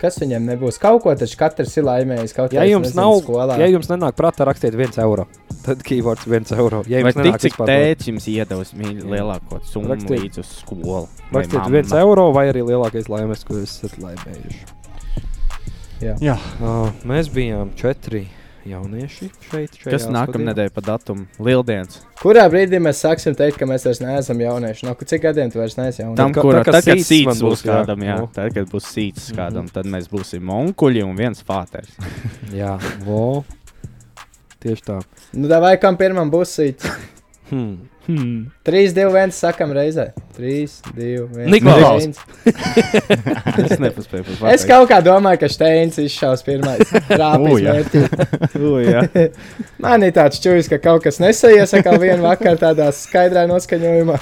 Speaker 9: Kas viņam nebūs? Kaut ko taču katrs ir laimējis. Kaut
Speaker 1: Ja
Speaker 9: kā, es
Speaker 1: jums
Speaker 9: nezinu,
Speaker 1: nav,
Speaker 9: skolā.
Speaker 1: ja jums nenāk prātā, rakstiet 1 eiro. Tad keywords 1 eiro. Ja
Speaker 2: Vai
Speaker 1: jums
Speaker 2: tik
Speaker 1: nenāk
Speaker 2: cik
Speaker 1: vispār dod.
Speaker 2: tēvs jums iedevis mī- lielāko summu
Speaker 1: Rakstiet.
Speaker 2: līdz uz skolu? Vai
Speaker 1: Rakstiet
Speaker 2: mamma?
Speaker 1: 1 eiro vai arī lielākais laimes, ko esat laimējuši.
Speaker 9: Jā.
Speaker 4: Jā.
Speaker 1: Uh, mēs bijām 4 jaunieši šeit. šajā
Speaker 2: Kas
Speaker 1: studijā.
Speaker 2: nākamnedēļ pa datumu? Lieldienas.
Speaker 9: Kurā brīdī mēs sāksim teikt, ka mēs vairs neesam jaunieši? No cik gadiem tu vairs neesi jaunieši?
Speaker 2: Tam,
Speaker 1: kā-
Speaker 2: kurā
Speaker 1: tā kā
Speaker 2: tad, kad
Speaker 1: sīts man
Speaker 2: sīts
Speaker 1: būs,
Speaker 2: būs
Speaker 1: jā.
Speaker 2: kādam, jā,
Speaker 1: Nu.
Speaker 2: tad, kad būs sīts
Speaker 1: Mhm.
Speaker 2: kādam, tad mēs būsim onkuļi un viens fāters.
Speaker 1: Jā, vo. Tieši
Speaker 9: *laughs*
Speaker 1: tā.
Speaker 9: Nu, vai kam pirmam būs sīts?
Speaker 1: Hmm. *laughs*
Speaker 9: 3, 2, 1, sakam reizē. 3, 2, 1.
Speaker 1: Niklaus!
Speaker 2: Es nepaspēju pat
Speaker 9: Es kaut kā domāju, ka Steins izšaus
Speaker 4: *laughs*
Speaker 9: pirmais.
Speaker 4: Ū,
Speaker 9: Rāpīs
Speaker 4: jā.
Speaker 9: mērķi.
Speaker 2: kā.
Speaker 9: Man ir tāds čūlis, ka kaut kas nesaies atkal vienā vakarā tādā skaidrā
Speaker 4: *laughs*
Speaker 9: noskaņojumā.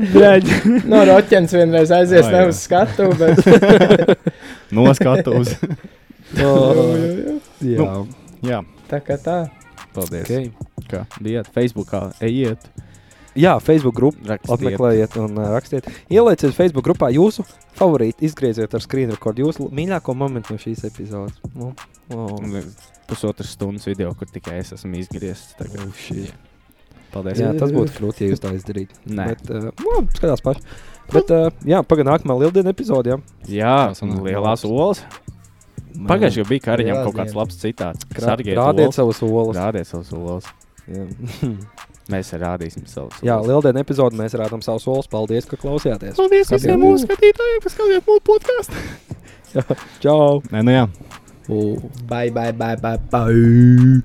Speaker 9: *laughs* no roķens vienreiz aizies
Speaker 4: Ai,
Speaker 9: ne
Speaker 4: jā.
Speaker 9: uz skatu, bet. *laughs*
Speaker 4: Noskatu uz.
Speaker 1: Oh,
Speaker 9: Nu,
Speaker 1: jā,
Speaker 4: Jā.
Speaker 9: Tā kā tā.
Speaker 2: Paldies.
Speaker 1: okay.
Speaker 2: Kā bijāt Facebookā? Ejiet,
Speaker 1: jā Facebook grupa.
Speaker 2: rakstiet.
Speaker 1: Apmeklējiet, un uh, rakstiet. Ielieciet Facebook grupā jūsu favorītu, izgrieziet ar screen record jūsu l- mīļāko momentu no šīs epizodes. Nu, oh.
Speaker 2: Pusotras stundas video, kur tikai es esmu izgriezts. tagad. Paldies.
Speaker 1: Jā, tas būtu grūti, ja jūs tā izdarītu.
Speaker 2: Nē.
Speaker 1: Bet, uh, labi, skatās paši. Bet, uh, jā, pagaidām, nākamā lieldienu epizodē. jā.
Speaker 2: Jā,
Speaker 4: Tas
Speaker 2: un
Speaker 4: sanāk
Speaker 2: lielās
Speaker 4: labs.
Speaker 2: olas. Pagājušajā gadā bija kariņam
Speaker 9: Lielās
Speaker 2: kaut kāds
Speaker 9: dienas.
Speaker 2: labs citāts.
Speaker 1: Nu, Krā-
Speaker 2: Sargiet
Speaker 1: Rādiet
Speaker 2: olas.
Speaker 1: savus olas.
Speaker 2: Rādiet savus olas.
Speaker 1: Jā,
Speaker 2: Mēs rādīsim savus.
Speaker 1: jā
Speaker 2: olas.
Speaker 1: lieldienu epizodē mēs rādām savus olas. Paldies, ka klausījāties.
Speaker 4: Paldies
Speaker 1: visiem
Speaker 4: visiem mūsu skatītājiem, kas skatījās mūsu podkāstu.
Speaker 1: Čau!
Speaker 4: Nē, nu jā.
Speaker 9: Bye, bye, bye, bye, bye.